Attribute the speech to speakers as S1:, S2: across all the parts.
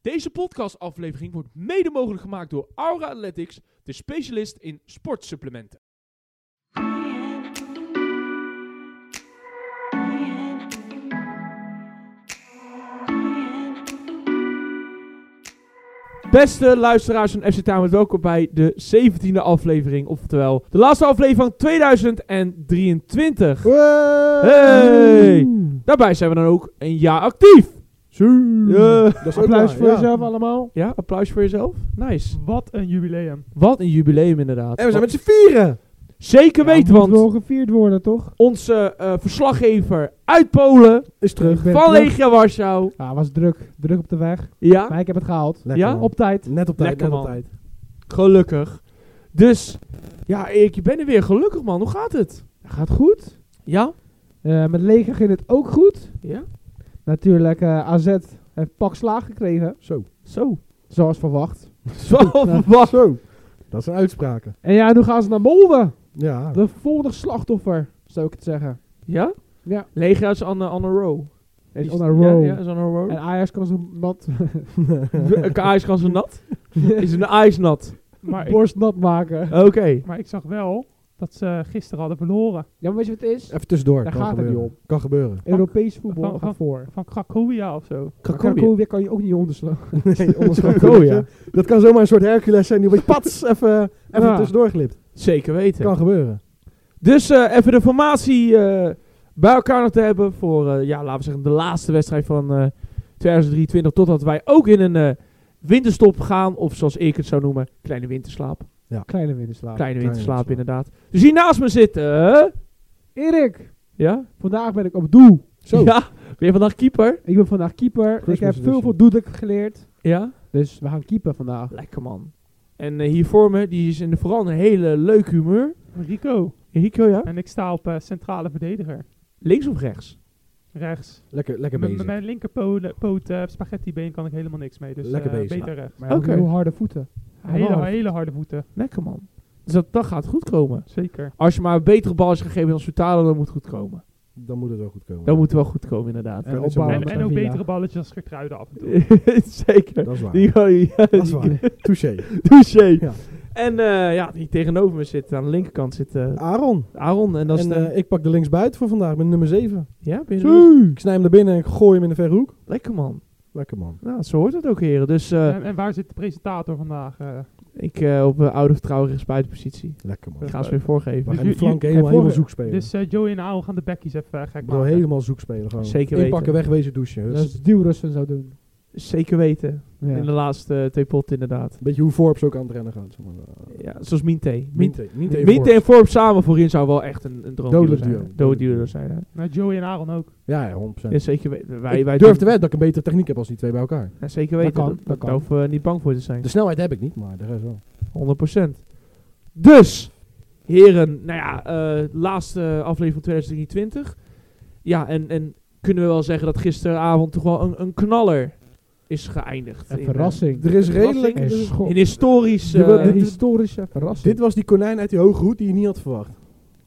S1: Deze podcastaflevering wordt mede mogelijk gemaakt door Aura Athletics, de specialist in sportsupplementen. Beste luisteraars van FC Tamer, welkom bij de 17e aflevering, oftewel de laatste aflevering van 2023. Hey! Daarbij zijn we dan ook een jaar actief. Ja.
S2: Dat is applaus
S3: waar,
S2: voor
S3: ja.
S2: jezelf allemaal.
S1: Ja, applaus voor jezelf. Nice.
S3: Wat een jubileum.
S1: Wat een jubileum inderdaad.
S2: En we zijn met z'n vieren.
S1: Zeker weten,
S2: moet
S1: want
S2: wel gevierd worden, toch?
S1: onze eh, verslaggever uit Polen,
S2: Is terug.
S3: Ik ben
S1: van
S3: terug.
S1: Legia Warschau.
S3: Ja, was druk. Druk op de weg.
S1: Ja,
S3: Maar ik heb het gehaald.
S1: Ja?
S2: man.
S3: Op tijd.
S2: Net op tijd,
S1: Lekker,
S2: net op
S1: man.
S2: tijd.
S1: gelukkig. Dus, ja Erik, je bent er weer. Gelukkig man, hoe gaat het?
S3: Gaat goed.
S1: Ja?
S3: Eh, met Leger ging het ook goed.
S1: Ja?
S3: Natuurlijk, eh, AZ heeft pak slaag gekregen.
S2: Zo.
S1: Zo.
S3: Zoals verwacht.
S1: Zo,
S3: Ja.
S1: wacht.
S2: Zo. Dat zijn uitspraken.
S3: En ja, nu gaan ze naar Molde.
S2: Ja.
S3: De volgende slachtoffer, zou ik het zeggen.
S1: Ja?
S3: Ja.
S1: Legia is on, a- on a row.
S3: Is on a roll.
S1: Ja, ja, is on a row.
S3: En Ajax kan zo'n nat,
S1: Een ijs kan ze nat? Is een ijs nat?
S4: Maar ik,
S3: borst nat maken.
S1: Oké.
S4: maar ik zag wel dat ze gisteren hadden verloren.
S3: Ja, maar weet je wat het is?
S2: Even tussendoor.
S3: Daar
S2: kan
S3: gaat het
S2: gebeuren.
S3: niet
S2: Kan gebeuren.
S3: Europees voetbal
S4: Van-
S3: gaat voor.
S4: Van Cracovia of zo.
S3: Maar
S1: Cracovia.
S3: Cracovia kan je ook niet onderslaan.
S2: nee, anders gaat het
S1: Zo, ja.
S2: gebeuren. Dat kan zomaar een soort Hercules zijn die op je pats even, even
S3: Ja.
S2: tussendoor glipt.
S1: Zeker weten.
S2: Kan gebeuren.
S1: Dus eh, even de formatie eh, bij elkaar nog te hebben voor, eh, ja, laten we zeggen, de laatste wedstrijd van eh 2023. Totdat wij ook in een eh, winterstop gaan, of zoals ik het zou noemen, kleine winterslaap.
S3: Kleine winterslaap.
S1: Kleine winterslaap,
S2: winterslaap.
S1: inderdaad. Dus hier naast me zitten. eh,
S3: Erik,
S1: ja?
S3: vandaag ben ik op doel.
S2: Zo.
S1: Ja, weer vandaag keeper.
S3: Ik ben vandaag keeper.
S2: Christmas
S3: ik heb veel
S2: edition.
S3: voor Doedek geleerd.
S1: Ja,
S3: Dus we gaan keeper vandaag.
S1: lekker man. En eh, hier voor me, die is in de, vooral een hele leuk humeur.
S4: Rico.
S1: Rico, ja?
S4: En ik sta op eh, centrale verdediger.
S1: Links of rechts?
S4: Rechts.
S2: Lekker, lekker
S4: Met
S2: bezig.
S4: mijn linkerpoot, eh spaghetti been kan ik helemaal niks mee. Dus
S2: Lekker
S4: eh,
S2: bezig.
S4: beter rechts.
S3: Maar hij heeft
S1: Oké.
S3: heel harde voeten.
S4: Hele,
S3: hard.
S4: hele harde voeten.
S1: Lekker man. Dus dat, dat gaat goed komen.
S4: Zeker.
S1: Als je maar een betere bal is gegeven dan Soutalo, dan moet het goed komen.
S2: Dan moet het wel goed komen.
S1: Dat moet wel goed komen, inderdaad.
S2: En
S3: En
S2: dit is
S3: opbouwen
S4: En,
S2: met
S3: met
S4: en
S3: een
S4: ook
S3: villa.
S4: betere balletjes als Gertruiden af en toe.
S1: Zeker.
S2: Dat is waar.
S1: Die gewoon, ja,
S2: Dat is waar. Touché.
S1: touché.
S2: Ja.
S1: En eh, ja, die tegenover me zit, aan de linkerkant zit eh,
S2: Aaron.
S1: Aaron. En dat is
S2: en
S1: de-
S2: eh, ik pak de linksbuiten voor vandaag met nummer 7.
S1: ja, ben je er weer?
S2: Ik snij hem naar binnen en ik gooi hem in de verre hoek.
S1: Lekker man.
S2: Lekker man.
S1: Nou, zo hoort het ook, heren. Dus eh,
S4: En, en waar zit de presentator vandaag? eh?
S1: ik eh, op eh, oude vertrouwen rechtsbuitenpositie.
S2: Lekker man.
S1: Ik ga ze weer voorgeven.
S2: We gaan die
S4: Je- je-
S2: flank
S4: je-
S2: helemaal, helemaal
S3: voor-
S2: zoek spelen.
S4: dus eh, Joey en Aal gaan de bekkies even eh, gek
S2: Bro,
S4: maken.
S2: helemaal zoek spelen gewoon.
S1: Zeker
S2: Inpakken, wegwezen, douchen.
S3: Dat
S2: Dus
S3: is Duwrussen zou doen.
S1: Zeker weten.
S3: Ja.
S1: In de laatste eh, twee potten, inderdaad.
S2: Een beetje hoe Forbes ook aan het rennen gaat. zeg maar. Eh,
S1: Ja, zoals Minte. Minte,
S2: Minte,
S1: Minte,
S2: Minte, Forbes.
S1: en Forbes samen voorin zou wel echt een, een droom
S2: Dodelijk
S1: zijn.
S2: duo.
S1: Dodelijk duo zijn, hè.
S4: Maar Nou, Joey en Aaron ook.
S2: Ja, ja, 100%.
S1: Ja, zeker weten. Wij,
S2: ik
S1: wij
S2: durf
S1: doen-
S2: te wedden dat ik een betere techniek heb als die twee bij elkaar.
S1: Ja, zeker weten.
S3: kan,
S1: Dat
S3: dat
S1: Daar
S3: kan.
S1: hoeven we niet bang voor te zijn.
S2: De snelheid heb ik niet, maar de rest wel.
S1: 100%. Dus, heren, nou ja, eh, laatste aflevering van 2023. Ja, en, en kunnen we wel zeggen dat gisteravond toch wel een, een knaller is geëindigd.
S3: Een
S1: In,
S3: verrassing.
S2: Er is redelijk...
S1: redelijk-
S3: Een
S2: dus-
S1: eh,
S3: schot.
S1: in historisch... eh,
S3: Je wil een historische verrassing.
S2: dit was die konijn uit die hoge hoed die je niet had verwacht.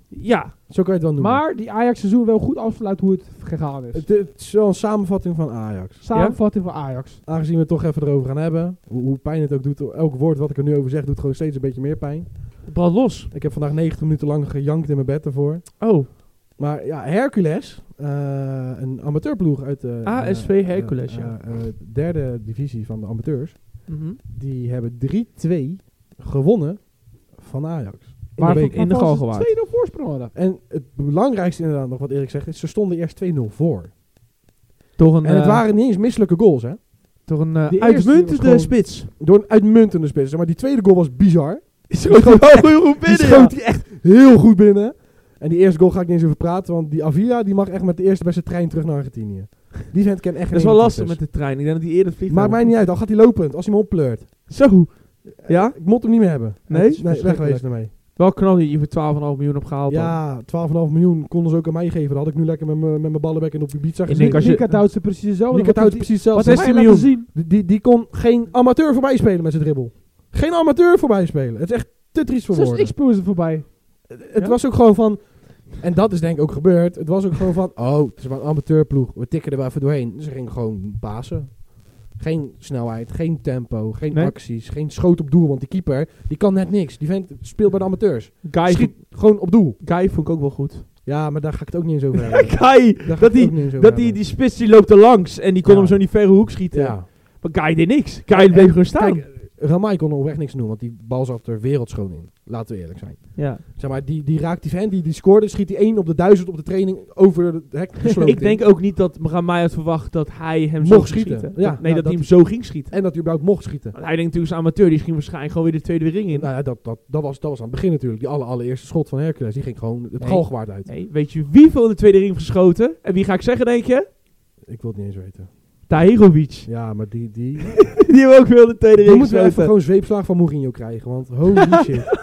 S1: ja,
S2: Zo kan je het wel noemen.
S3: maar die Ajax seizoen wel goed afsluit hoe het gegaan is.
S2: Het, het is wel een samenvatting van Ajax.
S3: Samenvatting van Ajax.
S2: Aangezien we het toch even erover gaan hebben. Hoe, hoe pijn het ook doet. Elk woord wat ik er nu over zeg doet gewoon steeds een beetje meer pijn.
S1: brand los.
S2: Ik heb vandaag 90 minuten lang gejankt in mijn bed ervoor.
S1: Oh,
S2: Maar ja, Hercules, eh, een amateurploeg uit de...
S1: ASV
S2: eh,
S1: Hercules,
S2: eh,
S1: ja.
S2: eh, eh, derde divisie van de amateurs.
S1: mhm.
S2: Die hebben 3-2 gewonnen van Ajax.
S1: in de,
S3: Waarvan-
S1: week, in de
S3: waarvan
S1: gal
S3: ze
S1: gewaard.
S3: 2-0 voorsprong hadden.
S2: En het belangrijkste inderdaad nog wat Erik zegt, is ze stonden eerst 2-0 voor.
S1: Door een,
S2: en het
S1: eh,
S2: waren niet eens misselijke goals, hè.
S1: door een eh,
S3: die eerste
S1: uitmuntende
S3: was gewoon-
S1: spits.
S2: Door een uitmuntende spits. Maar die tweede goal was bizar.
S1: Is gewoon heel goed
S2: Die
S1: ja.
S2: schoot hij echt heel goed binnen. En die eerste goal ga ik niet eens over praten, want die Avila die mag echt met de eerste beste trein terug naar Argentinië. Die vent kent echt
S1: Dat is
S2: geen
S1: wel lastig
S2: Hercules.
S1: met de trein. Ik denk dat hij eerder vliegt.
S2: Maakt mij niet uit, al gaat hij lopend, als hij me oppleurt.
S1: Zo. Ja?
S2: Ik moet hem niet meer hebben.
S1: Nee?
S2: Het is
S3: Nee,
S2: wegwezen ermee.
S1: Wel knal die je voor 12,5 miljoen opgehaald. had.
S2: Ja, 12,5 miljoen konden ze ook aan mij geven. Dat had ik nu lekker met mijn met mijn ballenbek en op de pizza
S1: Ik
S2: gezeten.
S1: denk als je-
S3: Nika houdt ze precies hetzelfde.
S2: Die kat
S3: Wat
S2: houdt
S3: heeft
S2: precies
S3: hij-
S2: hetzelfde.
S1: wat
S3: Wat
S1: heeft
S3: heeft
S1: hij
S3: hij
S1: miljoen?
S3: laten zien?
S2: Die, die, die kon geen amateur voorbij spelen met zijn dribbel. Geen amateur voorbij spelen. Het is echt te triest voor
S3: Zelfs
S2: woorden.
S3: X-Pro is er voorbij.
S2: Het was ook gewoon van... En dat is denk ik ook gebeurd. Het was ook gewoon van... Oh, het is maar een amateurploeg. We tikken er wel even doorheen. Ze gingen gewoon pasen. Geen snelheid, geen tempo, geen
S1: Nee.
S2: acties, geen schoot op doel. Want die keeper, die kan net niks. Die vent speelt bij de amateurs.
S1: Guy,
S2: Schiet gewoon op doel.
S1: Guy vond ik ook wel goed.
S2: Ja, maar daar ga ik het ook niet eens over hebben.
S1: Guy,
S2: Daar ga ik
S1: dat
S2: het
S1: die,
S2: ook niet eens over
S1: dat die,
S2: hebben.
S1: die spits die loopt er langs en die kon
S2: Ja.
S1: hem zo in die verre hoek schieten.
S2: Ja.
S1: Maar Guy deed niks. Guy bleef gewoon staan.
S2: eh, Kijk, eh, Ramai kon er oprecht niks doen, want die bal zat er wereldschoon in. Laten we eerlijk zijn.
S1: ja.
S2: Zeg maar, die, die raakt die vent, die, die scoorde, schiet die 1 op de 1000 op de training over het hek gesloten.
S1: Ik denk ook niet dat Ramai had verwacht dat hij hem zo
S2: Mocht
S1: ging schieten.
S2: schieten. Ja,
S1: nee,
S2: ja,
S1: dat,
S2: dat-
S1: hij hem zo ging schieten.
S2: En dat hij überhaupt mocht schieten.
S1: Want hij denkt natuurlijk als amateur, die ging waarschijnlijk gewoon weer de tweede ring in.
S2: Nou ja, dat, dat, dat, was, dat was aan het begin natuurlijk. Die aller, allereerste schot van Hercules, die ging gewoon het
S1: Nee.
S2: galgwaard uit.
S1: Nee, weet je wie veel in de tweede ring heeft geschoten? En wie ga ik zeggen, denk je?
S2: Ik wil het niet eens weten.
S1: Tahirovic.
S2: Ja, maar die... Die,
S1: Die hebben ook veel in de tweede
S2: die
S1: ring
S2: moeten we even
S1: geschoten.
S2: gewoon zweepslaag van Mourinho krijgen, want holy shit.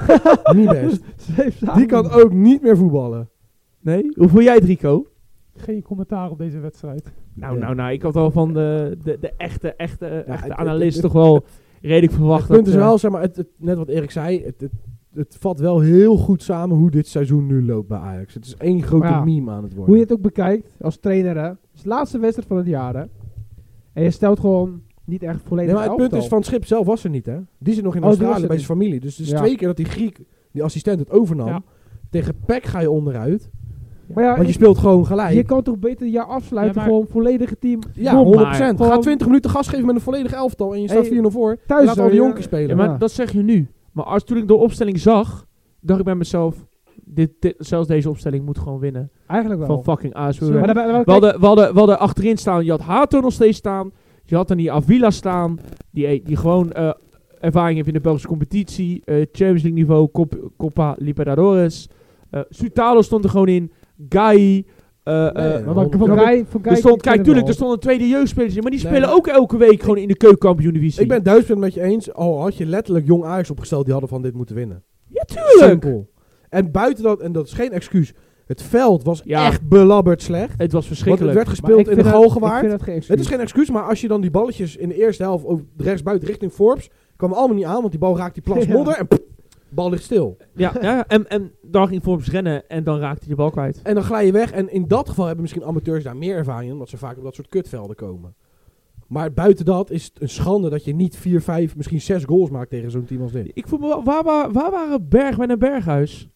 S2: niet best.
S3: Zweepslagen.
S2: Die kan ook niet meer voetballen.
S1: Nee? Hoe voel jij het, Rico?
S4: Geen commentaar op deze wedstrijd.
S1: Nou,
S2: Nou, Ja.
S1: nou, nou. Ik had al van de, de, de echte, echte,
S2: het-
S1: echte
S2: het-
S1: analist
S2: het-
S1: toch wel redelijk verwacht.
S2: het punt
S1: dat,
S2: is
S1: eh,
S2: wel, zeg maar, het, het- net wat Erik zei, het, het, het vat wel heel goed samen hoe dit seizoen nu loopt bij Ajax. Het is één grote
S3: Ja.
S2: meme aan het worden.
S3: Hoe je het ook bekijkt, als trainer hè. Het is de laatste wedstrijd van het jaar hè. En je stelt gewoon niet echt volledig
S2: Nee, maar het punt
S3: elftal.
S2: is, van Schip zelf was er niet, hè? Die zit nog in
S3: Oh, die was
S2: Australië
S3: er
S2: bij
S3: niet.
S2: zijn familie. Dus het is
S3: Ja.
S2: twee keer dat die Griek, die assistent, het overnam.
S4: Ja.
S2: Tegen Peck ga je onderuit.
S3: Maar ja,
S2: Want je
S3: ik-
S2: speelt gewoon gelijk.
S3: je kan toch beter je jaar afsluiten,
S4: Ja, maar-
S3: gewoon volledige team.
S2: ja,
S1: Dom,
S2: 100%.
S3: maar-
S2: Ga 20 minuten gas geven met een volledig elftal. En je staat
S3: Hey,
S2: 4-0 voor.
S3: thuis
S2: Laat al
S3: zou
S2: die
S3: je-
S2: jonkies spelen.
S1: Ja, maar
S3: Ja.
S1: dat zeg je nu. Maar als toen ik de opstelling zag, dacht ik bij mezelf... Dit, dit- zelfs deze opstelling moet gewoon winnen.
S3: Eigenlijk wel.
S1: Van fucking ASW.
S3: Zo, maar
S1: We
S3: dan- dan- dan-
S1: hadden, we, hadden, we hadden achterin staan, je had Hato nog steeds staan. Je had dan die Avila staan, die, die gewoon eh, ervaring heeft in de Belgische competitie. eh, Champions League niveau, Cop- Copa Libertadores. Eh Sutalo stond er gewoon in. Gai. eh, eh,
S2: Nee,
S3: maar van- van
S2: Ja, maar-
S3: Guy- van Guy
S1: er stond,
S3: ken ik
S1: kijk, tuurlijk,
S3: wel.
S1: er stonden tweede jeugdspelers in. Maar die
S2: Nee,
S1: spelen
S2: maar-
S1: ook elke week gewoon in de keukenkampioen divisie.
S2: Ik ben het duizend met je eens. Al had je letterlijk jong Ajax opgesteld, die hadden van dit moeten winnen.
S1: tuurlijk.
S2: Simpel. En buiten dat, en dat is geen excuus. Het veld was
S1: Ja.
S2: echt belabberd slecht.
S1: Het was
S2: Want het
S1: verschrikkelijk.
S2: werd
S3: Maar ik
S2: gespeeld in de
S3: vind dat-
S2: galgenwaard.
S3: Ik vind dat geen excuus.
S2: Het is geen excuus, maar als je dan die balletjes in de eerste helft ook rechtsbuiten richting Forbes, kwam allemaal niet aan, want die bal raakt die plas
S3: Ja.
S2: modder en pff, bal ligt stil.
S1: Ja, ja en, en dan ging Forbes rennen en dan raakte hij de bal kwijt.
S2: En dan glij je weg. En in dat geval hebben misschien amateurs daar meer ervaring in, omdat ze vaak op dat soort kutvelden komen. Maar buiten dat is het een schande dat je niet 4, 5, misschien 6 goals maakt tegen zo'n team als dit.
S1: Ik voel me wel, waar, wa- waar waren Bergwijn en Berghuis?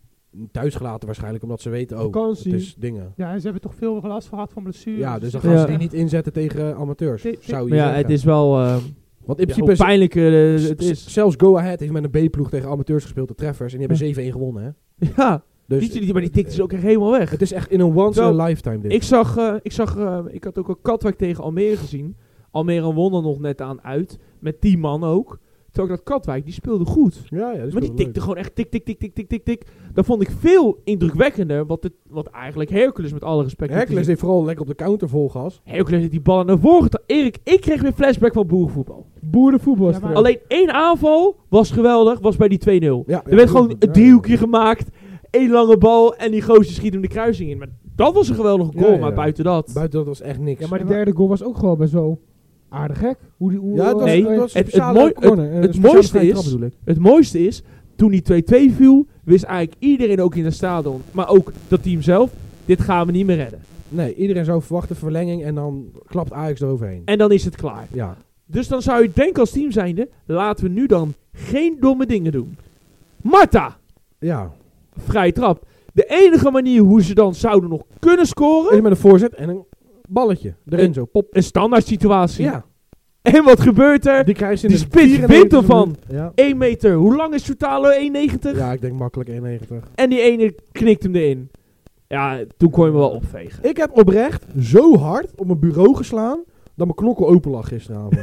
S2: Thuisgelaten waarschijnlijk, omdat ze weten, oh, het
S3: Vakantie.
S2: is dingen.
S4: Ja, en ze hebben toch veel last gehad van blessures.
S2: Ja, dus dan
S4: dat
S2: gaan
S1: Ja.
S2: ze die niet inzetten tegen eh, amateurs,
S4: Dit- dit-
S2: zou je
S1: Maar ja,
S2: zeggen.
S1: het is wel eh,
S2: Want in
S1: ja,
S2: principe
S1: hoe pijnlijker eh,
S2: is,
S1: het is.
S2: zelfs Go Ahead heeft met een B-ploeg tegen amateurs gespeeld, de treffers, en die hebben 7-1 gewonnen, hè.
S1: Ja,
S2: Dus
S1: niet jullie, maar die tikte is ook echt helemaal weg.
S2: Het is echt in een once in
S1: Terwijl-
S2: a lifetime dit.
S1: Ik zag, eh, ik, zag eh, ik had ook een Katwijk tegen Almere gezien. Almere won er nog net aan uit, met die man ook. Terwijl ik dat Katwijk, die speelde goed.
S2: ja, ja,
S1: Maar die tikte gewoon echt tik, tik, tik, tik, tik, tik, tik. Dat vond ik veel indrukwekkender, wat, het, wat eigenlijk Hercules met alle respect...
S2: Hercules deed vooral lekker op de counter vol gas.
S1: Hercules heeft die ballen naar voren getra- Erik, ik kreeg weer flashback van boerenvoetbal.
S3: boerenvoetbal. is
S4: Ja,
S3: het
S4: maar-
S3: er.
S1: Alleen één aanval was geweldig, was bij die 2-0.
S2: Ja,
S1: er werd gewoon een driehoekje gemaakt, één lange bal en die gozer schiet hem de kruising in. Maar dat was een geweldige goal,
S2: Ja, ja, ja.
S1: maar buiten dat...
S2: Buiten dat was echt niks.
S3: Ja, maar de derde goal was ook gewoon best wel aardig gek. Hoe die, hoe,
S2: Ja, het was,
S1: Nee,
S2: het was een
S1: het- het
S2: speciale
S1: mooi-
S2: corner, eh,
S3: het-
S1: het
S2: een speciale
S1: mooiste
S2: vrije
S1: is-
S2: trap bedoel ik.
S1: Het mooiste is, toen die 2-2 viel, wist eigenlijk iedereen ook in het stadion, maar ook dat team zelf, dit gaan we niet meer redden.
S2: Nee, iedereen zou verwachten verlenging en dan klapt Ajax eroverheen.
S1: En dan is het klaar.
S2: Ja.
S1: Dus dan zou je denken als team zijnde, laten we nu dan geen domme dingen doen. Marta!
S2: Ja.
S1: vrije trap. De enige manier hoe ze dan zouden nog kunnen scoren,
S2: Even met een voorzet en een balletje. Erin
S1: Eh,
S2: zo, pop.
S1: een standaard situatie.
S2: Ja.
S1: En wat gebeurt er?
S2: Die krijgt ze
S1: die
S2: de
S1: spits
S2: 94e
S1: wint ervan.
S2: minuut. Ja.
S1: 1 meter. Hoe lang is Soutalo? 1,90?
S2: ja, ik denk makkelijk 91.
S1: En die ene knikt hem erin. Ja, toen kon je me wel opvegen.
S2: Ik heb oprecht zo hard op mijn bureau geslaan dat mijn knokkel open lag gisteravond.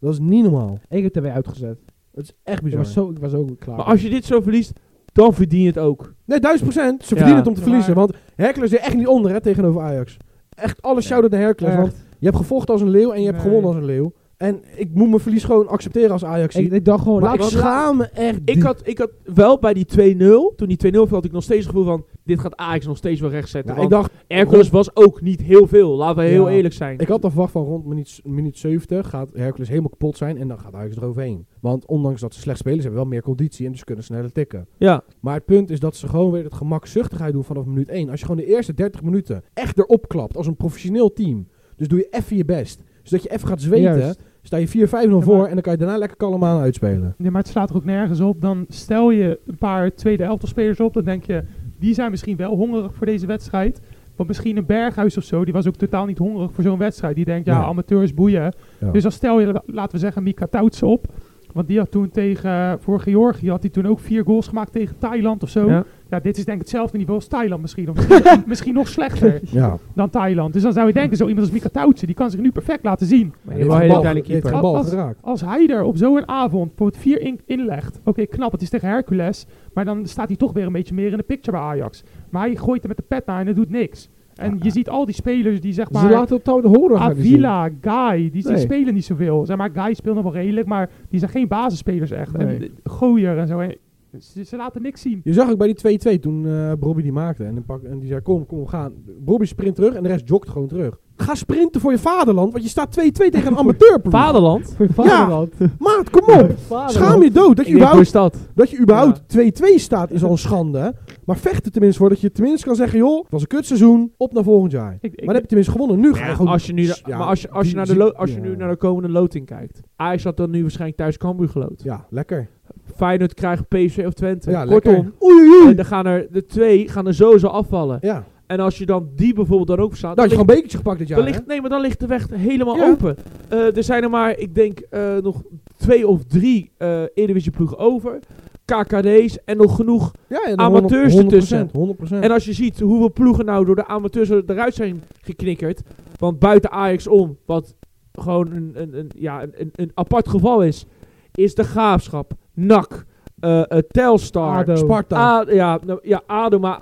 S2: dat is niet normaal.
S3: Ik heb er weer uitgezet.
S2: Dat is echt
S3: Ik
S2: bizar.
S3: was, zo, ik was ook klaar.
S1: Maar als je dit zo verliest, dan verdien je het ook.
S2: Nee, duizend procent. Ze
S1: Ja.
S2: verdienen het om te
S4: Maar-
S2: verliezen. Want Hercules deed echt niet onder hè, tegenover Ajax. Echt alles shout-out naar Hercules.
S3: Echt.
S2: Want je hebt gevochten als een leeuw en je hebt
S4: Nee.
S2: gewonnen als een leeuw. En ik moet mijn verlies gewoon accepteren als Ajax.
S3: ik, ik dacht gewoon,
S2: maar
S3: laat
S2: ik schaam me echt
S1: Ik
S2: diep.
S1: had, ik had wel bij die 2-0, toen die 2-0 viel, had ik nog steeds het gevoel van... Dit gaat Ajax nog steeds wel
S2: Ja,
S1: rechtzetten.
S2: Nou, ik
S1: want
S2: dacht,
S1: Hercules was ook niet heel veel. Laten we heel
S2: Ja.
S1: eerlijk zijn.
S2: ik had al verwacht van rond minuut, minuut 70 gaat Hercules helemaal kapot zijn en dan gaat Ajax eroverheen. Want ondanks dat ze slecht spelen, ze hebben wel meer conditie en dus kunnen sneller tikken.
S1: ja.
S2: Maar het punt is dat ze gewoon weer het gemakzuchtigheid doen vanaf minuut 1. Als je gewoon de eerste 30 minuten echt erop klapt als een professioneel team. Dus doe je even je best. Zodat je even gaat zweten.
S3: Juist.
S2: Sta je 4-5-0 voor en dan kan je daarna lekker kalm aan uitspelen.
S4: Nee, maar het slaat er ook nergens op. Dan stel je een paar tweede helftspelers op. Dan denk je, die zijn misschien wel hongerig voor deze wedstrijd. Want misschien een Berghuis of zo, die was ook totaal niet hongerig voor zo'n wedstrijd. Die denkt, ja,
S2: Nee.
S4: amateurs boeien.
S2: Ja.
S4: Dus dan stel je, la- laten we zeggen, Mika Toutsen op. Want die had toen tegen, eh, voor Georgië, had hij toen ook vier goals gemaakt tegen Thailand of zo. Ja,
S1: Ja.
S4: dit is denk ik hetzelfde niveau als Thailand misschien. Of misschien, misschien nog slechter
S2: Ja.
S4: dan Thailand. Dus dan zou je denken, zo iemand als Mika Toutsen, die kan zich nu perfect laten zien.
S1: Maar je
S2: Die heeft
S1: wel een
S2: de
S1: hele
S2: bal-
S1: kleine
S2: die heeft
S1: keeper.
S2: de bal
S4: Als-
S2: geraakt.
S4: Als hij er op zo'n avond bijvoorbeeld vier in inlegt. Oké, knap, het is tegen Hercules. Maar dan staat hij toch weer een beetje meer in de picture bij Ajax. Maar hij gooit er met de pet naar en het doet niks. En je ziet al die spelers die
S2: Dus
S4: zeg
S3: Ze
S4: maar...
S3: laten het touw de horen gaan
S4: Avila, Guy, die, die
S3: Nee.
S4: spelen niet zoveel. Zeg maar, Guy speelt nog wel redelijk, maar die zijn geen basisspelers echt. En
S3: Nee.
S4: eh, Gooier en zo. En ze, ze laten niks zien.
S2: Je zag ook bij die 2-2 toen eh Bobby die maakte. En, dan pak, en die zei, kom, kom, we gaan. Bobby sprint terug en de rest jogt gewoon terug. Ga sprinten voor je vaderland, want je staat 2-2 tegen een amateurploeg.
S1: Vaderland?
S3: Voor je vaderland.
S2: Maat, kom op. Schaam je dood. Dat je
S1: Ik denk voor
S2: überhaupt,
S1: stad.
S2: dat je überhaupt 2-2 staat is al een schande. hè. Maar vecht er tenminste voor dat je tenminste kan zeggen, joh, het was een kutseizoen, op naar volgend jaar.
S4: Ik, ik,
S2: Maar dan heb je tenminste gewonnen. Nu ga je gewoon...
S1: Als je nu, de-
S2: Ja,
S1: maar als je, als je,
S2: die
S1: naar, de
S2: zie-
S1: lo- als je
S2: ja.
S1: nu naar de komende loting kijkt. Ajax had dan nu waarschijnlijk thuis Cambuur geloot.
S2: Ja, lekker.
S1: Feyenoord krijgt PSV of Twente.
S2: Ja,
S1: Kortom,
S2: lekker. Oei, oei, oei.
S1: eh, dan gaan er, de twee gaan er sowieso afvallen.
S2: Ja, nou
S1: En als je dan die bijvoorbeeld dan ook verslaat...
S2: had
S1: dan
S2: je gewoon bekertje gepakt dit jaar,
S1: Dan
S2: hè?
S1: ligt, nee, maar dan ligt de weg helemaal
S2: Ja.
S1: open. Eh, er zijn er maar, ik denk, eh, nog twee of drie eh Eredivisie-ploegen over. KKD's en nog genoeg.
S2: Ja, ja,
S1: Amateurs ertussen.
S2: 100%. 100%.
S1: En als je ziet hoeveel ploegen nou door de amateurs er- eruit zijn geknikkerd. Want buiten Ajax om, wat gewoon een, een, een, ja, een, een- een apart geval is, is de Graafschap, NAC, eh, eh, Telstar,
S3: ADO.
S2: Ah, Sparta.
S1: A- ja, nou, ja, ADO, maar...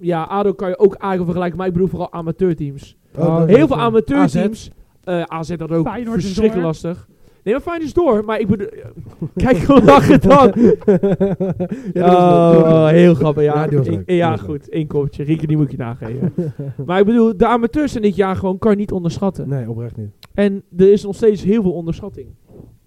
S1: Ja, ADO kan je ook aardig vergelijken, maar ik bedoel vooral amateurteams.
S2: Oh, dat-
S1: Ah. Heel veel
S2: AZ.
S1: amateurteams. eh AZ dat ook.
S4: Feyenoord is
S1: verschrikkelijk
S4: door.
S1: lastig. Nee, maar Feyenoord is door. Maar ik bedoel... Kijk hoe lachen dan. Oh, heel grappig. Ja,
S2: Ja, die was
S1: Ik-
S2: leuk.
S1: ja,
S2: Die was leuk.
S1: goed. Eén kopje. Rieke, die moet ik je nageven. maar ik bedoel, de amateurs in dit jaar gewoon kan je niet onderschatten.
S2: Nee, oprecht niet.
S1: En er is nog steeds heel veel onderschatting.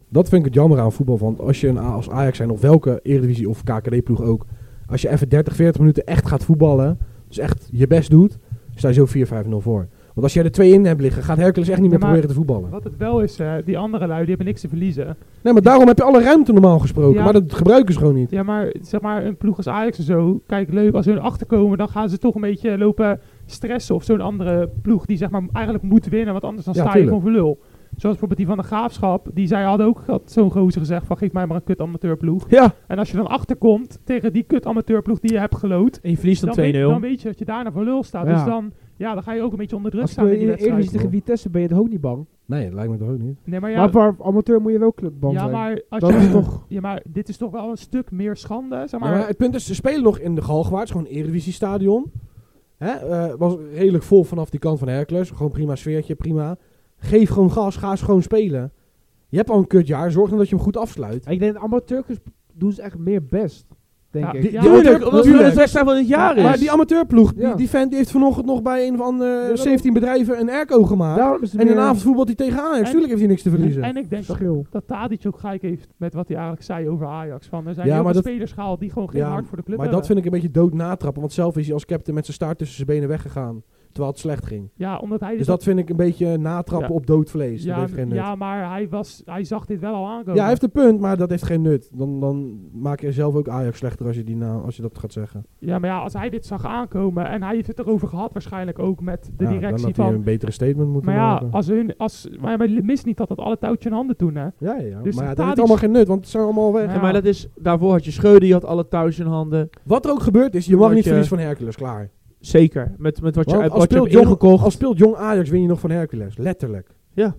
S2: Dat vind ik het jammer aan voetbal. Want als je een, A- als Ajax zijn, of welke Eredivisie of KKD-ploeg ook. Als je even 30, 40 minuten echt gaat voetballen. Dus echt je best doet. Sta je zo 4-5-0 voor. Want als je er twee in hebt liggen, gaat Hercules echt niet meer
S4: Ja, maar-
S2: proberen te voetballen.
S4: Wat het wel is, eh, die andere lui, die hebben niks te verliezen.
S2: Nee, maar daarom heb je alle ruimte normaal gesproken.
S4: Ja.
S2: Maar dat gebruiken ze gewoon niet.
S4: Ja, maar zeg maar, een ploeg als Ajax en zo. Kijk, leuk, als hun achterkomen, dan gaan ze toch een beetje lopen stressen. Of zo'n andere ploeg die zeg maar eigenlijk moet winnen, want anders dan
S2: Ja,
S4: sta je
S2: tuurlijk.
S4: gewoon voor lul. Zoals bijvoorbeeld die van de Graafschap, die zij hadden ook had zo'n gozer gezegd van geef mij maar een kut amateurploeg.
S1: Ja.
S4: En als je dan achterkomt tegen die kut amateurploeg die je hebt geloot,
S1: En je verliest
S4: dan
S1: dan 2-0.
S4: weet, dan weet je dat je daarna voor lul staat.
S3: Ja.
S4: Dus dan, ja, dan ga je ook een beetje onder druk
S3: Als
S4: staan
S3: we
S4: in die
S3: in
S4: wedstrijd.
S3: Eredivisie tegen Vitesse ben je toch ook niet bang.
S2: Nee, dat lijkt me toch ook niet.
S4: Nee, maar ja,
S3: Maar voor amateur moet je wel clubbang
S4: ja,
S3: zijn.
S4: maar als
S3: Dat
S4: je,
S3: is toch...
S4: ja, maar dit is toch wel een stuk meer schande, zeg
S2: Ja,
S4: maar.
S2: Maar het punt is, ze spelen nog in de Galgenwaard, gewoon Eredivisie-stadion. Hè, eh, was redelijk vol vanaf die kant van Hercules. Gewoon prima sfeertje, prima. Geef gewoon gas, ga eens gewoon spelen. Je hebt al een kutjaar, zorg dan dat je hem goed afsluit.
S3: Ik denk dat amateurs doen ze echt meer best. Denk
S4: Ja,
S3: ik.
S4: die-
S2: Ja,
S1: Tuurlijk,
S2: tuurlijk,
S1: omdat het
S2: tuurlijk.
S1: de wedstrijd van het jaar is.
S2: Maar die amateurploeg, die,
S3: Ja.
S2: die vent die heeft vanochtend nog bij een of andere
S3: daarom.
S2: 17 bedrijven een airco gemaakt.
S3: Daarom is het
S2: en
S3: meer
S2: een avond voetbalt hij tegen Ajax.
S4: En-
S2: Tuurlijk heeft hij niks te verliezen.
S4: en ik denk dat
S3: verschil.
S4: dat Tadic ook gelijk heeft met wat hij eigenlijk zei over Ajax. Van, er zijn
S2: Ja,
S4: heel
S2: maar
S4: veel
S2: dat-
S4: spelers gehaald die gewoon geen
S2: Ja,
S4: hart voor de club
S2: maar dat
S4: hebben.
S2: vind ik een beetje dood natrappen. Want zelf is hij als captain met zijn staart tussen zijn benen weggegaan. Terwijl het slecht ging.
S4: ja, omdat hij
S2: Dus dat vind ik een beetje natrappen
S4: Ja.
S2: op dood vlees. dat
S4: ja,
S2: heeft geen nut.
S4: ja, maar hij, was, hij zag dit wel al aankomen.
S2: Ja, hij heeft een punt, maar dat heeft geen nut. Dan, dan maak je zelf ook Ajax slechter als je, die na, als je dat gaat zeggen.
S4: Ja, maar ja, als hij dit zag aankomen en hij heeft het erover gehad waarschijnlijk ook met de
S2: Ja, dan
S4: directie
S2: had hij
S4: van...
S2: een betere statement moeten
S4: Maar ja,
S2: maken.
S4: als hun, als, maar, maar mis niet dat dat alle touwtje in handen toen, hè.
S2: ja, ja, ja.
S4: dus
S2: maar ja, dat
S4: Tadic-
S2: heeft allemaal geen nut, want het zijn allemaal weg.
S4: Ja.
S1: Ja, maar dat is, daarvoor had je Scheuder, die had alle thuis in handen.
S2: Wat er ook gebeurd is, je mag
S1: Wat
S2: niet
S1: je-
S2: verliezen van Hercules, klaar.
S1: Zeker, met, met wat je,
S2: Want
S1: uit
S2: als,
S1: wat je
S2: speelt
S1: hebt
S2: jong,
S1: ingekocht.
S2: als speelt jong Ajax win je nog van Hercules, letterlijk.
S1: Ja.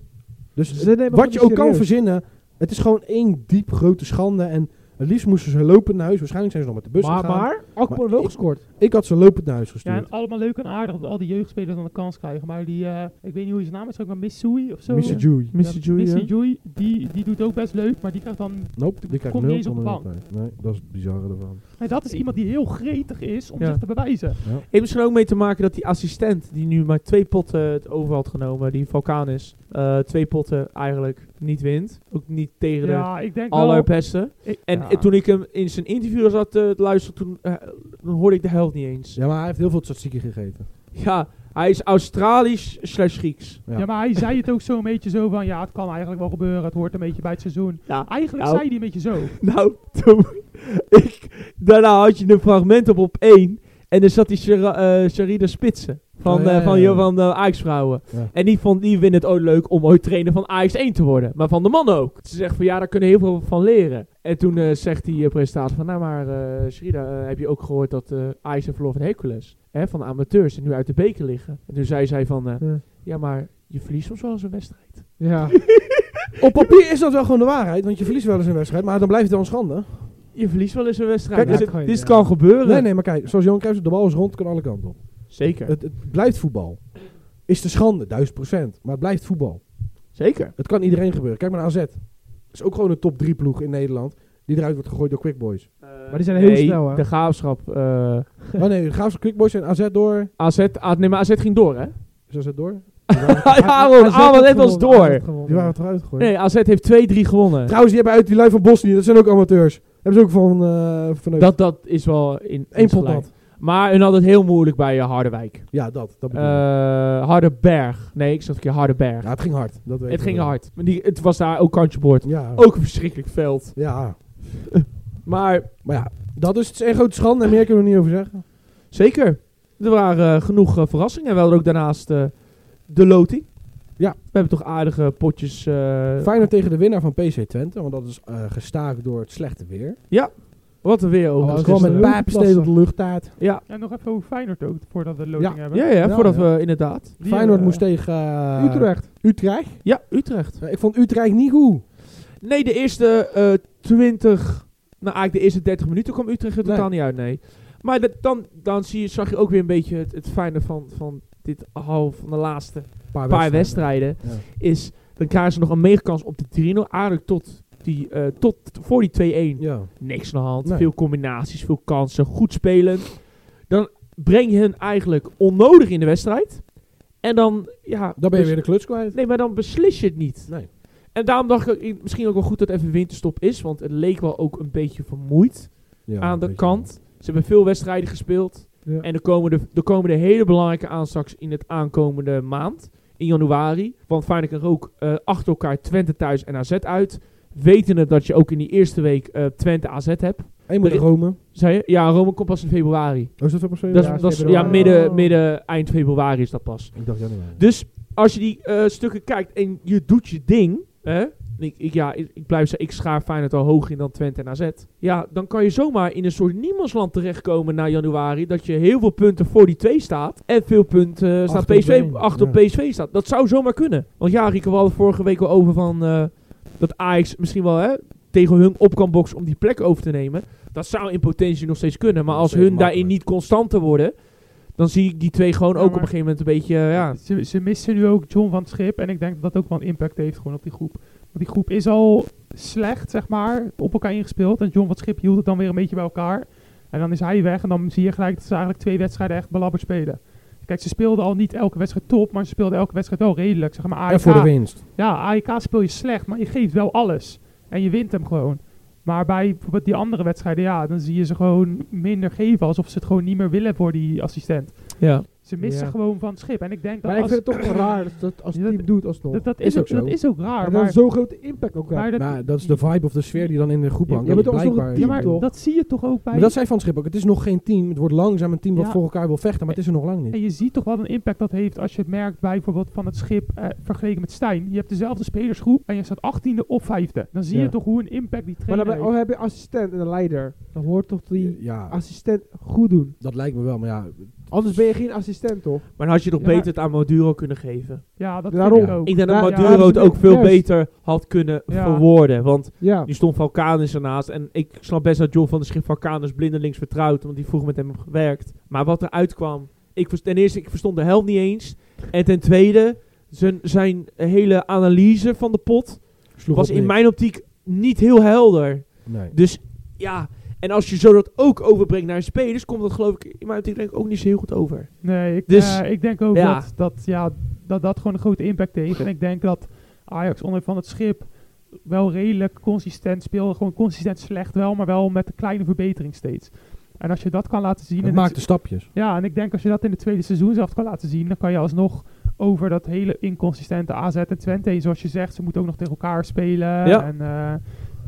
S2: Dus
S3: Ze nemen
S2: wat
S3: het
S2: je
S3: niet
S2: ook kan
S3: serieus.
S2: verzinnen, het is gewoon één diep grote schande. En het liefst moesten ze lopend naar huis. Waarschijnlijk zijn ze nog met de bus
S3: Maar,
S2: gegaan.
S3: maar Akpor wel
S2: ik-
S3: gescoord.
S2: Ik had ze lopend naar huis
S4: Ja,
S2: gestuurd.
S4: en allemaal leuk en aardig dat al die jeugdspelers dan de kans krijgen. Maar die, eh, ik weet niet hoe je zijn naam is, ook maar Missui of zo.
S2: Mr. Dewey.
S1: Mr.
S4: Ja,
S1: Jui,
S4: Missy
S1: ja.
S4: Jui, die, die doet ook best leuk, maar die krijgt dan
S2: Nope, die krijgt
S4: Komt niet eens op de
S2: 0,0 tijd. Nee, dat is het bizarre ervan.
S4: En dat is iemand die heel gretig is om
S1: Ja.
S4: zich te bewijzen.
S1: Heeft misschien ook mee te maken dat die assistent, die nu maar twee potten het over had genomen, die vulkaan is, eh, twee potten eigenlijk niet wint. Ook niet tegen de
S4: Ja, ik denk wel...
S1: allerbeste.
S4: ik-
S1: En
S4: ja.
S1: eh, toen ik hem in zijn interview zat eh, te luisteren, toen eh, dan hoorde ik de helft niet eens. Ja,
S2: Ja, maar hij heeft heel veel statistieken gegeven.
S1: Hij is Australisch slash Grieks.
S2: Ja.
S4: Ja. maar hij zei het ook zo'n beetje zo van, ja, het kan eigenlijk wel gebeuren, het hoort een beetje bij het seizoen.
S1: Ja,
S4: Eigenlijk
S1: nou.
S4: zei hij een beetje zo.
S1: Nou, toen, ik, daarna had je een fragment op op 1. En dan zat die Shara- eh, Sharida Spitsen. Van,
S2: Oh, ja,
S1: eh,
S2: ja,
S1: van,
S2: ja.
S1: joh, van de Ajax-vrouwen.
S2: Ja.
S1: En die, vond, die vinden het ook leuk om ooit trainer van Ajax 1 te worden. Maar van de man ook. Ze zegt van, ja, daar kunnen heel veel van leren. En toen eh, zegt die eh, presentator van, nou maar eh Sharida, eh, heb je ook gehoord dat eh Ajax en verloor van Hercules. Hè, van de amateurs en nu uit de beker liggen. En toen zei zij van, eh,
S3: Ja.
S1: ja, maar je verliest soms wel eens een wedstrijd.
S3: Ja.
S2: Op papier is dat wel gewoon de waarheid, want je verliest wel eens een wedstrijd, maar dan blijft het wel een schande.
S1: Je verliest wel eens een wedstrijd.
S2: Kijk,
S1: Dus
S3: dat
S1: het-
S3: kan je,
S1: dit
S3: ja.
S1: kan gebeuren.
S2: Nee, nee, maar kijk, zoals Jan Cruijff, zegt, de bal is rond, kan alle kanten op.
S1: Zeker.
S2: Het, het blijft voetbal. Is de schande, duizend procent, maar het blijft voetbal.
S1: Zeker.
S2: Het kan iedereen gebeuren. Kijk maar naar AZ. is ook gewoon een top 3 ploeg in Nederland, die eruit wordt gegooid door Quick Boys.
S1: maar
S3: die zijn heel snel, hè?
S1: De graafschap. eh,
S2: Oh nee, de Graafschap Quick Boys en AZ door.
S1: AZ, ah, nee, maar AZ ging door, hè?
S2: Is AZ door?
S1: Aaron, Aaron, net was door.
S2: Die waren toch uitgegooid?
S1: Nee, AZ heeft 2-3 gewonnen.
S2: Trouwens, die hebben uit die lui van Bosnië, dat zijn ook amateurs. Hebben ze ook van... eh van
S1: Dat, dat is wel in
S2: Eén
S1: in
S2: pot
S1: gelijk.
S2: nat.
S1: Maar hun had het heel moeilijk bij eh, Harderwijk.
S2: Ja, dat. dat bedoel ik.
S1: Eh Harderberg. Nee, ik zat een keer Harderberg.
S2: ja, het ging hard. Dat weet
S1: het
S2: ik
S1: ging
S2: wel.
S1: hard. Oh. Maar die, het was daar ook kantje boord.
S2: Ja.
S1: Ook een verschrikkelijk veld.
S2: ja.
S1: Maar
S2: Maar ja, dat is een grote schande en meer kunnen we er niet over zeggen.
S1: zeker, er waren eh, genoeg eh, verrassingen. En we hadden ook daarnaast eh, de loting.
S2: Ja.
S1: We hebben toch aardige potjes. eh,
S2: Feyenoord tegen de winnaar van PC Twente, want dat is eh, gestaakt door het slechte weer.
S1: wat een weer over.
S3: Oh,
S2: Dat is
S3: dat
S2: gewoon
S3: is
S2: met
S3: leuk.
S2: pijpsteden op de luchttaart.
S1: ja,
S4: En nog even over Feyenoord ook, voordat we de loting
S2: Ja.
S4: hebben.
S1: Ja, ja,
S2: Ja,
S1: voordat
S2: ja.
S1: we inderdaad.
S4: Die,
S2: Feyenoord
S4: eh,
S2: moest tegen... eh,
S3: Utrecht.
S2: Utrecht?
S1: Ja, Utrecht.
S2: Ja, ik vond Utrecht niet goed.
S1: Nee, de eerste eh 20, nou eigenlijk de eerste 30 minuten kwam Utrecht er
S2: Nee.
S1: totaal niet uit, nee. Maar dat, dan, dan zie je, zag je ook weer een beetje het, het fijne van, van dit half van de laatste
S2: Paar,
S1: paar wedstrijden. Is, dan krijgen ze nog een meegkans op de 3-0. Aardig tot, die, eh, tot voor die 2-1.
S2: Ja.
S1: Niks aan de hand.
S2: Nee.
S1: Veel combinaties, veel kansen. Goed spelen. Dan breng je hen eigenlijk onnodig in de wedstrijd. En dan, ja...
S2: Dan ben je
S1: dus-
S2: weer de kluts kwijt.
S1: Nee, maar dan beslis je het niet.
S2: Nee.
S1: En daarom dacht ik ook, misschien ook wel goed dat even winterstop is. Want het leek wel ook een beetje vermoeid
S2: Ja,
S1: aan de
S2: weet je
S1: kant. Ze hebben veel wedstrijden gespeeld.
S3: Ja.
S1: En er komen, de, er komen de hele belangrijke aan straks in het aankomende maand. In januari. Want Feyenoord kan ook eh, achter elkaar Twente thuis en AZ uit. Wetende dat je ook in die eerste week eh, Twente AZ hebt.
S2: wel. Eén moet
S1: Er-
S2: Rome. Oh,
S1: Zei je? Ja, Rome komt pas in februari.
S2: is dat zo per se?
S1: Dat is-
S3: Ja,
S1: dat is, ja,
S3: februari.
S1: midden, midden, eind februari is dat pas.
S2: Ik dacht januari.
S1: Dus als je die eh, stukken kijkt en je doet je ding. Hè? Ik, ik, ja, ik, ik blijf zeggen, ik schaar Feyenoord al hoog in dan Twente en AZ. Ja, dan kan je zomaar in een soort niemandsland terechtkomen na januari. Dat je heel veel punten voor die twee staat. En veel punten eh, staat
S2: Achter op
S1: PSV,
S2: één,
S1: achter op
S2: ja.
S1: PSV staat. Dat zou zomaar kunnen. Want ja, Rico, we hadden vorige week al over van eh, dat Ajax misschien wel hè, tegen hun op kan boksen om die plek over te nemen. Dat zou in potentie nog steeds kunnen. Maar
S2: Nog
S1: als
S2: steeds
S1: hun daarin
S2: makkelijk.
S1: niet constanter worden, dan zie ik die twee gewoon
S4: Ja,
S1: ook op een
S4: maar-
S1: gegeven moment een beetje... eh, ja,
S4: Ze, ze missen nu ook John van het Schip. En ik denk dat dat ook wel een impact heeft gewoon op die groep. Want die groep is al slecht, zeg maar, op elkaar ingespeeld. En John van het Schip hield het dan weer een beetje bij elkaar. En dan is hij weg. En dan zie je gelijk dat ze eigenlijk twee wedstrijden echt belabberd spelen. Kijk, ze speelden al niet elke wedstrijd top, maar ze speelden elke wedstrijd wel redelijk. Zeg maar, AEK,
S2: En voor de winst.
S4: ja, AEK speel je slecht, maar je geeft wel alles. En je wint hem gewoon. Maar bij bijvoorbeeld die andere wedstrijden, ja, dan zie je ze gewoon minder geven. Alsof ze het gewoon niet meer willen voor die assistent.
S1: ja.
S4: Ze missen
S1: Ja.
S4: gewoon van het schip. En ik denk dat
S3: Maar ik
S4: als-
S3: vind het toch wel raar dat ze dat als
S4: Ja, dat-
S3: team doet alsnog.
S4: dat, dat,
S2: Is
S4: is
S2: ook
S4: ook, dat
S2: zo.
S4: is ook
S3: En
S4: raar.
S3: dan
S4: Maar,
S3: zo'n grote impact ook
S4: maar
S3: hebben.
S4: dat,
S2: Nou, dat is de vibe of de sfeer die dan in de groep
S3: Je-
S2: hangt.
S3: je
S2: dat
S3: bent
S2: is
S3: alsnog
S2: blijkbaar-
S3: een
S4: ja,
S3: team,
S4: maar
S3: toch?
S4: dat zie je toch ook bij...
S2: Maar dat zei Van Schip ook. Het is nog geen team. Het wordt langzaam een team dat
S4: Ja.
S2: voor elkaar wil vechten. Maar het is er nog lang niet.
S4: En je ziet toch wat een impact dat heeft als je het merkt bij bijvoorbeeld van het schip eh, vergeleken met Stijn. Je hebt dezelfde spelersgroep en je staat 18e of 5e. Dan zie
S2: Ja.
S4: je toch hoe een impact die
S3: Maar
S4: trainer
S3: dan ben- oh,
S4: heeft.
S3: heb je een assistent en een leider. Dan hoort toch die
S2: Ja,
S3: assistent goed doen.
S2: dat lijkt me wel. Maar ja,
S3: Anders ben je geen assistent, toch?
S1: Maar dan had je toch
S4: Ja,
S1: beter
S4: maar-
S1: het aan Maduro kunnen geven.
S4: Ja, dat
S3: Daarom.
S4: vind ik ook.
S1: Ik denk dat
S3: Ja, ja,
S1: Maduro het
S3: absoluut.
S1: ook veel
S3: Juist.
S1: beter had kunnen
S4: Ja.
S1: verwoorden. Want
S3: Ja.
S1: nu stond Valkanus ernaast. En ik snap best dat John van der Schip Valkanus blindelings vertrouwt. Want die vroeg met hem heeft gewerkt. Maar wat eruit kwam. Ik vers- ten eerste, ik verstond de helft niet eens. En ten tweede, zijn, zijn hele analyse van de pot
S2: sloeg
S1: was
S2: op
S1: in
S2: niks.
S1: mijn optiek niet heel helder.
S2: Nee.
S1: Dus ja, en als je zo dat ook overbrengt naar je spelers, komt dat geloof ik in mijn optiek denk ik ook niet zo heel goed over.
S4: Nee, ik,
S1: Dus-
S4: eh, ik denk ook
S1: ja.
S4: dat, dat, ja, dat dat gewoon een grote impact heeft. En ik denk dat Ajax onder van het schip wel redelijk consistent speelde. Gewoon consistent slecht wel, maar wel met een kleine verbetering steeds. En als je dat kan laten zien...
S2: Het
S4: in
S2: maakt de stapjes.
S4: Ja, en ik denk als je dat in het tweede seizoen zelf kan laten zien, dan kan je alsnog over dat hele inconsistente AZ en Twente, zoals je zegt, ze moeten ook nog tegen elkaar spelen.
S1: Ja.
S4: En eh,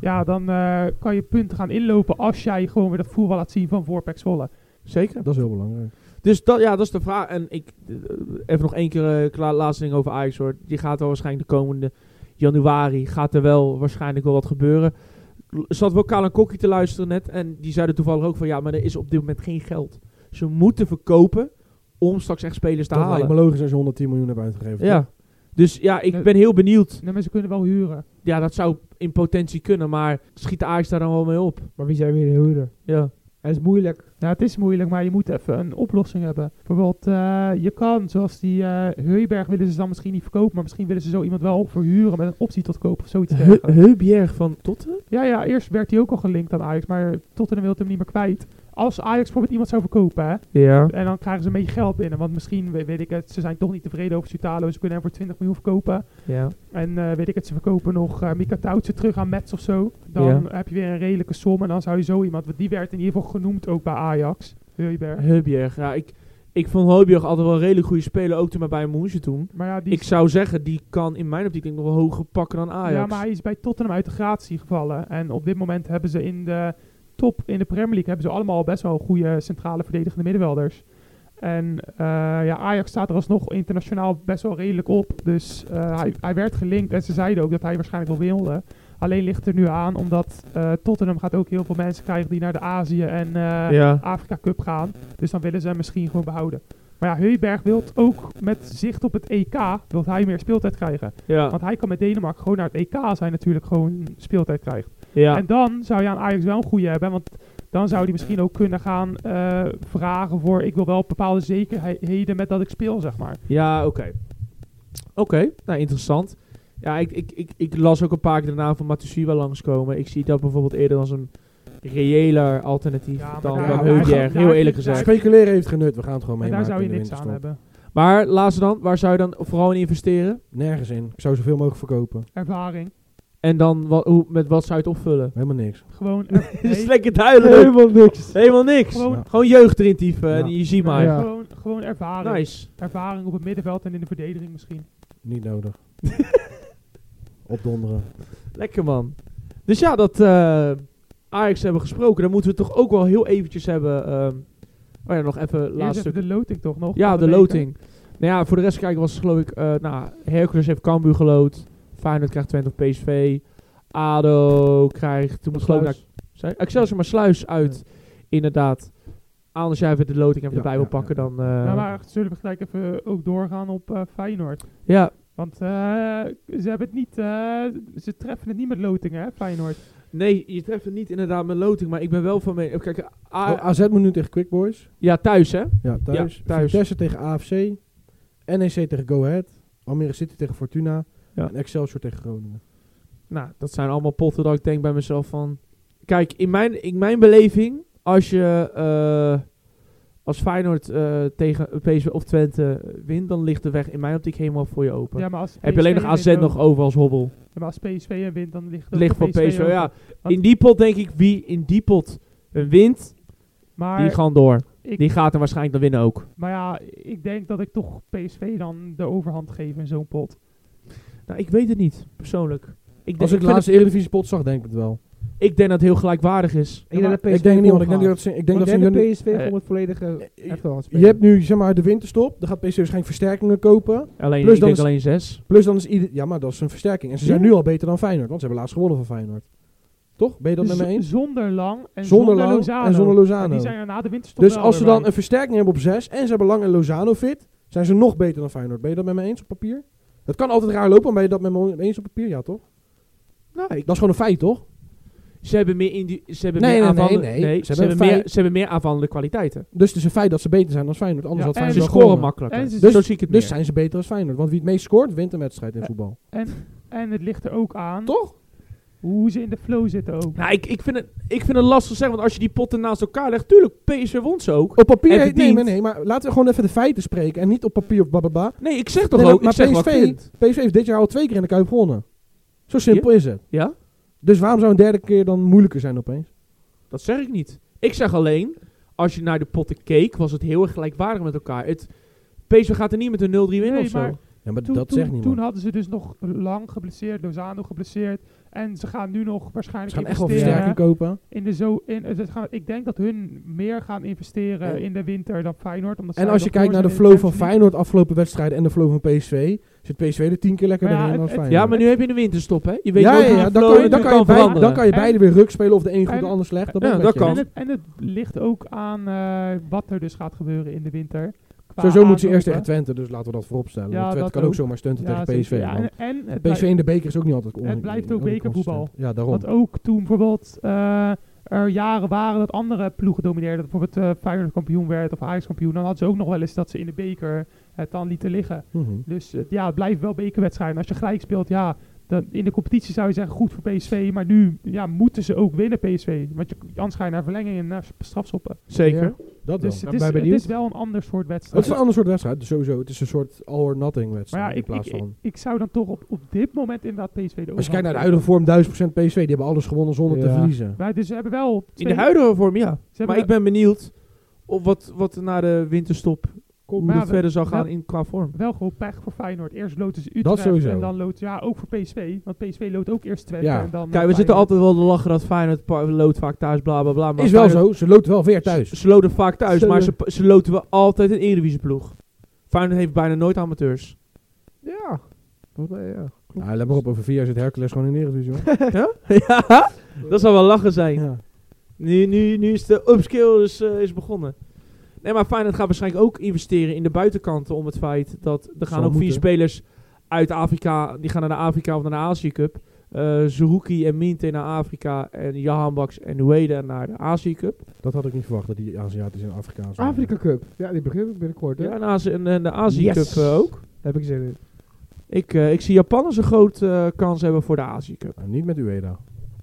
S4: ja, dan eh, kan je punten gaan inlopen als jij gewoon weer dat voetbal laat zien van Voorpek Zwolle.
S1: Zeker.
S2: Dat is heel belangrijk.
S1: Dus dat, ja, dat is de vraag. En ik, eh, even nog één keer eh kla- laatste ding over Ajax hoor. Die gaat wel waarschijnlijk de komende januari, gaat er wel waarschijnlijk wel wat gebeuren. Ik zat wel Kalan Kokkie te luisteren net en die zeiden toevallig ook van ja, maar er is op dit moment geen geld. Ze moeten verkopen om straks echt spelers te
S2: dat lijkt me
S1: halen.
S2: logisch als je 110 miljoen hebt uitgegeven.
S1: Ja. Dus ja, ik ben heel benieuwd.
S4: Nou, mensen kunnen wel huren.
S1: Ja, dat zou in potentie kunnen, maar schiet de Ajax daar dan wel mee op?
S3: Maar wie zijn weer de huurder?
S1: Ja.
S3: En het is moeilijk.
S4: Ja, Nou, het is moeilijk, maar je moet even een oplossing hebben. Bijvoorbeeld, eh, je kan, zoals die eh Heuberg willen ze dan misschien niet verkopen, maar misschien willen ze zo iemand wel verhuren met een optie tot koop of zoiets. dergelijks.
S1: Heubjerg van Totten?
S4: Ja, ja, eerst werd hij ook al gelinkt aan Ajax, maar Tottenham wil hem niet meer kwijt. Als Ajax bijvoorbeeld iemand zou verkopen, hè,
S1: Ja.
S4: en dan krijgen ze een beetje geld binnen. Want misschien, we- weet ik het, ze zijn toch niet tevreden over Sutalo. Ze kunnen hem voor 20 miljoen verkopen.
S1: Ja.
S4: En eh, weet ik het, ze verkopen nog eh Mika Tautse terug aan Mets of zo. Dan
S1: Ja.
S4: heb je weer een redelijke som. En dan zou je zo iemand, want die werd in ieder geval genoemd ook bij Ajax. Heuberg.
S1: Heubjerg, ja. Ik, ik vond Heubjerg altijd wel een redelijk goede speler, ook toen maar bij Moesje toen.
S4: Maar ja, die
S1: Ik zou zeggen, die kan in mijn optiek denk ik nog wel hoger pakken dan Ajax.
S4: Ja, maar hij is bij Tottenham uit de gratie gevallen. En op dit moment hebben ze in de top in de Premier League hebben ze allemaal best wel goede centrale verdedigende middenvelders. En eh, ja, Ajax staat er alsnog internationaal best wel redelijk op. Dus eh, hij, hij werd gelinkt en ze zeiden ook dat hij waarschijnlijk wel wilde. Alleen ligt er nu aan, omdat eh, Tottenham gaat ook heel veel mensen krijgen die naar de Azië en eh,
S1: Ja.
S4: Afrika Cup gaan. Dus dan willen ze hem misschien gewoon behouden. Maar ja, Heuberg wil ook met zicht op het EK, wil hij meer speeltijd krijgen.
S1: Ja.
S4: Want hij kan met Denemarken gewoon naar het EK als hij natuurlijk gewoon speeltijd krijgt.
S1: Ja.
S4: En dan zou je aan Ajax wel een goede hebben. Want dan zou hij misschien ook kunnen gaan eh, vragen voor... Ik wil wel bepaalde zekerheden met dat ik speel, zeg maar.
S1: ja, oké. Oké, nou interessant. Ja, ik, ik, ik, ik las ook een paar keer de naam van Matusiwa langskomen. Ik zie dat bijvoorbeeld eerder als een reëler alternatief
S4: Ja, maar
S1: dan,
S4: daar-
S1: dan
S2: daar-
S1: Heubjerg,
S4: daar-
S1: heel eerlijk
S4: daar-
S1: gezegd.
S2: Speculeren heeft genut. We gaan het gewoon
S4: en
S2: meemaken.
S4: daar zou je
S2: in de
S4: niks aan
S2: winterstop.
S4: hebben.
S1: Maar laatste dan, waar zou je dan vooral in investeren?
S2: Nergens in. Ik zou zoveel mogelijk verkopen.
S4: Ervaring.
S1: En dan, wat, hoe, met wat zou je het opvullen?
S2: Helemaal niks.
S4: Gewoon...
S1: Het is
S4: nee,
S1: lekker duidelijk.
S3: niks.
S1: Helemaal niks.
S4: Gewoon,
S2: Ja.
S1: Gewoon jeugd erin typen en
S2: Ja.
S1: je ziet maar.
S3: Ja.
S4: gewoon, gewoon ervaring.
S1: Nice.
S4: Ervaring op het middenveld en in de verdediging misschien.
S2: Niet nodig. Opdonderen.
S1: Lekker man. Dus ja, dat eh, Ajax hebben gesproken. Dan moeten we het toch ook wel heel eventjes hebben. ehm oh ja, nog even
S4: Eerst
S1: laatste
S4: even
S1: stuk.
S4: de loting toch nog?
S1: ja,
S4: van
S1: de
S4: beker.
S1: loting. Nou ja, voor de rest kijken was het geloof ik... eh nou, Hercules heeft Cambuur geloot. Feyenoord krijgt Twente of PSV. ADO krijgt... Toen moet geloof ik naar... zei- Excelsior maar Sluis uit. Inderdaad. Anders jij even de loting even
S2: Ja,
S1: erbij wil
S2: ja, ja.
S1: pakken dan... eh,
S4: Nou, maar zullen we gelijk even ook doorgaan op eh, Feyenoord?
S1: ja,
S4: Want eh, ze hebben het niet, eh, ze treffen het niet met lotingen, hè, Feyenoord.
S1: nee, je treft het niet inderdaad met loting. Maar ik ben wel van mening... Kijk, A-
S4: Ah.
S2: Oh, AZ moet nu tegen Quick Boys.
S1: ja, thuis hè.
S2: Ja, thuis.
S1: thuis.
S2: Vitesse tegen AFC. NEC E tegen Go Ahead. Almere City tegen Fortuna.
S1: Ja.
S2: En Excelsior tegen Groningen.
S1: Nou, dat zijn allemaal potten dat ik denk bij mezelf van... Kijk, in mijn, in mijn beleving, als je eh, als Feyenoord eh, tegen PSV of Twente wint, dan ligt de weg in mijn optiek helemaal voor je open.
S4: Ja, maar als
S1: Heb je alleen nog
S4: PSV
S1: AZ
S4: wint
S1: nog
S4: ook-
S1: over als hobbel?
S4: Ja, maar als PSV er wint, dan ligt het ook
S1: Ligt voor PSV,
S4: ook.
S1: ja.
S4: Want-
S1: In die pot denk ik, wie in die pot wint, die
S4: Maar,
S1: gaan door.
S4: ik,
S1: Die gaat er waarschijnlijk dan winnen ook.
S4: maar ja, ik denk dat ik toch PSV dan de overhand geef in zo'n pot.
S1: Nou, ik weet het niet, persoonlijk. Ik,
S2: Als
S1: denk-
S2: ik
S1: ik, vind
S2: laatste Eredivisie pot zag, denk ik het wel.
S1: het- ik denk dat het heel gelijkwaardig is.
S3: Ik denk dat PSV
S2: Ik denk niet, want ik denk
S3: volgaat.
S2: dat ze... Ik denk dat ze
S3: Want
S2: in janu-
S3: de PSV
S1: Eh,
S3: gewoon het volledige echt wel aan het
S2: je
S3: spelen.
S2: hebt nu zeg maar de winterstop. Dan gaat PSV waarschijnlijk versterkingen kopen.
S1: Alleen,
S2: Plus
S1: ik
S2: dan
S1: denk
S2: is-
S1: alleen zes.
S2: Plus dan is ieder... Ja, maar dat is een versterking. En ze zijn nu al beter dan Feyenoord. Want ze hebben laatst gewonnen van Feyenoord. Toch? Ben je dat met me
S4: Z-
S2: eens?
S4: Dus Zonder Lang en
S2: Zonder
S4: zonder,
S2: Lang
S4: Lozano.
S2: en zonder Lozano.
S4: die zijn er na de winterstop
S2: Dus
S4: wel
S2: als ze
S4: weer
S2: dan
S4: bij.
S2: een versterking hebben op 6 en ze hebben Lang en Lozano fit, zijn ze nog beter dan Feyenoord. Ben je dat met me eens op papier? Dat kan altijd raar lopen, maar ben je dat met me eens op papier? Ja, toch?
S1: Nou, ik-
S2: Dat is gewoon een feit, toch?
S1: Ze hebben meer, indi- ze hebben
S2: Nee,
S1: meer
S2: nee, nee,
S1: aanvallende-
S2: nee.
S1: nee,
S2: Ze
S1: ze
S2: hebben
S1: hebben meer-
S2: feit-
S1: ze hebben meer aanvallende kwaliteiten.
S2: Dus het is een feit dat ze beter zijn dan Feyenoord. Anders
S4: Ja,
S2: had
S4: en
S1: Eh, Ze
S2: Feyenoord wel
S1: scoren
S2: gewonnen.
S1: makkelijker.
S4: En ze-
S1: Zo zie ik het
S2: Dus
S1: meer. Eh,
S2: zijn ze beter als Feyenoord. Want wie het meest scoort, wint een wedstrijd in
S4: Ja.
S2: voetbal.
S4: En het ligt er ook aan
S2: Toch?
S4: hoe ze in de flow zitten ook.
S1: Nou, ik, ik, vind het, ik vind het lastig te zeggen, want als je die potten naast elkaar legt, tuurlijk, PSV won ze ook.
S2: Op papier,
S1: En
S2: nee, nee,
S1: verdient.
S2: nee, maar laten we gewoon even de feiten spreken. En niet op papier of bababa.
S1: Nee, ik zeg toch
S2: Nee,
S1: ook,
S2: maar
S1: ik zeg wat ik
S2: PSV,
S1: vind.
S2: PSV heeft dit jaar al twee keer in de Kuip gewonnen. Zo simpel is het.
S1: Ja,
S2: Dus waarom zou een derde keer dan moeilijker zijn opeens?
S1: dat zeg ik niet. Ik zeg alleen, als je naar de potten keek, was het heel erg gelijkwaardig met elkaar. Het, PSV gaat er niet met een 0-3 winnen
S4: Nee,
S1: of zo.
S4: maar-
S2: Ja, maar
S4: Toen,
S2: dat
S4: toen,
S2: zegt niemand.
S4: toen hadden ze dus nog lang geblesseerd, Lozano geblesseerd. En ze gaan nu nog waarschijnlijk
S2: Ze gaan echt wel
S4: investeren
S2: versterking kopen.
S4: in de zo. In, eh, ze gaan, ik denk dat hun meer gaan investeren
S2: En-
S4: in de winter dan Feyenoord. Omdat
S2: En
S4: zij
S2: als je
S4: nog
S2: kijkt
S4: voor
S2: naar de
S4: zijn in
S2: flow van
S4: Champions
S2: Feyenoord afgelopen wedstrijden en de flow van PSV, zit PSV er tien keer lekkerder
S4: Maar ja,
S2: in dan
S4: het- het-
S2: Feyenoord.
S1: Ja, maar nu heb je een winterstop, hè? Je weet
S2: ja,
S1: nooit
S2: ja,
S1: hoe
S2: ja,
S1: de
S2: dan,
S1: flow
S2: kan je,
S1: in
S2: dan,
S1: de
S2: kan je
S1: kan
S2: beide,
S1: veranderen.
S2: dan kan je
S4: En-
S2: beide weer ruk spelen of de een goed
S4: en-
S2: de ander slecht. Dat
S1: ja,
S2: ben ik
S1: dat
S2: met je.
S1: kan.
S4: League. En het, en het ligt ook aan eh, wat er dus gaat gebeuren in de winter. qua
S2: Sowieso moet ze eerst tegen
S4: aankopen.
S2: Twente, dus laten we dat voorop stellen.
S4: Ja,
S2: Want Twente
S4: dat
S2: kan ook
S4: ook.
S2: zomaar stunten
S4: Ja,
S2: tegen PSV.
S4: zeker. Ja,
S2: want
S4: en, en het
S2: PSV in de beker is ook niet altijd on-
S4: het blijft ook
S2: on-
S4: bekervoetbal.
S2: consistent. Ja, daarom.
S4: Want ook toen bijvoorbeeld eh, er jaren waren dat andere ploegen domineerden. Dat bijvoorbeeld eh Feyenoord kampioen werd of Ajax kampioen. Dan hadden ze ook nog wel eens dat ze in de beker eh, het dan lieten liggen.
S2: Mhm.
S4: Dus eh, ja, het blijft wel bekerwedstrijden. Als je gelijk speelt, ja, dan in de competitie zou je zeggen goed voor PSV. Maar nu ja, moeten ze ook winnen PSV. Want je, anders ga je naar verlenging en naar strafschoppen.
S1: Zeker.
S2: Dat wel.
S4: Dus
S3: Ik
S4: het
S3: ben
S4: is, het
S3: benieuwd.
S4: is wel een ander soort wedstrijd.
S2: Het is een ander soort wedstrijd, dus sowieso. Het is een soort all or nothing
S4: Maar
S2: wedstrijd
S4: ja,
S2: in
S4: ik,
S2: plaats
S4: ik,
S2: van...
S4: ik, ik zou dan toch op, op dit moment inderdaad PSV de
S2: Als
S4: overhand
S2: je kijkt naar de
S4: geven.
S2: huidige vorm, 1000% PSV. Die hebben alles gewonnen zonder te
S3: Ja.
S2: verliezen.
S4: Maar dus ze hebben wel...
S1: In de
S4: twee-
S1: huidige vorm, ja.
S4: ze hebben
S1: Maar ik ben benieuwd of wat, wat na de winterstop, hoe
S4: Maar
S1: dat
S4: we-
S1: verder zal gaan
S4: we-
S1: in qua vorm.
S4: wel gewoon pech voor Feyenoord. Eerst loten ze Utrecht
S2: sowieso.
S4: en dan loten ja ook voor PSV, want PSV loopt ook eerst Twente
S2: Ja.
S4: en dan
S1: Kijk, we
S4: eh,
S1: zitten
S4: Feyenoord.
S1: altijd wel te lachen dat Feyenoord pa- loodt vaak thuis, bla bla bla. Maar
S2: Is wel
S1: Feyenoord-
S2: zo, ze loopt wel weer thuis.
S1: Ze loten vaak thuis,
S3: Ze-
S1: maar ze, ze loten we altijd een Eredivisie ploeg. Feyenoord heeft bijna nooit amateurs.
S3: Ja. Volgens mij, ja.
S2: Ja, Nou, let maar op, over vier jaar zit Hercules gewoon in de Eredivisie. hoor.
S1: ja, dat zal wel lachen zijn.
S2: Ja.
S1: Nu, nu, nu is de upscale is, eh, is begonnen. Nee, maar Feyenoord gaat waarschijnlijk ook investeren in de buitenkanten om het feit dat er gaan
S2: Zal
S1: ook vier
S2: moeten.
S1: spelers uit Afrika, die gaan naar de Afrika of naar de Azië Cup. Eh Zerouki en Minte naar Afrika en Jahanbaks en Ueda naar de Azië Cup.
S2: Dat had ik niet verwacht, dat die Aziatisch en Afrikaans waren.
S3: Afrika Cup. Ja, die begint ook binnenkort. Hè?
S1: Ja, en, Azi- en, en de Azië
S3: Yes.
S1: Cup eh, ook.
S3: Daar heb ik zin in.
S1: Ik, eh, ik zie Japan als een grote kans hebben voor de Azië Cup.
S2: En Nou, niet met Ueda.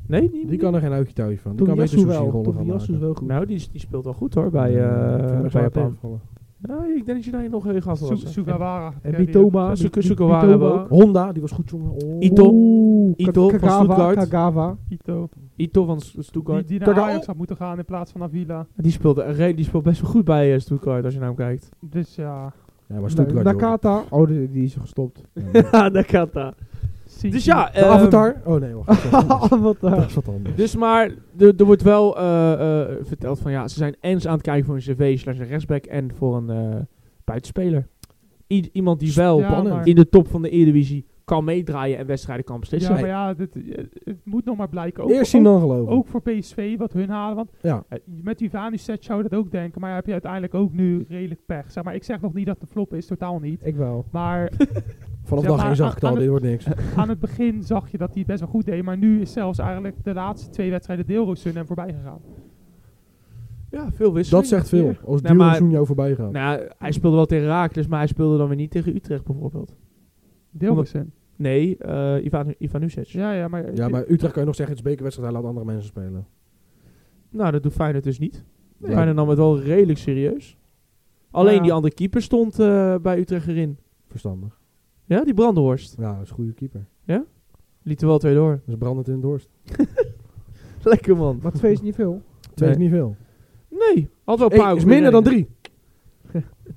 S1: Nee, niet.
S2: Die kan er geen uitje thuis van. Die kan beter
S3: Tomiyasu
S2: sushi
S3: wel.
S2: rollen gaan
S3: Tomiyasu is
S2: maken.
S3: wel goed.
S1: Nou, die, die speelt wel goed hoor bij,
S2: Ik vind
S1: eh,
S2: hem echt
S1: bij
S2: wel
S1: Japan.
S2: tegenvallen.
S1: Nou, ik denk dat je daar nog heel gaaf
S4: Su-
S1: was.
S4: Sugawara.
S3: En
S4: Ja,
S3: Bitoma.
S1: Zoeken-
S3: Bit-
S1: zoeken waren
S3: Bitoma.
S1: we ook.
S2: Honda, die was goed jongen. Oh.
S1: Ito.
S3: Oeh,
S1: Ito
S3: Ka-
S1: van
S3: Kagawa,
S1: Stuttgart.
S3: Kagawa.
S4: die- Ito.
S1: Ito van S-
S4: Die,
S1: Stuttgart.
S4: die naar
S2: Kaka-
S4: Ajax had moeten gaan in plaats van Avila.
S1: Die speelt, die speelt best wel goed bij eh, Stuttgart als je naar hem kijkt.
S4: Dus ja.
S2: Ja, maar Stuttgart. joh.
S3: Nakata. Oh, die, die is gestopt.
S1: Ja, dat gaat daar.
S4: Zie-
S1: Dus ja,
S2: De
S1: ehm,
S2: Avatar. Oh nee, wacht.
S3: Wat
S2: Dat
S3: daar.
S2: is wat anders.
S1: Dus maar er er wordt wel eh, eh, verteld van ja, ze zijn ens aan het kijken voor een cv slash een rechtsback en voor een eh, buitenspeler. I- iemand die wel
S4: Ja,
S1: bannen
S4: maar-
S1: in de top van de Eredivisie kan meedraaien en wedstrijden kan
S4: Ja,
S1: beslissen.
S4: maar ja, dit, eh, het moet nog maar blijken. Ook,
S2: Eerst zien dan
S4: ook,
S2: geloven.
S4: ook voor PSV wat hun halen. Want
S2: Ja.
S4: eh, met die Vanuset zou je dat ook denken. Maar heb je uiteindelijk ook nu redelijk pech. Zeg maar, ik zeg nog niet dat de flop is, totaal niet.
S3: Ik wel.
S4: Maar
S2: Vanaf
S4: Ja,
S2: dag
S4: maar
S2: 1 zag
S4: aan-
S2: ik het al,
S4: aan
S2: dit wordt niks.
S4: aan het begin zag je dat hij het best wel goed deed. Maar nu is zelfs eigenlijk de laatste twee wedstrijden Deelroosun hem voorbij gegaan.
S1: Ja, veel wisseling.
S2: Dat zegt veel. Als
S1: Nee, maar-
S2: Duo jou voorbij gaat.
S1: Nou, ja, hij speelde wel tegen Raakles, maar hij speelde dan weer niet tegen Utrecht bijvoorbeeld.
S4: Deelroosun.
S1: Nee, eh Ivan, Ivan Ušić.
S4: Ja, ja, maar...
S2: Ja, maar Utrecht kan je nog zeggen, het is bekerwedstrijd, hij laat andere mensen spelen.
S1: Nou, dat doet Feyenoord dus niet.
S2: Nee.
S1: Feyenoord nam het wel redelijk serieus. Alleen
S4: Ja.
S1: die andere keeper stond eh, bij Utrecht erin.
S2: Verstandig.
S1: Ja, die Brandenhorst.
S2: Ja, dat is een goede keeper.
S1: Liet er wel twee door.
S2: Dat is brandend in de dorst.
S1: Lekker man.
S3: Maar twee is niet veel.
S2: Twee
S1: Nee.
S2: is niet veel.
S1: Nee, had wel een paar
S2: Eén is
S1: goede
S2: minder dan
S1: reddingen.
S2: drie.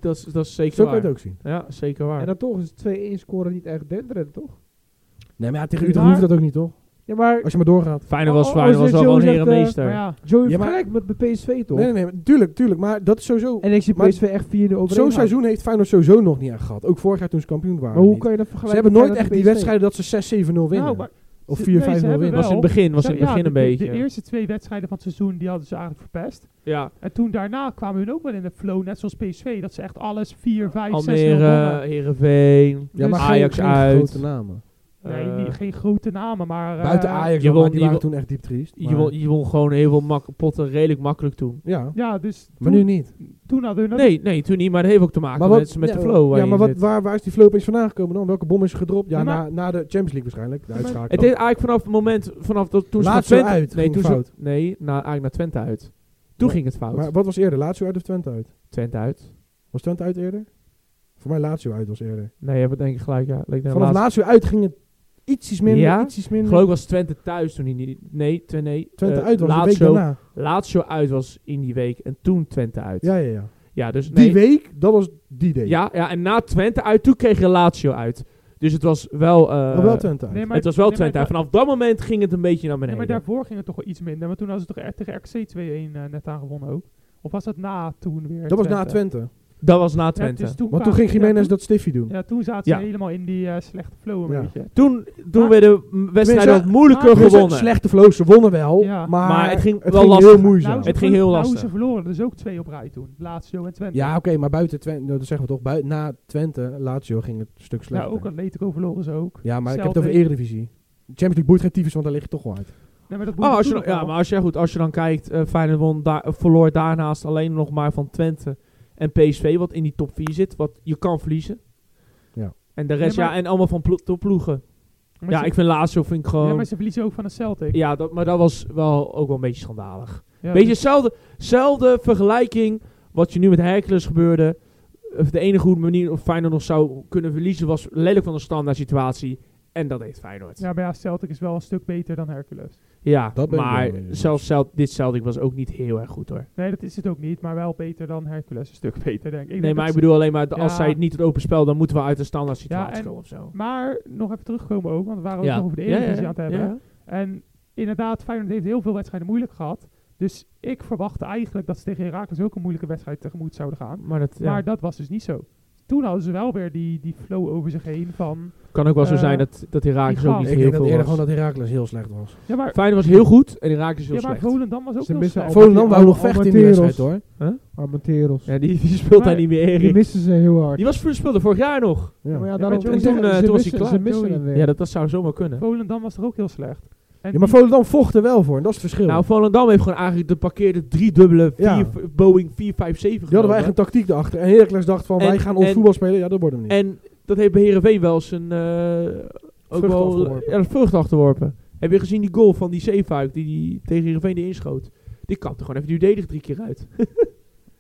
S1: Dat is, dat is
S2: Zo
S1: zeker
S2: kan je
S1: waar.
S2: het ook zien.
S1: Ja, zeker
S3: En
S1: waar.
S3: dan toch is 2-1 scoren niet echt denderend, toch?
S2: Nee, maar ja, tegen
S4: Maar-
S2: Utrecht hoeft dat ook niet, toch?
S3: Ja, maar
S2: Als je maar doorgaat.
S1: Feyenoord
S3: Oh,
S1: was,
S3: oh,
S1: Feyenoord was
S3: zegt
S1: wel gewoon
S3: Joe,
S1: heer
S3: zegt,
S1: en
S3: eh,
S1: meester.
S4: Maar ja,
S3: Joey
S2: Ja, maar-
S3: vergelijkt met, met PSV, toch?
S2: Nee, nee, nee, tuurlijk, tuurlijk. Maar dat is sowieso...
S3: En ik zie
S2: Maar-
S3: PSV echt 4-0 overheen
S2: Zo'n
S3: gaan.
S2: seizoen heeft Feyenoord sowieso nog niet echt gehad. Ook vorig jaar toen ze kampioen waren.
S3: Maar hoe
S2: niet.
S3: kan je dat
S2: ze
S3: vergelijken
S2: hebben
S3: met
S2: nooit echt
S3: Feyenoord
S2: die
S3: en PSV?
S2: wedstrijden dat ze 6-7-0 winnen.
S4: Nou, maar
S2: of 4-5-0
S4: ze- nee, ze
S2: winnen.
S4: hebben
S1: was in het begin, was in het
S4: Ja,
S1: begin
S4: de-
S1: een beetje.
S4: De, eerste twee wedstrijden van het seizoen die hadden ze eigenlijk verpest.
S1: ja,
S4: En toen daarna kwamen hun ook wel in de flow, net zoals PSV. Dat ze echt alles 4, 5, 6
S1: Almere, Heerenveen.
S2: Ja, maar
S4: Dus-
S1: Ajax
S2: geen,
S1: uit.
S2: Geen grote namen.
S4: Nee,
S1: eh,
S4: niet- geen grote namen, maar... eh,
S2: Buiten
S1: je
S2: Ajax, wel,
S1: wil-
S2: maar die
S1: je
S2: waren
S1: wil-
S2: toen echt diep triest.
S1: Je
S2: maar-
S1: won, je won gewoon heel veel mak potten redelijk makkelijk toen.
S2: Ja,
S4: Ja, dus
S2: maar
S4: toen,
S2: nu niet.
S4: toen hadden hun... dat-
S1: Nee, nee, toen niet, maar dat heeft ook te maken
S2: wat-
S1: met, met
S2: ja,
S1: de flow. waar
S2: Ja,
S1: je
S2: maar
S1: in
S2: wat,
S1: zit.
S2: waar, waar is die flow opeens vandaan gekomen dan? Welke bom is er gedropt? Ja,
S4: Ja,
S2: na,
S4: maar-
S2: na de Champions League waarschijnlijk. De
S4: Ja, maar-
S2: uitschakeling.
S1: Het deed eigenlijk vanaf het moment, vanaf dat toen
S2: Lazio
S1: ze naar Twente...
S2: uit
S1: nee,
S2: ging
S1: toen ze-
S2: fout.
S1: nee, na, eigenlijk naar Twente uit. Toen
S2: Maar-
S1: ging het fout.
S2: Maar wat was eerder? Lazio uit of Twente uit?
S1: Twente uit.
S2: Was Twente uit eerder? Voor mij Lazio uit was eerder.
S1: Nee, je hebt het denk ik gelijk, ja. Leek naar
S2: Vanaf
S1: laatst-
S2: Lazio uit ging het ietsjes minder,
S1: Ja?
S2: ietsjes minder.
S1: Ik geloof was Twente thuis toen hij niet... Nee, Twente, nee.
S2: Twente
S1: eh,
S2: uit was de week
S1: Lazio-
S2: daarna.
S1: Lazio uit was in die week en toen Twente uit.
S2: Ja, ja, ja.
S1: Ja, dus
S2: Die
S1: nee.
S2: week, dat was die day.
S1: Ja, ja, en na Twente uit, toen kreeg je Lazio uit. Dus het was wel... eh,
S2: Maar wel Twente uit.
S4: Nee, maar-
S1: het was wel
S4: nee, maar
S1: Twente uit.
S4: da-
S1: Vanaf dat moment ging het een beetje naar
S4: Nee,
S1: beneden.
S4: maar daarvoor ging het toch wel iets minder. Maar toen hadden ze toch echt tegen RKC 2-1 eh, net aangewonnen ook. Of was dat na toen weer?
S2: dat was na Twente.
S1: dat was na
S4: Ja,
S1: Twente.
S4: dus toen
S2: Want toen
S4: kwamen-
S2: ging
S4: ja,
S2: Jiménez
S4: toen-
S2: dat stiffie doen.
S4: Ja, toen zaten
S1: Ja.
S4: ze helemaal in die eh, slechte flow een
S2: Ja.
S4: beetje.
S1: Toen, toen
S4: Maar-
S1: werden m- wedstrijden wat moeilijker
S4: maar-
S2: Ze zijn
S1: gewonnen.
S2: Slechte flows, ze wonnen wel.
S4: Ja. Nou,
S2: Maar,
S1: Maar het ging
S2: het
S1: wel
S2: ging
S1: lastig.
S2: heel moeizaam.
S1: Het ging heel lastig.
S4: ze verloren dus ook twee op rij toen. Lazio en Twente.
S2: Ja, oké, maar buiten Twente, dat zeggen we toch, buiten, na Twente, Lazio ging het een stuk
S4: ja
S2: slechter.
S4: ook Atletico verloren ze ook.
S2: Ja, maar ik heb het
S4: Celtic.
S2: over Eredivisie. Champions League boeit geen tyfus, want daar lig je toch wel uit.
S4: Nee, maar dat boeide
S1: Oh, als je,
S4: toen
S1: dan-
S4: nog
S1: ja,
S4: wel.
S1: maar als je, goed, als je dan kijkt, eh Feyenoord won daar- verloor daarnaast alleen nog maar van Twente en PSV, wat in die top 4 zit, wat je kan verliezen.
S2: Ja.
S1: En de rest,
S4: Nee, maar-
S1: ja, en allemaal van plo topploegen.
S4: Maar
S1: Ja,
S4: ze-
S1: ik vind Lazio vind ik gewoon...
S4: Ja, maar ze verliezen ook van de Celtic.
S1: Ja, dat, maar dat was wel ook wel een beetje schandalig.
S4: Ja,
S1: beetje
S4: dus-
S1: hetzelfde, hetzelfde vergelijking wat je nu met Hercules gebeurde. Of De enige goede manier of Feyenoord nog zou kunnen verliezen was lelijk van een standaard situatie. En dat deed Feyenoord. Ja,
S4: ja, maar ja, Celtic is wel een stuk beter dan Hercules.
S2: Dat ben ik
S1: maar
S2: wel mee eens.
S1: zelfs Celt- dit Celtic was ook niet heel erg goed hoor.
S4: Nee, dat is het ook niet, maar wel beter dan Hercules. Een stuk beter, denk ik. ik.
S1: nee,
S4: denk
S1: maar ik
S4: dat
S1: bedoel alleen maar de- als
S4: Ja.
S1: zij het niet het open spel, dan moeten we uit een standaard situatie
S4: Ja, en-
S1: komen of zo.
S4: ze- Maar nog even terugkomen ook, want we waren ook nog over de Eredivisie aan het hebben.
S1: ja.
S4: En inderdaad, Feyenoord heeft heel veel wedstrijden moeilijk gehad. Dus ik verwachtte eigenlijk dat ze tegen Heracles ook een moeilijke wedstrijd tegemoet zouden gaan.
S1: Maar dat ja.
S4: Maar dat was dus niet zo. Toen hadden ze wel weer die, die flow over zich heen van...
S1: kan ook wel zo
S4: eh,
S1: zijn dat, dat Herakles
S4: die
S1: ook
S4: gaan-
S1: niet
S2: Ik
S1: heel
S2: denk dat eerder
S1: veel
S2: gewoon
S1: was.
S2: dat Heracles heel slecht was.
S4: Ja, maar,
S1: Feyenoord was heel goed en Herakles heel
S4: ja, maar
S1: slecht.
S4: Volendam was ook
S3: Ze
S4: heel
S3: missen
S4: slecht.
S3: Alba-
S2: Volendam wou nog
S3: Alba-
S2: vechten in die
S3: Alba-
S2: wedstrijd hoor.
S3: Armenteros.
S1: Ja, die, die speelt daar
S4: Maar-
S1: niet meer,
S3: Die
S1: Erik.
S3: missen ze heel hard.
S1: Die was speelde vorig jaar nog.
S2: Ja.
S3: maar
S2: Ja,
S3: ja, daarom,
S4: maar
S3: ik
S1: toen,
S3: zeg,
S1: eh,
S3: ze
S1: toen was
S3: missen-
S1: hij klaar.
S3: Ze missen
S4: Joey.
S3: hem weer.
S1: Ja, dat, dat zou zomaar kunnen.
S4: Volendam was toch ook heel slecht. En
S2: maar
S4: die-
S2: Volendam vocht er wel voor en dat is het verschil.
S1: Nou, Volendam heeft gewoon eigenlijk de parkeerde driedubbele
S2: Ja.
S1: vier, Boeing 457
S2: Die hadden wij
S1: genomen.
S2: echt een tactiek erachter. En Heracles dacht van,
S1: En-
S2: wij gaan ons
S1: en-
S2: voetbal spelen. Ja, dat wordt hem niet.
S1: En dat heeft bij Heerenveen wel zijn eh ook
S2: Vrucht
S1: wel
S2: afgeworpen.
S1: ja, de vrucht achterworpen. Heb je gezien die goal van die zeefuik die, die tegen Heerenveen die inschoot? Die kapte gewoon even die verdediger drie keer uit.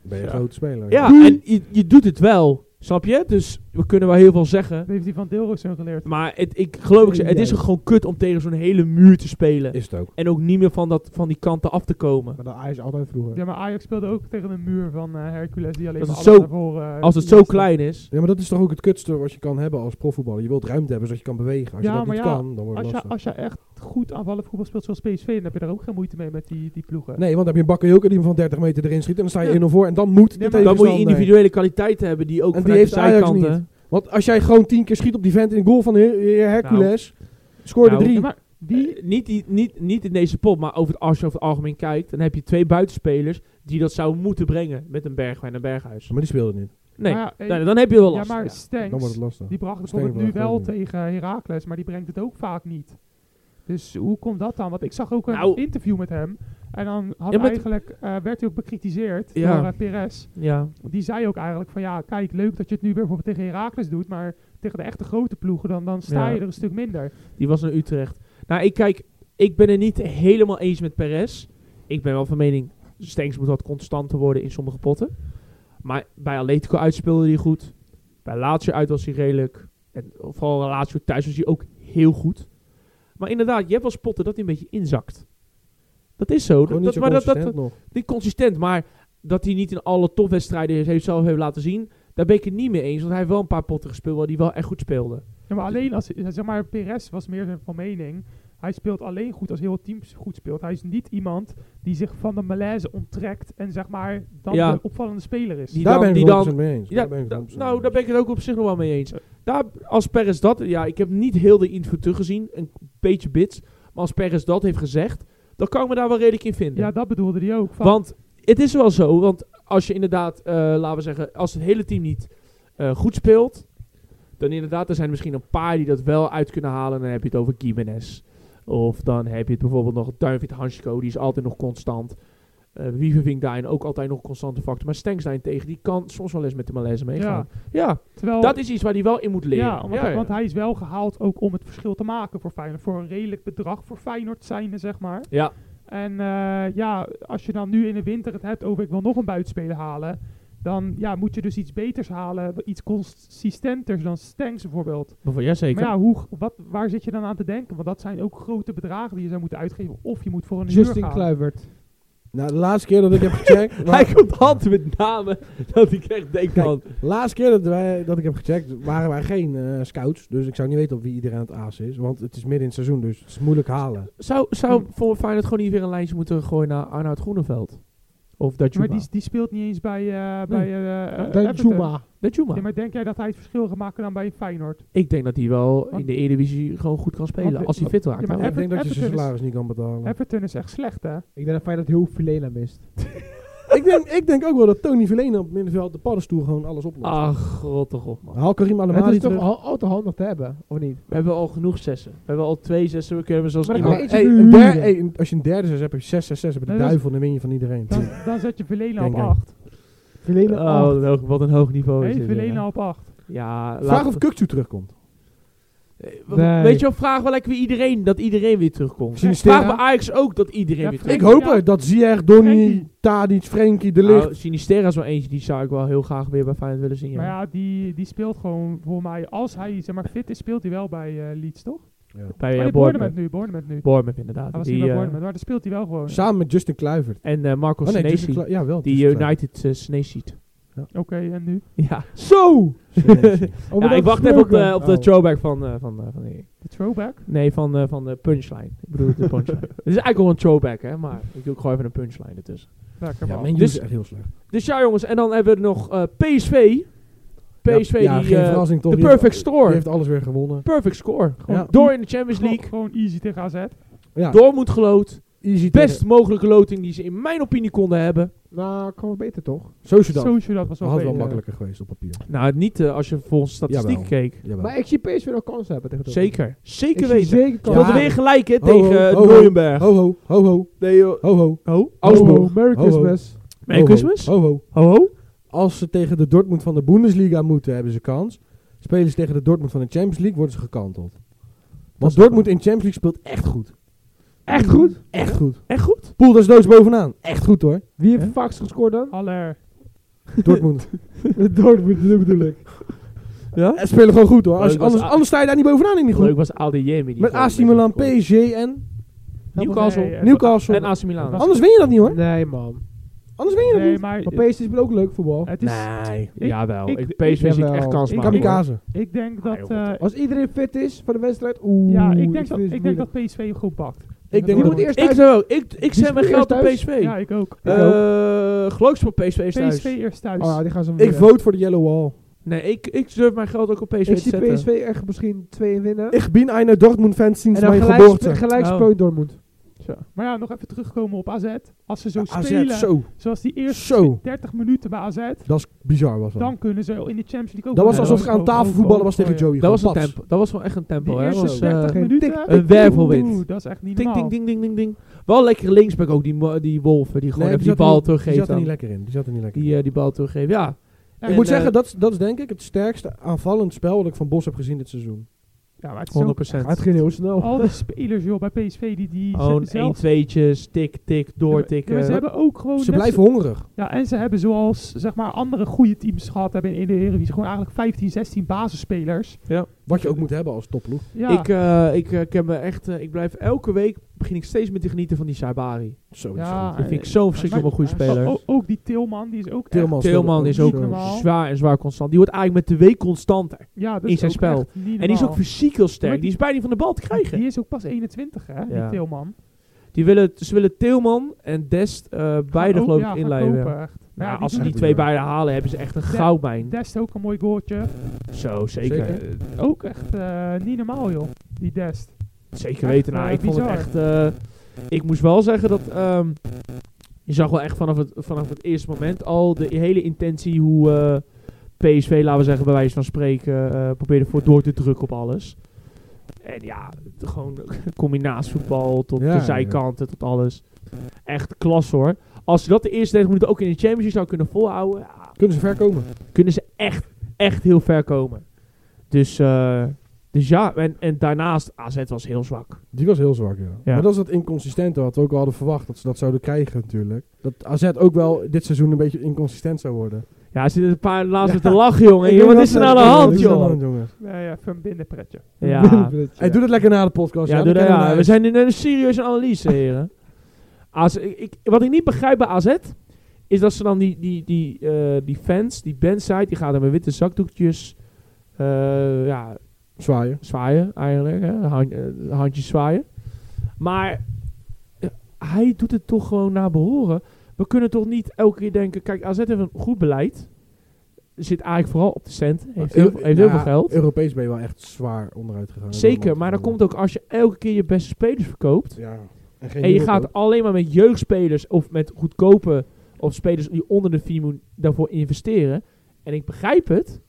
S2: ben je een
S1: ja.
S2: grote speler.
S1: Ja, en je, je doet het wel. Snap je? Dus we kunnen wel heel veel zeggen.
S4: Dat heeft hij van Deelroosum geleerd.
S1: Maar het, ik geloof, ik, ze- het is ook gewoon kut om tegen zo'n hele muur te spelen.
S2: Is het ook.
S1: En ook niet meer van, dat, van die kanten af te komen.
S3: Maar dat Ajax altijd vroeger.
S4: Ja, maar Ajax speelde ook tegen een muur van eh, Hercules die alleen
S1: Dat
S4: maar
S1: het
S4: alles
S1: zo-
S4: naar voren, eh,
S1: Als het zo
S4: jaste.
S1: klein is.
S2: Ja, maar dat is toch ook het kutste wat je kan hebben als profvoetballer. Je wilt ruimte hebben zodat je kan bewegen. Als
S4: Ja,
S2: je dat
S4: maar
S2: niet
S4: ja,
S2: kan, dan wordt het
S4: Als je,
S2: lastig.
S4: als je echt goed aanvallend voetbal speelt zoals PSV, dan heb je daar ook geen moeite mee met die, die ploegen.
S2: Nee, want dan heb je een bakkenjoker die hem van 30 meter erin schiet. En dan sta je
S1: Ja.
S2: 1-0 voor. En dan moet de
S4: Nee, maar-
S1: Dan moet je
S2: tegenstander-
S1: individuele kwaliteiten hebben die ook
S2: En die
S1: vanuit de
S2: heeft Ajax
S1: zijkanten...
S2: Want als jij gewoon 10 keer schiet op die vent in de goal van Her- Her- Hercules. Scoorde
S1: Nou,
S4: Ja,
S2: drie.
S4: maar die,
S1: Eh, niet, die- niet, niet in deze pot, maar over het, als je over het algemeen kijkt, dan heb je twee buitenspelers die dat zouden moeten brengen met een Bergwijn en Berghuis.
S2: Maar die speelde niet.
S1: Nee,
S4: Maar ja, eh,
S1: dan, dan heb je wel
S4: ja,
S1: last.
S4: maar
S2: Dan wordt het
S4: Stenks,
S2: lastig.
S4: die bracht
S2: Stenks
S4: bijvoorbeeld nu
S2: bracht
S4: wel
S2: ook niet.
S4: tegen Heracles, maar die brengt het ook vaak niet. Dus hoe komt dat dan? Want ik zag ook een
S1: Nou.
S4: interview met hem. En dan had
S1: Ja, maar
S4: eigenlijk, eh, werd hij ook bekritiseerd
S1: Ja.
S4: door eh, Perez.
S1: Ja.
S4: Die zei ook eigenlijk van ja, kijk, leuk dat je het nu weer bijvoorbeeld tegen Heracles doet, maar tegen de echte grote ploegen, dan, dan sta
S1: Ja.
S4: je er een stuk minder.
S1: Die was naar Utrecht. Nou, ik kijk, ik ben het niet helemaal eens met Perez. Ik ben wel van mening, Stenks moet wat constanter worden in sommige potten. Maar bij Atletico uitspeelde hij goed. Bij Lazio uit was hij redelijk. En vooral Lazio thuis was hij ook heel goed. Maar inderdaad, je hebt wel eens potten dat hij een beetje inzakt. Dat is zo.
S2: Gewoon
S1: Dat,
S2: niet
S1: dat,
S2: zo
S1: maar dat, dat,
S2: consistent nog.
S1: niet consistent, maar dat hij niet in alle topwedstrijden heeft- heeft zelf heeft laten zien, daar ben ik het niet mee eens. Want hij heeft wel een paar potten gespeeld waar hij wel echt goed speelde.
S4: Ja, maar alleen als, zeg maar, Perez was meer van mening. Hij speelt alleen goed als heel het team goed speelt. Hij is niet iemand die zich van de malaise onttrekt en zeg maar dan
S1: Ja.
S4: de opvallende speler is.
S1: Die
S2: Daar
S1: dan-
S2: ben ik
S1: die
S2: het 100%
S1: dan-
S2: mee eens.
S1: Ja,
S2: Daar ben ik het
S1: da-
S2: 100% mee
S1: nou,
S2: eens.
S1: daar ben ik het ook op zich nog wel mee eens. Daar, als Perez dat, ja, ik heb niet heel de interview teruggezien, een beetje bits, maar als Perez dat heeft gezegd, dan kan ik me daar wel redelijk in vinden.
S4: Ja, dat bedoelde hij ook. Van,
S1: Want het is wel zo, want als je inderdaad, eh, laten we zeggen, als het hele team niet eh, goed speelt, dan inderdaad, er zijn misschien een paar die dat wel uit kunnen halen. Dan heb je het over Gimenez. Of dan heb je het bijvoorbeeld nog David Hansko, die is altijd nog constant. Eh Wiever vindt daarin ook altijd nog een constante factor. Maar Stenks daarentegen, die kan soms wel eens met de malaise meegaan. Ja,
S4: terwijl,
S1: dat is iets waar hij wel in moet leren.
S4: Oh. Ja, want, want hij is wel gehaald ook om het verschil te maken voor Feyenoord. Voor een redelijk bedrag voor Feyenoord zijnde, zeg maar.
S1: Ja.
S4: En eh, ja, als je dan nu in de winter het hebt over ik wil nog een buitenspeler halen. Dan ja, moet je dus iets beters halen. Iets consistenters dan Stanks bijvoorbeeld.
S1: Bijvoorbeeld, jazeker.
S4: Maar ja, hoe, wat, waar zit je dan aan te denken? Want dat zijn ook grote bedragen die je zou moeten uitgeven. Of je moet voor een huur
S3: Justin
S4: gaan.
S3: Kluivert.
S2: Nou, de laatste keer dat ik heb gecheckt...
S1: Hij
S2: wa-
S1: komt altijd met namen dat ik echt denk
S2: Kijk,
S1: van...
S2: de laatste keer dat, wij, dat ik heb gecheckt, waren wij geen eh, scouts. Dus ik zou niet weten op wie iedereen aan het aas is. Want het is midden in het seizoen, dus het is moeilijk halen.
S1: Zou, zou voor Feyenoord gewoon niet weer een lijstje moeten gooien naar Arnoud Groeneveld? Of dat
S4: Maar
S1: Juma?
S4: die, die speelt niet eens bij, eh bij eh, eh,
S3: Dan
S4: Everton.
S3: Juma.
S1: Dat Juma.
S4: Ja, maar denk jij dat hij het verschil gaat maken dan bij Feyenoord?
S1: Ik denk dat hij wel in
S4: Want-
S1: de Eredivisie gewoon goed kan spelen.
S4: Want-
S1: Als hij fit raakt.
S4: Ja,
S1: wel.
S4: maar
S2: Maar ik
S4: Everton-
S2: denk dat je zijn
S4: Everton is-
S2: salaris niet kan betalen.
S4: Everton is echt slecht, hè?
S3: Ik denk dat Feyenoord heel veel Filena mist.
S2: ik, denk, ik denk ook wel dat Tony Verlena op het middenveld de paddenstoel gewoon alles oplost.
S1: Ach, god toch op man.
S2: Haal Karim
S3: Maar het
S2: Alemani
S3: is toch
S2: terug.
S3: al, al te handig te hebben, of niet?
S1: We hebben al genoeg zessen. We hebben al twee zessen. We kunnen zelfs
S3: Maar dan
S1: iemand...
S3: kan
S2: Hey,
S3: eentje
S2: een der-
S3: huren.
S2: hey, een- als je een derde zes hebt, heb je zes, zes, zes. Heb je de
S4: Nee, dat is-
S2: duivel, dan win je van iedereen.
S4: Dan, dan zet je Velena op
S2: Denk ik.
S4: 8.
S3: Filena
S1: Oh, wat een hoog- wat een hoog niveau is
S4: Nee,
S1: dit. hè.
S4: Velena op 8.
S1: Ja,
S2: Vraag
S1: laat-
S2: of Kukcu terugkomt.
S1: Eh, w-
S3: Nee.
S1: Weet je wel, vraag wel lekker weer iedereen dat iedereen weer terugkomt.
S2: Sinistera?
S1: Vraag bij Ajax ook dat iedereen
S4: Ja,
S1: weer
S4: Frank-
S2: Ik
S1: terugkomt.
S2: hoop
S4: Ja.
S2: het, dat Ziyech, Donny,
S4: Frenkie.
S2: Tadic, Frenkie, De
S1: Nou,
S2: Ligt.
S1: Sinistera is wel eentje, die zou ik wel heel graag weer bij Feyenoord willen zien. ja.
S4: Maar ja, die, die speelt gewoon voor mij. Als hij zeg maar, fit is, speelt hij wel bij eh, Leeds, toch?
S1: bij
S4: Oh,
S1: eh,
S4: nee, Bournemouth
S1: Bournemouth.
S4: nu, Bournemouth nu.
S1: Bournemouth inderdaad.
S4: Hij was
S1: Die,
S4: niet bij
S1: eh,
S4: Bournemouth, maar daar speelt hij wel gewoon.
S2: Samen met Justin Kluivert.
S1: en eh Marco
S2: Oh, nee, Justin
S1: Senesi,
S2: Kluivert. Ja, wel.
S1: die
S2: Justin
S1: United eh, Senesi.
S4: Oké, en nu?
S1: Ja,
S3: Zo!
S2: Kluivert.
S1: ja ik wacht even op de, op de
S2: Oh.
S1: throwback van, eh, van, eh, van de,
S4: De throwback?
S1: nee, van, eh, van de punchline. Ik bedoel de punchline. Het is eigenlijk wel een throwback, hè, maar ik doe ook gewoon even een punchline ertussen.
S4: Lekker
S2: Ja,
S4: man.
S2: Man U
S1: Dus-
S2: is echt heel slecht.
S1: Dus ja jongens, en dan hebben we nog eh, PSV. PSV
S2: Ja, ja,
S1: die
S2: geen
S1: eh,
S2: verrassing, toch?
S1: de
S2: Die
S1: perfect
S2: heeft-
S1: score.
S2: Die heeft alles weer gewonnen.
S1: perfect score.
S2: Gewoon Ja.
S1: Door in de Champions
S4: Gewoon-
S1: League.
S4: Gewoon easy tegen AZ.
S2: Ja,
S1: Door moet geloot.
S2: easy
S1: Best mogelijke loting die ze in mijn opinie konden hebben.
S3: Nou, kan wel beter toch?
S2: Sociedad. dat
S4: Social, dat was eh, wel
S2: had wel
S4: beter.
S2: makkelijker geweest op papier.
S1: Nou, niet eh, als je volgens statistiek
S2: Jawel.
S1: keek.
S2: Jawel.
S3: Maar ik zie PSV wel kansen hebben tegen Dortmund.
S1: Zeker. Zeker
S3: Ik zie
S1: weten.
S3: zeker
S1: Ze
S2: Ja.
S3: kansen.
S1: hadden weer gelijk, hè,
S2: Ho,
S1: tegen
S2: ho, ho,
S1: Neuenberg.
S2: Ho ho, ho ho,
S1: Nee, joh.
S2: ho ho.
S1: Ho.
S3: Ho,
S1: Augsburg.
S3: ho, Oh, Merry
S2: Ho, ho.
S3: Christmas.
S1: Merry
S2: Ho, ho,
S1: Christmas.
S2: Ho ho.
S1: Ho, ho.
S2: Als ze tegen de Dortmund van de Bundesliga moeten, hebben ze kans. Spelen ze tegen de Dortmund van de Champions League, worden ze gekanteld. Want Dortmund in Champions League speelt echt goed.
S3: Echt goed?
S2: Echt goed.
S1: Echt goed?
S2: Poel desnoods bovenaan. Echt goed hoor.
S3: Wie heeft
S1: Ja?
S3: Vax gescoord dan?
S4: Aller.
S2: Dortmund.
S3: Dortmund, dat bedoel ik.
S1: Ja?
S2: Ze spelen gewoon goed hoor. Als,
S1: Leuk was
S2: anders,
S1: A-
S2: anders sta je daar niet bovenaan in die
S1: Leuk
S2: groep.
S1: was ADM.
S2: Met AC Milan, PSG en
S1: Newcastle.
S4: Nee, eh,
S2: Newcastle.
S1: En AC Milan.
S4: Dat was-
S2: Anders win je dat niet hoor.
S3: Nee, man.
S2: Anders win je dat
S4: Nee,
S2: niet.
S4: maar
S3: Maar PSV speelt ook leuk voetbal.
S4: het is,
S1: Nee.
S4: Ik-
S1: Jawel.
S4: ik-
S1: Ik, PSV ziet
S3: jawel.
S1: echt kans
S4: Ik-
S1: maken. hoor.
S2: Kamikaze.
S4: ik denk dat...
S1: joh,
S4: eh,
S3: Als iedereen fit is voor de wedstrijd, oeh.
S4: ja, ik denk, dat,
S3: vind het
S4: ik denk
S3: moeilijk.
S4: dat PSV hem goed pakt.
S2: Ik
S3: Die
S2: denk
S3: moet
S2: dat...
S3: eerst
S1: Ik
S3: thuis.
S1: zou ook. Ik, ik zet
S3: speelt
S1: mijn geld op
S3: eerst thuis?
S1: PSV.
S4: Ja, ik ook.
S1: Eh, Gelukkig voor PSV is thuis.
S4: PSV eerst thuis.
S3: Oh, ja, die gaan ze
S2: Ik
S3: winnen.
S2: vote voor de Yellow Wall.
S1: Nee, ik, ik durf mijn geld ook op PSV
S3: Ik
S1: te
S3: zie
S1: zetten.
S3: PSV echt misschien twee winnen.
S2: Ik ben een Dortmund-fan sinds
S3: en dan
S2: mijn
S3: gelijk,
S2: geboorte.
S3: gelijk
S1: Oh.
S3: speelt Dortmund.
S4: Maar ja, nog even terugkomen op AZ. Als ze zo
S2: AZ,
S4: spelen,
S2: zo.
S4: zoals die eerste
S2: Zo.
S4: 30 minuten bij AZ,
S2: Dat is bizar was dat.
S4: dan kunnen ze in de Champions League ook...
S2: dat was
S1: Nee,
S2: alsof
S1: dat
S2: ik aan tafel voetballen was tegen Joey.
S1: Dat was, een
S2: Gewoon pats.
S1: tempo, dat was wel echt een tempo,
S4: Die
S1: hè?
S4: eerste
S1: Want, eh,
S4: 30
S3: geen tik,
S4: minuten.
S1: een wervelwind.
S4: Oeh, Dat is echt niet
S1: ding,
S4: normaal.
S1: ding, ding, ding, ding, ding. Wel lekker linksback ook, die, mo- die Wolven, die gewoon
S2: Nee,
S1: even die,
S2: zat er
S1: bal
S2: niet- Die
S1: teruggeeft.
S2: zat er niet
S1: aan-
S2: lekker in. Die zat er niet lekker in.
S1: Die, eh, die bal teruggeeft, ja.
S4: Ja,
S2: ik
S1: En,
S2: moet
S1: eh,
S2: zeggen, dat, is- dat is denk ik het sterkste aanvallend spel dat ik van Bos heb gezien dit seizoen.
S4: Ja, maar het is ook
S1: 100%.
S3: Maar het ging heel snel.
S4: al die spelers joh, bij PSV die, die
S1: Gewoon
S4: ze- zelf...
S1: 1-2'tjes, tik, tik,
S4: Ja, maar ze
S1: doortikken.
S4: hebben ook gewoon...
S2: Ze
S4: Oh, net
S2: blijven
S4: zo-
S2: hongerig.
S4: Ja, en ze hebben zoals zeg maar andere goede teams gehad hebben in, in de Eredivisie. Gewoon eigenlijk 15, 16 basisspelers.
S2: Wat je ook moet hebben als topploeg.
S4: Ja,
S1: Ik, eh, ik, eh, ik, heb me echt, eh, ik blijf elke week, begin ik steeds meer te genieten van die Saibari.
S2: Zo.
S4: Ja,
S1: Dat vind ik
S4: eh,
S1: zo'n verschrikkelijk
S4: maar- oh.
S1: goede speler.
S4: o- o- ook die Tilman, die is ook echt-
S2: Tilman,
S1: Tilman is ook
S4: Niet normaal.
S1: zwaar en zwaar constant. Die wordt eigenlijk met de week constanter.
S4: ja, dat
S1: in
S4: is
S1: zijn
S4: ook
S1: spel.
S4: echt niet
S1: En die is ook
S4: normaal.
S1: fysiek heel sterk.
S4: Maar
S1: Die is bijna niet van de bal te krijgen.
S4: Die is ook pas 21, hè,
S1: Ja.
S4: die Tilman.
S1: Die willen, ze willen Tilman en Dest eh, beide
S4: Ook-
S1: geloof
S4: Oh, ja,
S1: ik
S4: gaan
S1: inlijven.
S4: kopen, echt. Nou
S1: Nou,
S4: ja, die
S1: als ze
S4: doet
S1: die
S2: doen
S1: twee
S2: het.
S1: beide halen, hebben ze echt een
S4: Ja.
S1: goudmijn.
S4: Dest ook een mooi goaltje.
S1: Zo, zeker.
S2: Zeker.
S1: Zeker,
S4: Eh, ook echt eh, niet normaal, joh. Die Dest.
S1: weten.
S4: Echt,
S1: Nou,
S4: eh,
S1: ik vond het
S4: bizar.
S1: echt... eh, ik moest wel zeggen dat... ehm, je zag wel echt vanaf het, vanaf het eerste moment al de hele intentie hoe... eh, PSV, laten we zeggen, bij wijze van spreken, eh probeerde voor door te drukken op alles. En ja, het- gewoon combinatievoetbal tot
S2: Ja,
S1: de zijkanten, tot alles. Echt klas hoor. Als ze dat de eerste 30 minuten ook in de Champions League zou kunnen volhouden, ja,
S2: Kunnen ze ver komen.
S1: kunnen ze echt, echt heel ver komen. Dus, eh, dus ja, en, en daarnaast, AZ was heel zwak.
S2: Die was heel zwak, ja. Maar dat is dat inconsistente wat we ook al hadden verwacht dat ze dat zouden krijgen natuurlijk. Dat AZ ook wel dit seizoen een beetje inconsistent zou worden.
S1: Ja, er zitten een paar laatst te lachen, jongen.
S2: Ik
S1: Jongen,
S2: weet
S1: wat is er nou
S2: dat-
S1: aan de hand,
S2: Wat is er aan de
S1: joh?
S2: hand, jongen?
S4: Nee, even een binnenpretje.
S1: Ja,
S2: Hey, doe dat lekker na de podcast.
S1: ja,
S2: dan
S1: doe dat, nou
S2: kunnen
S1: ja.
S2: we-
S1: we zijn in een serieuze analyse, heren. AZ, ik, ik- wat ik niet begrijp bij AZ, is dat ze dan die, die, die, eh, die fans, die bandsite, die gaan dan met witte zakdoekjes eh, ja,
S2: Zwaaien.
S1: zwaaien eigenlijk. Hè? Hand- eh, handjes zwaaien. Maar eh, hij doet het toch gewoon naar behoren. We kunnen toch niet elke keer denken, kijk, AZ heeft een goed beleid. Zit eigenlijk vooral op de cent. Heeft heel,
S2: Eu-
S1: heeft heel
S2: nou,
S1: veel geld.
S2: Europees ben je wel echt zwaar onderuit gegaan.
S1: Zeker, maar dan komt ook als je elke keer je beste spelers verkoopt.
S2: Ja. En, geen
S1: En je
S2: hulp ook.
S1: gaat alleen maar met jeugdspelers of met goedkope of spelers die onder de 4 miljoen daarvoor investeren. En ik begrijp het.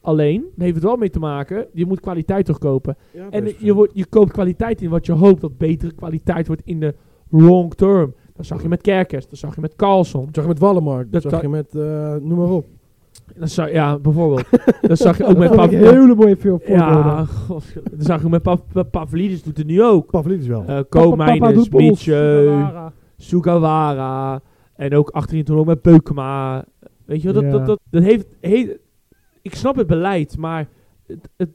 S1: Alleen, het heeft het wel mee te maken, je moet kwaliteit terugkopen.
S2: Ja,
S1: En
S2: best.
S1: je, wordt, je koopt kwaliteit in wat je hoopt dat betere kwaliteit wordt in de long term. Dat zag je met Kerkers, dat zag je met Carlson.
S2: Dat zag je met Wallenmark. Dat
S1: Dat
S2: zag
S1: kan-
S2: je met... eh, noem maar op.
S1: Dat zag, ja, bijvoorbeeld. dat zag je ook met
S3: Dat vond ik
S1: Pavlidis.
S3: hele mooie film
S1: Ja, god, dat zag je met Pav Pavlidis, doet het nu ook.
S2: Pavlidis wel.
S1: Eh
S3: papa
S1: Koopmeiners,
S3: doet bos.
S1: Mietje,
S4: Sugawara.
S1: Sugawara. En ook achterin toen ook met Beukema. Weet je wel, dat,
S3: Ja.
S1: dat, dat, dat heeft, he- Ik snap het beleid, maar het, het,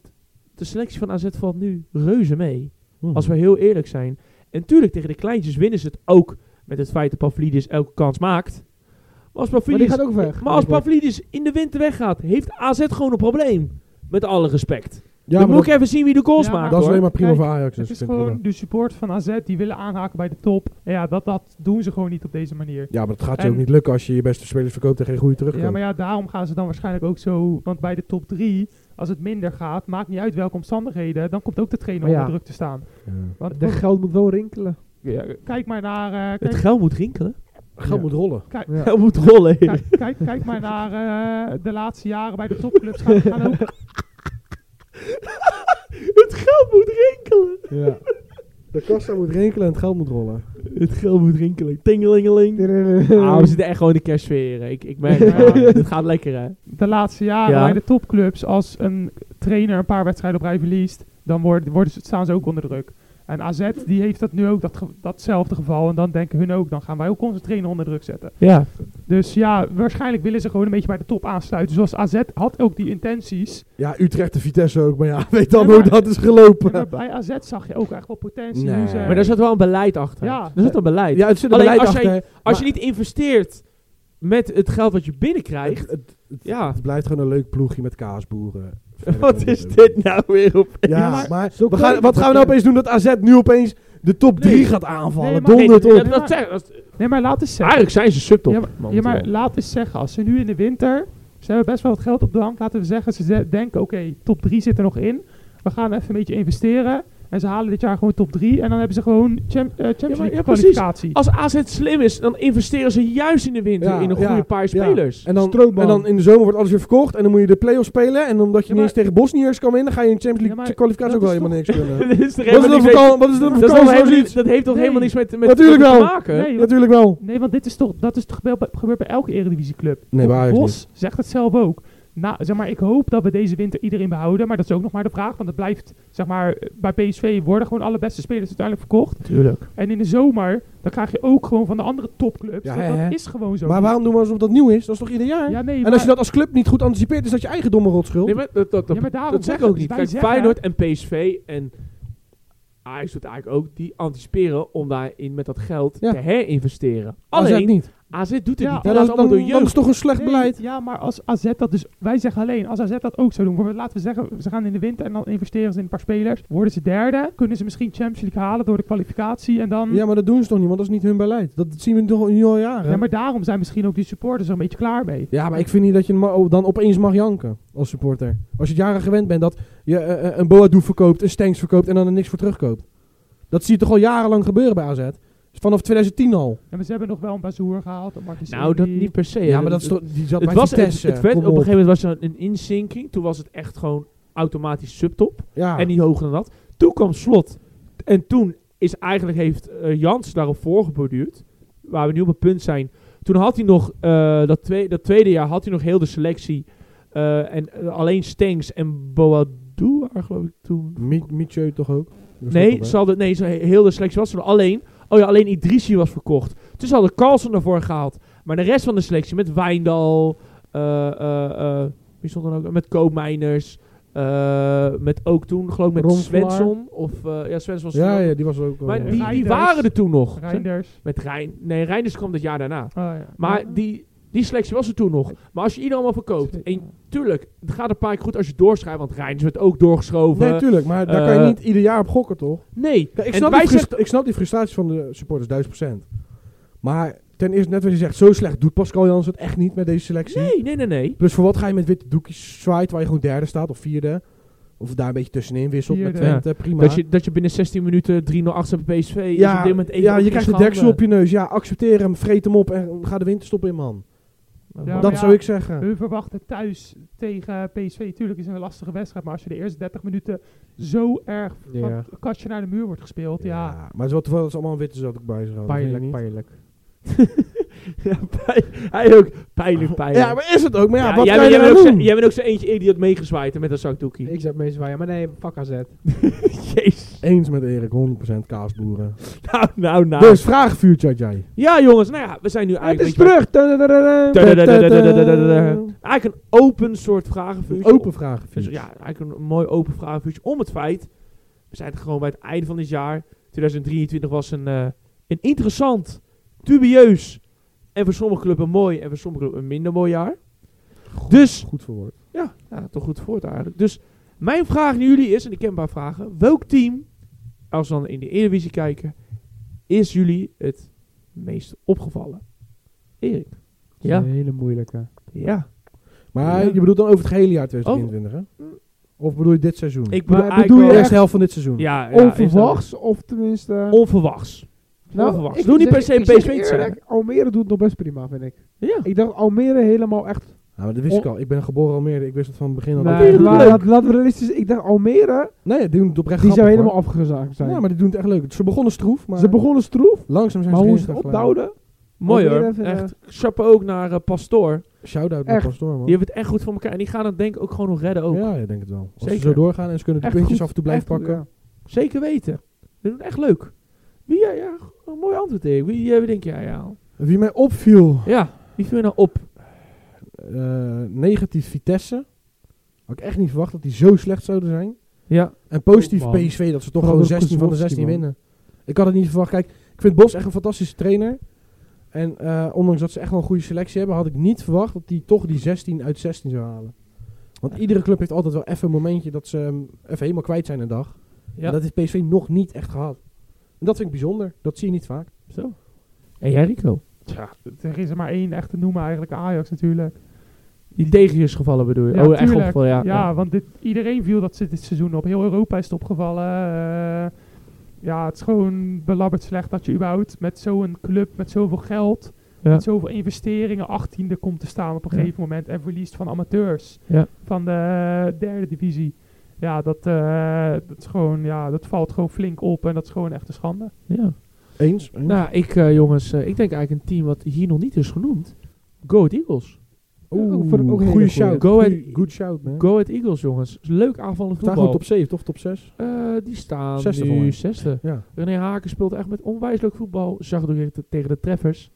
S1: de selectie van AZ valt nu reuze mee.
S2: Hm.
S1: Als we heel eerlijk zijn. En tuurlijk, tegen de kleintjes winnen ze het ook met het feit dat Pavlidis elke kans maakt. Maar als
S3: Maar die
S1: Pavlidis,
S3: gaat ook weg.
S1: maar als Pavlidis in de winter weggaat, heeft AZ gewoon een probleem. Met alle respect.
S2: ja,
S1: Dan
S2: maar
S1: moet
S2: dat,
S1: ik even zien wie de goals
S4: Ja,
S1: maakt.
S4: maar-
S2: dat is
S1: hoor.
S2: alleen maar prima
S4: Kijk,
S2: voor Ajax.
S4: Het
S2: dus
S4: is
S2: ik vind het
S4: gewoon de support van AZ, die willen aanhaken bij de top. En ja, dat, dat doen ze gewoon niet op deze manier.
S2: wel- Ja, maar dat gaat je
S4: En-
S2: ook niet lukken als je je beste spelers verkoopt en geen goede terugkomt.
S4: Ja, maar ja, daarom gaan ze dan waarschijnlijk ook zo. Want bij de top 3, als het minder gaat, maakt niet uit welke omstandigheden, dan komt ook de trainer
S3: Maar ja.
S4: onder druk te staan.
S2: Ja.
S4: Want
S3: De geld moet wel rinkelen.
S1: Ja,
S4: kijk maar naar. eh,
S1: het
S4: kijk,
S1: geld moet rinkelen.
S2: Geld
S3: Ja.
S2: moet rollen.
S4: kijk,
S3: Ja.
S1: Geld moet rollen.
S4: kijk, kijk, kijk maar naar eh, de laatste jaren bij de topclubs. Gaan, gaan ook,
S1: Het geld moet rinkelen.
S2: Ja. De kassa moet rinkelen en het geld moet rollen.
S1: Het geld moet rinkelen. Tingelingeling. Ah, we zitten echt gewoon in de kerstsfeer. Ik, ik merk het. wel.
S4: Ja.
S1: Het gaat lekker, hè?
S4: de laatste jaren
S1: Ja.
S4: bij de topclubs, als een trainer een paar wedstrijden op rij verliest, dan worden, worden ze, staan ze ook onder druk. En AZ die heeft dat nu ook, dat, ge- datzelfde geval. En dan denken hun ook, dan gaan wij ook onze trainer onder druk zetten.
S1: Ja.
S4: Dus ja, waarschijnlijk willen ze gewoon een beetje bij de top aansluiten. Zoals AZ had ook die intenties.
S2: Ja, Utrecht en Vitesse ook. Maar ja, weet dan
S4: Ja,
S2: hoe
S4: maar-
S2: dat is
S4: Maar
S2: gelopen.
S4: bij AZ zag je ook echt wel potentie.
S2: Nee.
S4: hoe ze-
S1: Maar daar zat wel een beleid achter.
S4: Ja.
S1: Er zat een beleid.
S2: Ja, het zit een
S1: Alleen
S2: beleid
S1: als jij-
S2: achter.
S1: Als je
S2: maar-
S1: niet investeert met het geld wat je binnenkrijgt.
S2: Het, het,
S1: Ja.
S2: het blijft gewoon een leuk ploegje met kaasboeren.
S1: Wat is dit nou weer op?
S2: Ja,
S4: Ja,
S2: maar,
S4: maar-
S3: Zo
S2: we
S3: kan
S2: gaan,
S3: het
S2: wat gaan we nou
S3: ook.
S2: opeens doen dat AZ nu opeens de top 3
S1: Nee.
S2: gaat aanvallen?
S4: Nee, maar-
S1: Nee,
S2: Dondert
S1: dat,
S2: op.
S1: dat, dat, zeg- dat-
S4: Nee, maar laat eens zeggen.
S1: eigenlijk zijn ze subtop.
S4: ja, maar, ja, maar laat eens zeggen. Als ze nu in de winter... Ze hebben best wel wat geld op de hand. Laten we zeggen, ze ze denken, oké, top 3 zit er nog in. We gaan even een beetje investeren. En ze halen dit jaar gewoon top 3. En dan hebben ze gewoon cham- eh, Champions
S1: Ja, maar-
S4: League
S1: ja, precies.
S4: kwalificatie.
S1: Als AZ slim is, dan investeren ze juist in de winter
S2: Ja,
S1: in een
S2: ja,
S1: goede paar
S2: ja.
S1: spelers.
S2: En dan,
S3: Strootman.
S2: en dan in de zomer wordt alles weer verkocht. En dan moet je de play-offs spelen. En omdat je
S4: Ja,
S2: niet
S4: maar-
S2: eens tegen Bosniërs kan winnen, ga je in de Champions
S4: Ja,
S2: League
S4: maar
S2: kwalificatie ook
S4: dat
S2: wel
S4: is
S2: helemaal niks kunnen.
S1: dat is toch
S2: Wat is
S1: helemaal
S2: dat
S1: niks
S2: voor
S1: mee-
S2: kan- wat is dat
S1: dat
S2: voor
S1: is toch
S2: kans-
S1: helemaal
S2: zoiets?
S1: niet- dat heeft toch
S4: Nee.
S1: helemaal niks met, met
S2: Natuurlijk
S1: te
S2: wel.
S1: maken?
S4: Nee, joh.
S2: Natuurlijk wel.
S4: Nee, want dit is toch, dat is toch gebeurd bij, gebeurt bij elke eredivisieclub.
S2: Nee, bij
S4: Ook
S2: Ajax
S4: Bos zegt het zelf ook. Nou, zeg maar, ik hoop dat we deze winter iedereen behouden. Maar dat is ook nog maar de vraag. Want het blijft, zeg maar, bij PSV worden gewoon alle beste spelers uiteindelijk verkocht.
S1: Tuurlijk.
S4: En in de zomer, dan krijg je ook gewoon van de andere topclubs.
S2: Ja,
S4: dat,
S2: hè, hè.
S4: dat is gewoon zo.
S2: Maar waarom doen we alsof dat nieuw is? Dat is toch ieder jaar?
S4: Ja, nee,
S2: en
S4: maar-
S2: als je dat als club niet goed anticipeert, is dat je eigen domme rotschuld.
S1: Nee, maar dat, dat, dat,
S4: Ja, maar daarom
S1: dat zeg ik
S4: zeggen-
S1: ook niet.
S4: wij
S1: Kijk,
S4: zeggen-
S1: Feyenoord en PSV en Ajax doet eigenlijk ook, die anticiperen om daarin met dat geld
S2: Ja.
S1: te herinvesteren.
S2: AZ
S1: Alleen, AZ,
S2: niet.
S1: doet het niet.
S2: Ja,
S4: Ja.
S1: Die laat
S2: dat, is-
S1: allemaal
S2: dan,
S1: door
S2: dan is
S1: jeugd.
S2: het toch een slecht
S4: Nee,
S2: beleid.
S4: Ja, maar als AZ dat dus... Wij zeggen alleen, als AZ dat ook zou doen. want Laten we zeggen, ze gaan in de winter en dan investeren ze in een paar spelers. Worden ze derde, kunnen ze misschien Champions League halen door de kwalificatie. En dan...
S2: Ja, maar dat doen ze toch niet, want dat is niet hun beleid. Dat zien we toch nu al jaren.
S4: Mm. Ja, maar daarom zijn misschien ook die supporters er een beetje klaar mee.
S2: Ja, maar ik vind niet dat je ma- oh, dan opeens mag janken als supporter. Als je het jaren gewend bent dat je eh, eh, een Boadou verkoopt, een Stengs verkoopt en dan er niks voor terugkoopt. Dat zie je toch al jarenlang gebeuren bij AZ. Vanaf 2010 al.
S4: Ja, maar ze hebben nog wel een bazoer gehaald. Een Martens
S1: Nou, dat
S4: Indy.
S1: niet per se. hè.
S2: die zat
S1: het was, het, het werd, op een gegeven moment was er een inzinking. Toen was het echt gewoon automatisch subtop.
S2: Ja,
S1: En niet hoger dan dat. Toen kwam slot. En toen is eigenlijk heeft eh, Jans daarop voorgeborduurd. Waar we nu op het punt zijn. Toen had hij nog, eh, dat, twee, dat tweede jaar had hij nog heel de selectie. eh, en eh, alleen Stengs en Boadu, geloof ik toen.
S2: Mi- Mitchell toch ook? Dat is ook
S1: Nee,
S2: wel
S1: ze hadden, nee ze, heel de selectie was er nog alleen. Oh ja, alleen Idrissi was verkocht. Dus ze hadden Carlson ervoor gehaald. Maar de rest van de selectie met Wijndal, eh, eh, eh, wie stond dan ook? Met Koopmijners. eh, met ook toen, geloof ik, met
S3: Ron
S1: Svensson. Of, eh, ja, Svensson was
S2: Ja,
S1: er
S2: ja,
S1: ook.
S2: die was er ook. wel,
S1: Maar
S2: ja.
S1: die, die
S4: Reinders.
S1: waren er toen nog.
S4: Reinders.
S1: Met Rijn. Nee, Reinders kwam dat jaar daarna.
S4: Oh, ja.
S1: Maar die, die selectie was er toen nog. Maar als je iedereen allemaal verkoopt. En tuurlijk, het gaat een paar keer goed als je doorschrijft. Want Reinders werd ook doorgeschoven.
S2: Nee, tuurlijk, maar daar kan je
S1: eh,
S2: niet ieder jaar op gokken, toch?
S1: Nee.
S2: Kijk,
S1: En
S2: ik, snap
S1: wij
S2: die frust-
S1: zeggen-
S2: ik snap die frustraties van de supporters 1000%. Maar ten eerste, net wat je zegt, zo slecht doet Pascal Jans het echt niet met deze selectie.
S1: Nee, nee, nee, nee.
S2: Plus voor wat ga je met witte doekjes zwaait waar je gewoon derde staat of vierde? Of daar een beetje tussenin wisselt met
S4: Vierde.
S2: Twente, prima.
S1: Dat je, dat je binnen 16 minuten 3-0 achter bij PSV is op dit moment één
S2: ja,
S1: ook
S2: je
S1: geen
S2: krijgt de
S1: schande.
S2: deksel op je neus. Ja, accepteer hem, vreet hem op en ga de winterstop in, man.
S4: Ja,
S2: dat
S4: maar
S2: zou
S4: ja,
S2: ik zeggen.
S4: We verwachten thuis tegen PSV. Tuurlijk is het een lastige wedstrijd. Maar als je de eerste 30 minuten zo erg van
S3: Ja.
S4: het kastje naar de muur wordt gespeeld. Ja,
S2: maar het is wel toevallig dat ze allemaal een witte zat ook bij zich hadden, vind je
S3: Pijnlijk,
S2: niet?
S3: pijnlijk.
S1: Ja, pijn- hij ook. Pijnlijk, pijnlijk.
S2: Ja, maar is het ook. Maar ja,
S1: Ja,
S2: wat
S1: jij,
S2: kan
S1: bent-
S2: je
S1: jij, bent
S2: nou
S1: ook zo-
S2: doen?
S1: jij bent ook zo eentje idiot meegezwaaid hè, met dat zakdoekie.
S3: Ik zou meezwaaien, maar nee, fuck AZ.
S1: Jezus.
S2: Eens met Erik, 100% kaasboeren.
S1: Nou, nou, nou.
S2: Dus vraag vuurtje had jij.
S1: Ja, jongens. Nou ja, we zijn nu
S3: Het
S1: eigenlijk...
S3: is
S1: een beetje-
S3: terug! Tadadadada.
S1: Tadadadadadadadada. Eigenlijk een open soort vragenvuurtje.
S2: Open vraag.
S1: Dus ja, eigenlijk een mooi open vragenvuurtje om het feit. We zijn gewoon bij het einde van dit jaar. 2023 was een, eh, een interessant, dubieus en voor sommige clubs een mooi en voor sommige clubs een minder mooi jaar. Dus,
S2: Goed verwoord.
S1: ja, ja, toch goed voort eigenlijk. Dus mijn vraag aan jullie is, en ik heb een paar vragen. Welk team, als we dan in de Eredivisie kijken, is jullie het meest opgevallen? Erik?
S3: Dat is Een hele moeilijke.
S1: Ja.
S2: Maar
S1: Ja. Oh.
S2: je bedoelt dan over het gehele jaar 2023, hè? Of bedoel je dit seizoen?
S1: Ik
S3: Maar
S1: bedoel,
S3: bedoel
S1: eigenlijk
S2: de
S3: je
S1: wel-
S3: echt-
S2: eerste helft van dit seizoen.
S1: ja, ja, is
S3: Onverwachts, of tenminste...
S1: dat- Onverwachts. onverwachts.
S3: Nou, ik
S1: Doe niet
S3: zeg-
S1: per se
S3: ik zeg
S1: PSV te zijn.
S3: eerlijk, Almere doet het nog best prima, vind ik.
S1: Ja.
S3: Ik dacht Almere helemaal echt...
S2: Ja, Nou, maar dat wist ik al. Ik ben geboren Almere. Ik wist het van het begin al.
S3: Oh. Nee,
S2: Dat-
S1: Almere doet
S3: maar
S1: het leuk.
S3: laat- laten we realistisch... Ik dacht Almere,
S2: Nee, die doen het oprecht
S3: die
S2: grappig,
S3: zou helemaal
S2: hoor.
S3: afgezaagd zijn.
S2: Ja, maar die doen het echt leuk. Ze begonnen stroef, maar
S3: Ze begonnen stroef,
S2: langzaam zijn
S3: maar
S2: ze
S3: hoe
S2: erin
S3: ze het
S2: gaan glijden.
S3: opbouwden...
S1: Mooi
S3: Probeer
S1: hoor.
S3: even,
S1: echt. Chapeau ook naar eh, Pastoor.
S2: Shout-out naar
S3: Echt.
S2: Pastoor, man.
S1: Die hebben het echt goed voor elkaar. En die gaan het denk ik ook gewoon nog redden ook.
S2: Ja, ik denk het wel. Als
S1: Zeker.
S2: ze zo doorgaan en ze kunnen de
S3: Echt
S2: puntjes
S3: goed.
S2: af en toe blijven
S3: Echt goed,
S2: pakken.
S1: Zeker weten. Die doen het echt leuk. Wie, ja, ja, een mooi antwoord Erik. Wie, eh, wie denk jij ja?
S2: Wie mij opviel,
S1: Ja, wie viel je nou op?
S2: eh, negatief Vitesse. Had ik echt niet verwacht dat die zo slecht zouden zijn.
S1: Ja.
S2: En positief
S1: Oh, man.
S2: PSV, dat ze toch
S3: Vooral
S2: gewoon
S3: door
S2: 16 van de
S3: Kozlowski,
S2: 16
S3: man.
S2: winnen. Ik had het niet verwacht. Kijk, ik vind Bos echt een fantastische trainer. En eh, ondanks dat ze echt wel een goede selectie hebben, had ik niet verwacht dat die toch die 16 uit 16 zou halen. Want iedere club heeft altijd wel even een momentje dat ze hem even helemaal kwijt zijn een dag.
S1: Ja.
S2: En dat heeft PSV nog niet echt gehad. En dat vind ik bijzonder. Dat zie je niet vaak.
S1: Zo. En jij Rico?
S4: er is er maar één echt te noemen eigenlijk. Ajax natuurlijk.
S1: Die tegen je is gevallen bedoel je? oh, echt
S4: tuurlijk.
S1: opgevallen, ja. ja.
S4: want dit, iedereen viel dat ze dit seizoen op. Heel Europa is het opgevallen. Eh, ja, het is gewoon belabberd slecht dat je überhaupt met zo'n club, met zoveel geld,
S1: Ja.
S4: met zoveel investeringen, 18e komt te staan op een
S1: Ja.
S4: gegeven moment en verliest van amateurs
S1: Ja.
S4: van de eh, derde divisie. Ja, dat, eh, dat, is gewoon, ja, dat valt gewoon flink op en dat is gewoon echt een schande.
S1: Ja.
S2: Eens. eens.
S1: Nou, ik eh, jongens, eh, ik denk eigenlijk een team wat hier nog niet is genoemd. Go Ahead Eagles.
S2: Oeh,
S3: ook voor- ook een hele
S2: goede
S3: goeie.
S2: shout.
S1: Go ahead.
S2: Goeie- Good shout, man.
S1: Go Ahead Eagles jongens. Leuk aanvallend
S2: Staan gewoon
S1: voetbal.
S2: top 7, toch? Top 6?
S1: Eh, die staan
S2: Zesde
S1: nu
S2: volgens
S1: zesde.
S2: Ja.
S1: René Haken speelt echt met onwijs leuk voetbal. Zag het ook tegen de- tegen de treffers.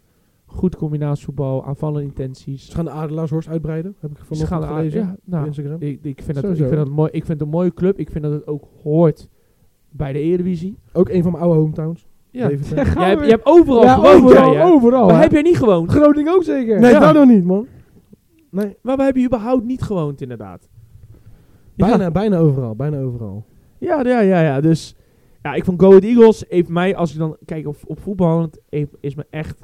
S1: Goed combinatievoetbal, aanvallende intenties.
S2: Ze gaan de Adelaarshorst uitbreiden, heb ik
S1: Ze gaan
S2: vanochtend
S1: aan,
S2: gelezen
S1: ja,
S2: op
S1: nou,
S2: Instagram.
S1: ik, ik, vind dat, ik,
S3: Sowieso.
S1: vind dat mooi, ik vind het een mooie club. Ik vind dat het ook hoort bij de Eredivisie.
S2: Ook een van mijn oude hometowns.
S1: Ja.
S2: Deventer.
S1: Jij, hebt- je hebt overal
S3: ja,
S1: gewoond.
S3: overal, Oh,
S1: jij, hè?
S3: overal.
S1: Waar
S3: hè.
S1: heb jij niet gewoond?
S3: Groningen ook zeker.
S2: Nee,
S1: Ja.
S2: daar nog niet, man. Nee,
S1: Maar waar heb je überhaupt niet gewoond, inderdaad?
S2: bijna, bijna overal, bijna overal.
S1: Ja, ja, ja, ja. Dus ja, ik vond Go Ahead Eagles heeft mij, als ik dan kijk op, op voetbal, het heeft- is me echt,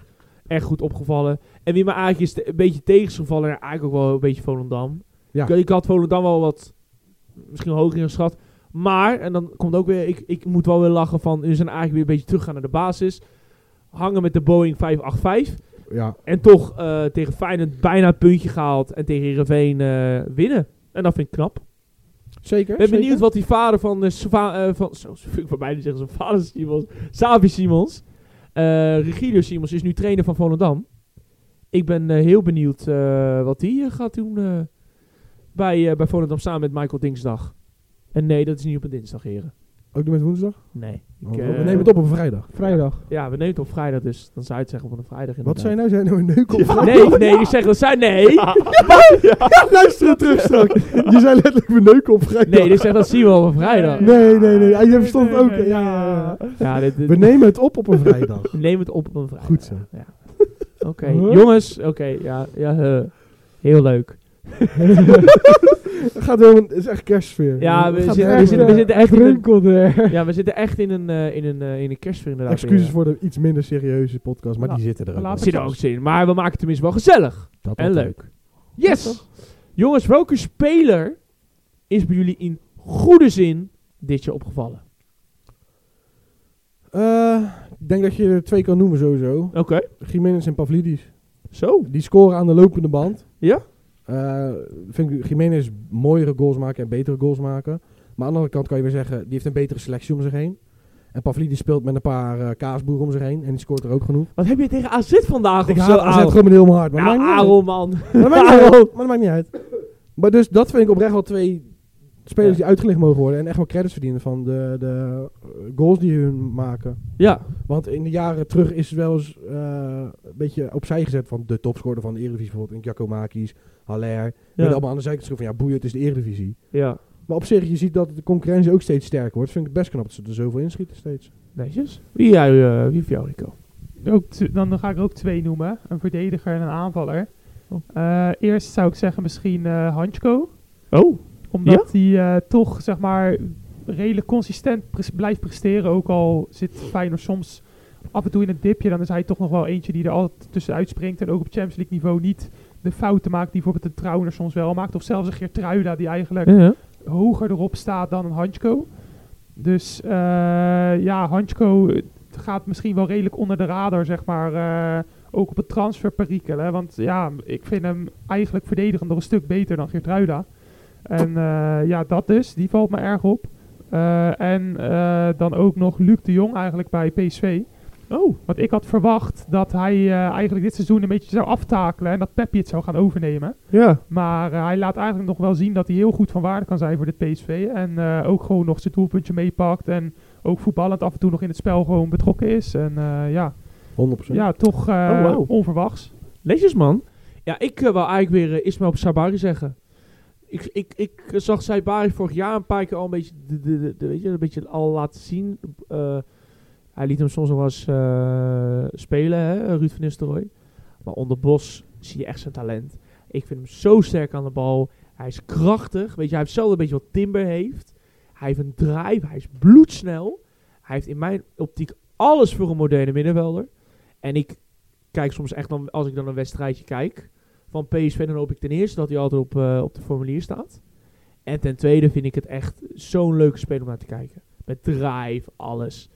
S1: echt goed opgevallen. En wie me eigenlijk is te- een beetje tegen is gevallen, ja, eigenlijk ook wel een beetje Volendam.
S2: Ja.
S1: Ik, ik had Volendam wel wat, misschien hoger in geschat. Maar, en dan komt ook weer, ik, ik moet wel weer lachen van, nu zijn eigenlijk weer een beetje teruggaan naar de basis. Hangen met de Boeing 585.
S2: Ja,
S1: En toch eh, tegen Feyenoord bijna het puntje gehaald. En tegen Heerenveen eh, winnen. En dat vind ik knap.
S2: zeker.
S1: Ik ben
S2: zeker.
S1: benieuwd wat die vader van... eh Sva- eh, van zo, ik voor mij niet zeggen, zijn vader Simons. Savi Simons. eh Regilio Simons is nu trainer van Volendam. Ik ben eh, heel benieuwd eh, wat hij gaat doen eh, bij, eh, bij Volendam samen met Michael Dingsdag. En nee, dat is niet op een dinsdag, heren.
S2: Ook doen met woensdag? Nou,
S1: Nee. Ik,
S2: Oh, we
S1: eh,
S2: nemen het op op een vrijdag.
S3: Vrijdag.
S1: Ja, we nemen het op vrijdag, dus dan zou je het zeggen op een vrijdag
S2: Wat
S1: inderdaad.
S2: zijn nou? Zijn nou een neuk op?
S1: Nee, nee, ik zeg dat zij... Nee!
S2: Luister het terug straks. Je zei letterlijk mijn neuk op vrijdag.
S1: Nee, dit zegt dat zien we op een vrijdag.
S2: Nee, nee, nee. Ah, je verstond
S4: nee,
S2: ook. ja,
S4: nee, nee,
S2: ja, ja.
S1: Ja, dit, dit-
S2: We nemen het op op een vrijdag.
S1: we nemen het op op een vrijdag.
S2: Goed zo.
S1: Oké,
S3: Huh?
S1: jongens. Oké, ja, ja eh, heel leuk.
S2: Het gaat helemaal, het is echt kerstsfeer.
S1: Ja,
S2: Het
S1: we
S2: gaat
S1: zitten- we
S2: erg
S1: zitten- we
S2: leuk.
S1: zitten echt in een-
S3: er.
S1: Ja, we zitten echt in een, eh, in een, eh, in een kerstfeer inderdaad.
S2: Excuses
S1: Ja.
S2: voor de iets minder serieuze podcast, maar
S4: La-
S2: die zitten er ook.
S4: laat
S2: wel.
S1: Er zit er ook zin in, maar we maken het tenminste wel gezellig
S2: Dat
S1: en
S2: altijd.
S1: leuk. Yes! Jongens, welke speler is bij jullie in goede zin dit jaar opgevallen?
S2: Eh, ik denk dat je er twee kan noemen sowieso.
S1: Oké,
S2: Jiménez en Pavlidis.
S1: zo.
S2: Die scoren aan de lopende band.
S1: Ja?
S2: Eh, vind ik Jiménez mooiere goals maken en betere goals maken. Maar aan de andere kant kan je weer zeggen, die heeft een betere selectie om zich heen. En Pavlidis speelt met een paar eh, kaasboeren om zich heen en die scoort er ook genoeg.
S1: Wat heb je tegen AZ vandaag
S2: Ik
S1: of zo,
S2: haat AZ
S1: Aaron?
S2: gewoon met heel mijn hart. Maar dat
S1: Nou,
S2: maakt niet uit.
S1: Aaron, man.
S2: Maar dat maakt niet uit. Maar dat maakt niet uit. Maar dus dat vind ik oprecht wel twee spelers
S1: Ja.
S2: die uitgelicht mogen worden. En echt wel credits verdienen van de, de eh, goals die hun maken.
S1: Ja,
S2: Want in de jaren terug is het wel eens eh, een beetje opzij gezet van de topscorer van de Eredivisie. Bijvoorbeeld in Giacomakis, Haller. Ja.
S1: ja,
S2: allemaal aan de zijkant schroeven van ja boeien, het is de Eredivisie.
S1: ja.
S2: Maar op zich, je ziet dat de concurrentie ook steeds sterker wordt. Vind ik het best knap dat ze er zoveel inschieten steeds.
S1: Netjes. Wie, jij, eh wie voor jou, Rico?
S4: Ook t- dan ga ik er ook twee noemen. Een verdediger en een aanvaller.
S1: Oh.
S4: Eh, eerst zou ik zeggen misschien eh Hansko.
S1: Oh,
S4: Omdat hij eh, toch, zeg maar, redelijk consistent pres- blijft presteren. Ook al zit Feyenoord soms af en toe in een dipje. Dan is hij toch nog wel eentje die er altijd tussenuit springt. En ook op Champions League niveau niet de fouten maakt die bijvoorbeeld de Trouwner soms wel maakt. Of zelfs een Geertruida die eigenlijk
S1: ja.
S4: hoger erop staat dan een Hansko. Dus eh, ja, Hansko eh, gaat misschien wel redelijk onder de radar, zeg maar. eh, ook op het transfer perikelen. Want ja, ik vind hem eigenlijk verdedigend nog een stuk beter dan Geertruida. En eh, ja, dat dus. Die valt me erg op. Eh, en eh, dan ook nog Luc de Jong eigenlijk bij PSV.
S1: Oh,
S4: Want ik had verwacht dat hij eh, eigenlijk dit seizoen een beetje zou aftakelen. En dat Peppi het zou gaan overnemen.
S1: ja.
S4: Maar eh, hij laat eigenlijk nog wel zien dat hij heel goed van waarde kan zijn voor dit PSV. En eh, ook gewoon nog zijn doelpuntje meepakt. En ook voetballend af en toe nog in het spel gewoon betrokken is. En eh, ja,
S2: 100%.
S4: ja, toch eh,
S1: Oh, wauw.
S4: onverwachts.
S1: Netjes, man. Ja, ik eh, wou eigenlijk weer eh, Ismael Sabari zeggen. Ik, ik, ik eh, zag Sabari vorig jaar een paar keer al een beetje, de, de, de- de- weet je, een beetje al laten zien. Eh, hij liet hem soms nog wel eens eh, spelen, hè, Ruud van Nistelrooy. Maar onder Bos zie je echt zijn talent. Ik vind hem zo sterk aan de bal. Hij is krachtig. Weet je, hij heeft zelf een beetje wat Timber heeft. Hij heeft een drive. Hij is bloedsnel. Hij heeft in mijn optiek alles voor een moderne middenvelder. En ik kijk soms echt, dan, als ik dan een wedstrijdje kijk van PSV, dan hoop ik ten eerste dat hij altijd op, eh, op de formulier staat. En ten tweede vind ik het echt zo'n leuke speler om naar te kijken. Met drive, alles.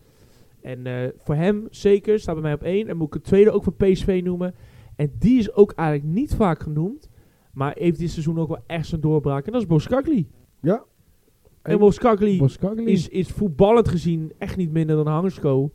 S1: En eh, voor hem zeker, staat bij mij op één. En moet ik het tweede ook voor PSV noemen. En die is ook eigenlijk niet vaak genoemd. Maar heeft dit seizoen ook wel echt zijn doorbraak. En dat is Boskakli.
S2: Ja.
S1: En Boskakli
S2: Boskakli.
S1: is, is voetballend gezien echt niet minder dan Hangersko.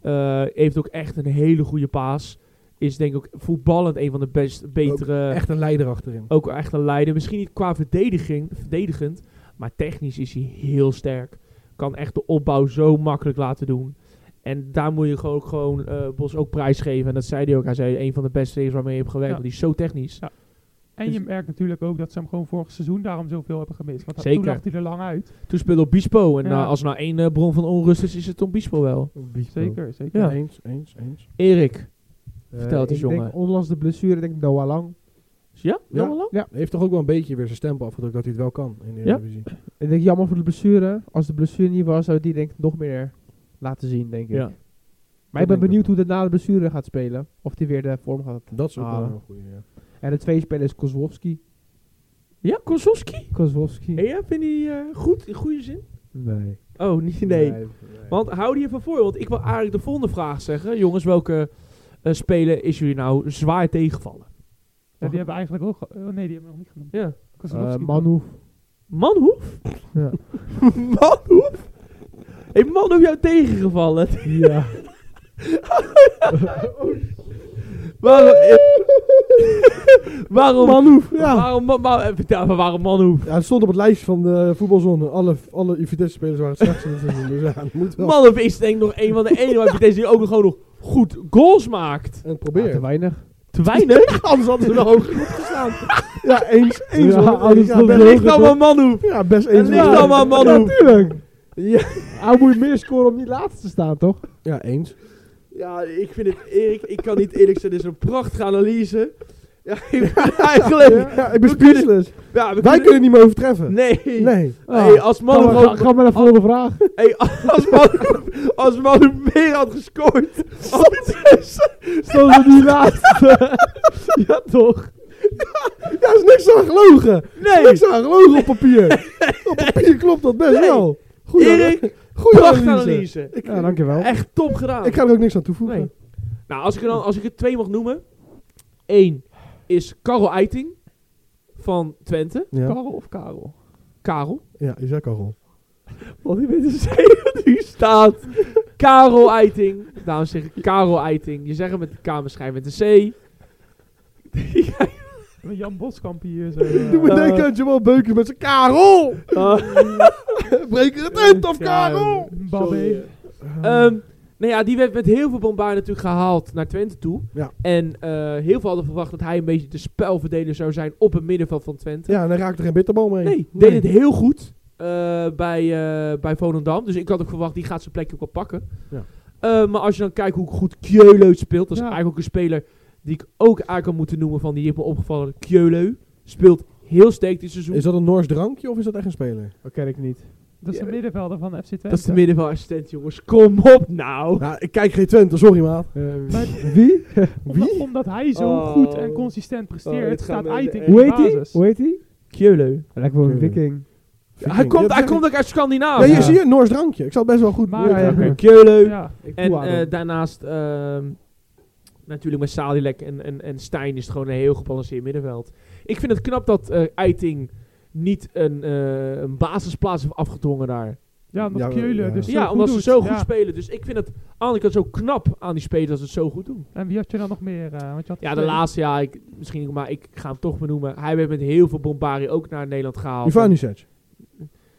S1: Eh, heeft ook echt een hele goede paas. Is denk ik ook voetballend een van de best, betere.
S2: Echt een leider achterin.
S1: ook echt een leider. Misschien niet qua verdediging, verdedigend. Maar technisch is hij heel sterk. Kan echt de opbouw zo makkelijk laten doen. En daar moet je gewoon, ook gewoon eh, Bos ook prijs geven. En dat zei hij ook. Hij zei een van de beste spelers waarmee je hebt gewerkt.
S4: Ja.
S1: Want die is zo technisch.
S4: Ja. En je merkt natuurlijk ook dat ze hem gewoon vorig seizoen daarom zoveel hebben gemist. Want
S1: Zeker.
S4: toen lag hij er lang uit.
S1: Toen speelde Obispo. En
S4: Ja.
S1: nou, als er nou één eh, bron van onrust is, is het Obispo wel.
S4: Zeker, zeker.
S1: Ja.
S2: Eens, eens, eens.
S1: Erik. Vertel het eens,
S3: ik
S1: jongen.
S3: Denk, ondanks de blessure denk ik Noah Lang.
S1: Ja?
S2: Ja.
S1: Noah Lang?
S2: Hij heeft toch ook wel een beetje weer zijn stempel afgedrukt dat hij het wel kan in de
S1: Ja.
S2: Eredivisie.
S3: Ik denk jammer voor de blessure. Als de blessure niet was, zou die denk ik nog meer laten zien, denk ik.
S1: Ja.
S3: Maar ik
S2: Dat
S3: ben
S2: denk ik
S3: benieuwd hoe de na de blessure gaat spelen. Of die weer de vorm gaat.
S2: Dat is ook wel
S3: Ah.
S2: een goede. Ja.
S3: En de tweede speler is Kozłowski.
S1: Ja, Kozlowski.
S3: Kozłowski?
S1: Ja, vind je die eh, goed, in goede zin?
S3: Nee.
S1: Oh, niet, nee. Want hou die even voor, want ik wil eigenlijk de volgende vraag zeggen. Jongens, welke eh, speler is jullie nou zwaar tegengevallen?
S4: Ja, die hebben eigenlijk ook... ge- Oh, nee, die hebben we nog niet genoemd.
S1: Ja.
S3: Eh
S4: Kozlowski.
S3: Manhoef.
S1: Manhoef?
S3: Ja.
S1: Manhoef? Heeft Manhoef jou tegengevallen?
S3: ja.
S1: Waarom- eh, waarom?
S2: Manhoef, ja.
S1: Waarom, ma- ma- vertel me waarom Manhoef?
S2: ja. Het stond op het lijstje van de voetbalzone. Alle, alle Vitesse-spelers waren het slechtste. in het seizoen, dus ja, dat moet wel.
S1: Manhoef is denk ik nog een van de enige waar deze die ook nog gewoon nog goed goals maakt.
S2: En het
S3: Ja, te
S2: probeer.
S3: weinig.
S1: Te weinig?
S2: Anders hadden ze er hoog genoeg gestaan. Ja, eens. eens
S3: Ja,
S2: ja,
S3: anders
S2: ja,
S3: hadden
S2: best-
S3: ze
S1: Ligt dan nou maar Manhoef.
S2: ja, best
S1: En
S2: eens.
S1: ligt dan maar Manhoef.
S3: Tuurlijk.
S2: Ja.
S3: Hij moet meer scoren om niet laatste te staan, toch?
S2: ja, eens.
S1: Ja, ik vind het, Erik, ik kan niet eerlijk zijn, dit is een prachtige analyse. Ja, ik- eigenlijk.
S2: Ja, ik ben
S1: We kunnen-
S2: speechless.
S1: Ja, we
S2: Wij kunnen niet meer overtreffen.
S1: Nee.
S2: Nee. Ah.
S1: Hey, als
S3: Ga,
S1: Manhoef
S3: maar- ga,
S1: ook-
S3: ga maar naar de volgende vraag.
S1: hey, als Manhoef, als Manhoef meer had gescoord, had Vitesse-
S3: Stond er niet laatste. ja, toch?
S2: Ja, er is niks aan gelogen.
S1: Nee.
S2: Niks aan gelogen op papier. op papier klopt dat best
S1: Nee.
S2: wel. Goeie
S1: Erik,
S2: goede
S1: prachtige
S2: analyse.
S1: analyse.
S2: Ik,
S3: Ja, dankjewel.
S1: Echt top gedaan.
S2: ik ga er ook niks aan toevoegen.
S1: Nee. Nou, als ik, er dan, als ik er twee mag noemen. Eén is Karel Eiting van Twente.
S2: Ja.
S4: Karel of Karel?
S1: Karel.
S2: ja, je zei Karel.
S1: Want die weet zeker wat hier staat. Karel Eiting. Daarom zeg ik Karel Eiting. Je zegt hem met de K, maar schrijf met een C.
S4: Jan Boskamp hier. Zo, eh,
S2: Doe me
S1: Eh.
S2: denken aan Jamal Beukers met zijn Karel.
S1: Eh,
S2: Breek er het uit af,
S1: Ja,
S2: Karel.
S4: Babbe.
S1: ehm, nou ja, die werd met heel veel bombaar natuurlijk gehaald naar Twente toe.
S2: Ja.
S1: En eh, heel veel hadden verwacht dat hij een beetje de spelverdeler zou zijn op het middenveld van Twente.
S2: Ja, en dan raakt er geen bitterbal mee.
S1: Nee, deed het heel goed eh, bij, eh, bij Volendam. Dus ik had ook verwacht, die gaat zijn plekje ook wel pakken.
S2: Ja.
S1: Eh, maar als je dan kijkt hoe goed Kjeuleu speelt, dat is
S4: Ja.
S1: eigenlijk ook een speler die ik ook eigenlijk had moeten noemen van die heeft me opgevallen. Kjeuleu speelt heel sterk dit seizoen.
S2: Is dat een Noors drankje of is dat echt een speler?
S3: Dat ken ik niet.
S4: Dat is de
S1: Ja.
S4: middenvelder van FC Twente.
S1: dat is de middenveldassistent, jongens. Kom op nou.
S2: Nou, ik kijk geen Twente, sorry maat.
S3: wie?
S4: Omdat, omdat hij zo
S1: Oh.
S4: goed en consistent
S1: Oh, dit
S4: presteert,
S1: gaat
S4: staat
S1: me
S4: Eiting in
S3: Hoe
S4: de
S3: heet die?
S4: basis.
S3: Hoe heet die?
S1: Kjeuleu.
S3: Lijkt wel een
S2: Tuurlijk.
S3: viking.
S1: Hij komt, hij komt
S2: er.
S1: ook uit
S2: Ja,
S1: Scandinavië.
S2: hier
S3: Ja.
S2: zie je, Noors drankje. Ik zal het best wel goed
S4: Maar,
S2: neerleggen.
S4: ja,
S1: Oké, Kjeuleu.
S4: Ja.
S1: En
S3: Poeh, Adam.
S1: eh, daarnaast ehm, natuurlijk met Salilek en, en, en Stijn is het gewoon een heel gebalanceerd middenveld. Ik vind het knap dat eh Eiting niet een, eh, een basisplaats heeft afgedwongen daar.
S4: Ja, omdat
S2: Ja, we-
S4: Keulen
S2: ja.
S4: dus zo
S1: ja,
S4: goed
S1: omdat ze
S4: doet.
S1: zo goed
S4: Ja.
S1: spelen. Dus ik vind het aan de kant zo knap aan die spelers dat ze het zo goed doen.
S4: En wie had je dan nog meer? eh, want je had
S1: Ja,
S4: er
S1: de
S4: twee.
S1: laatste, ja, ik, misschien, maar ik ga hem toch benoemen. Hij werd met heel veel bombari ook naar Nederland gehaald.
S2: Ivanisic.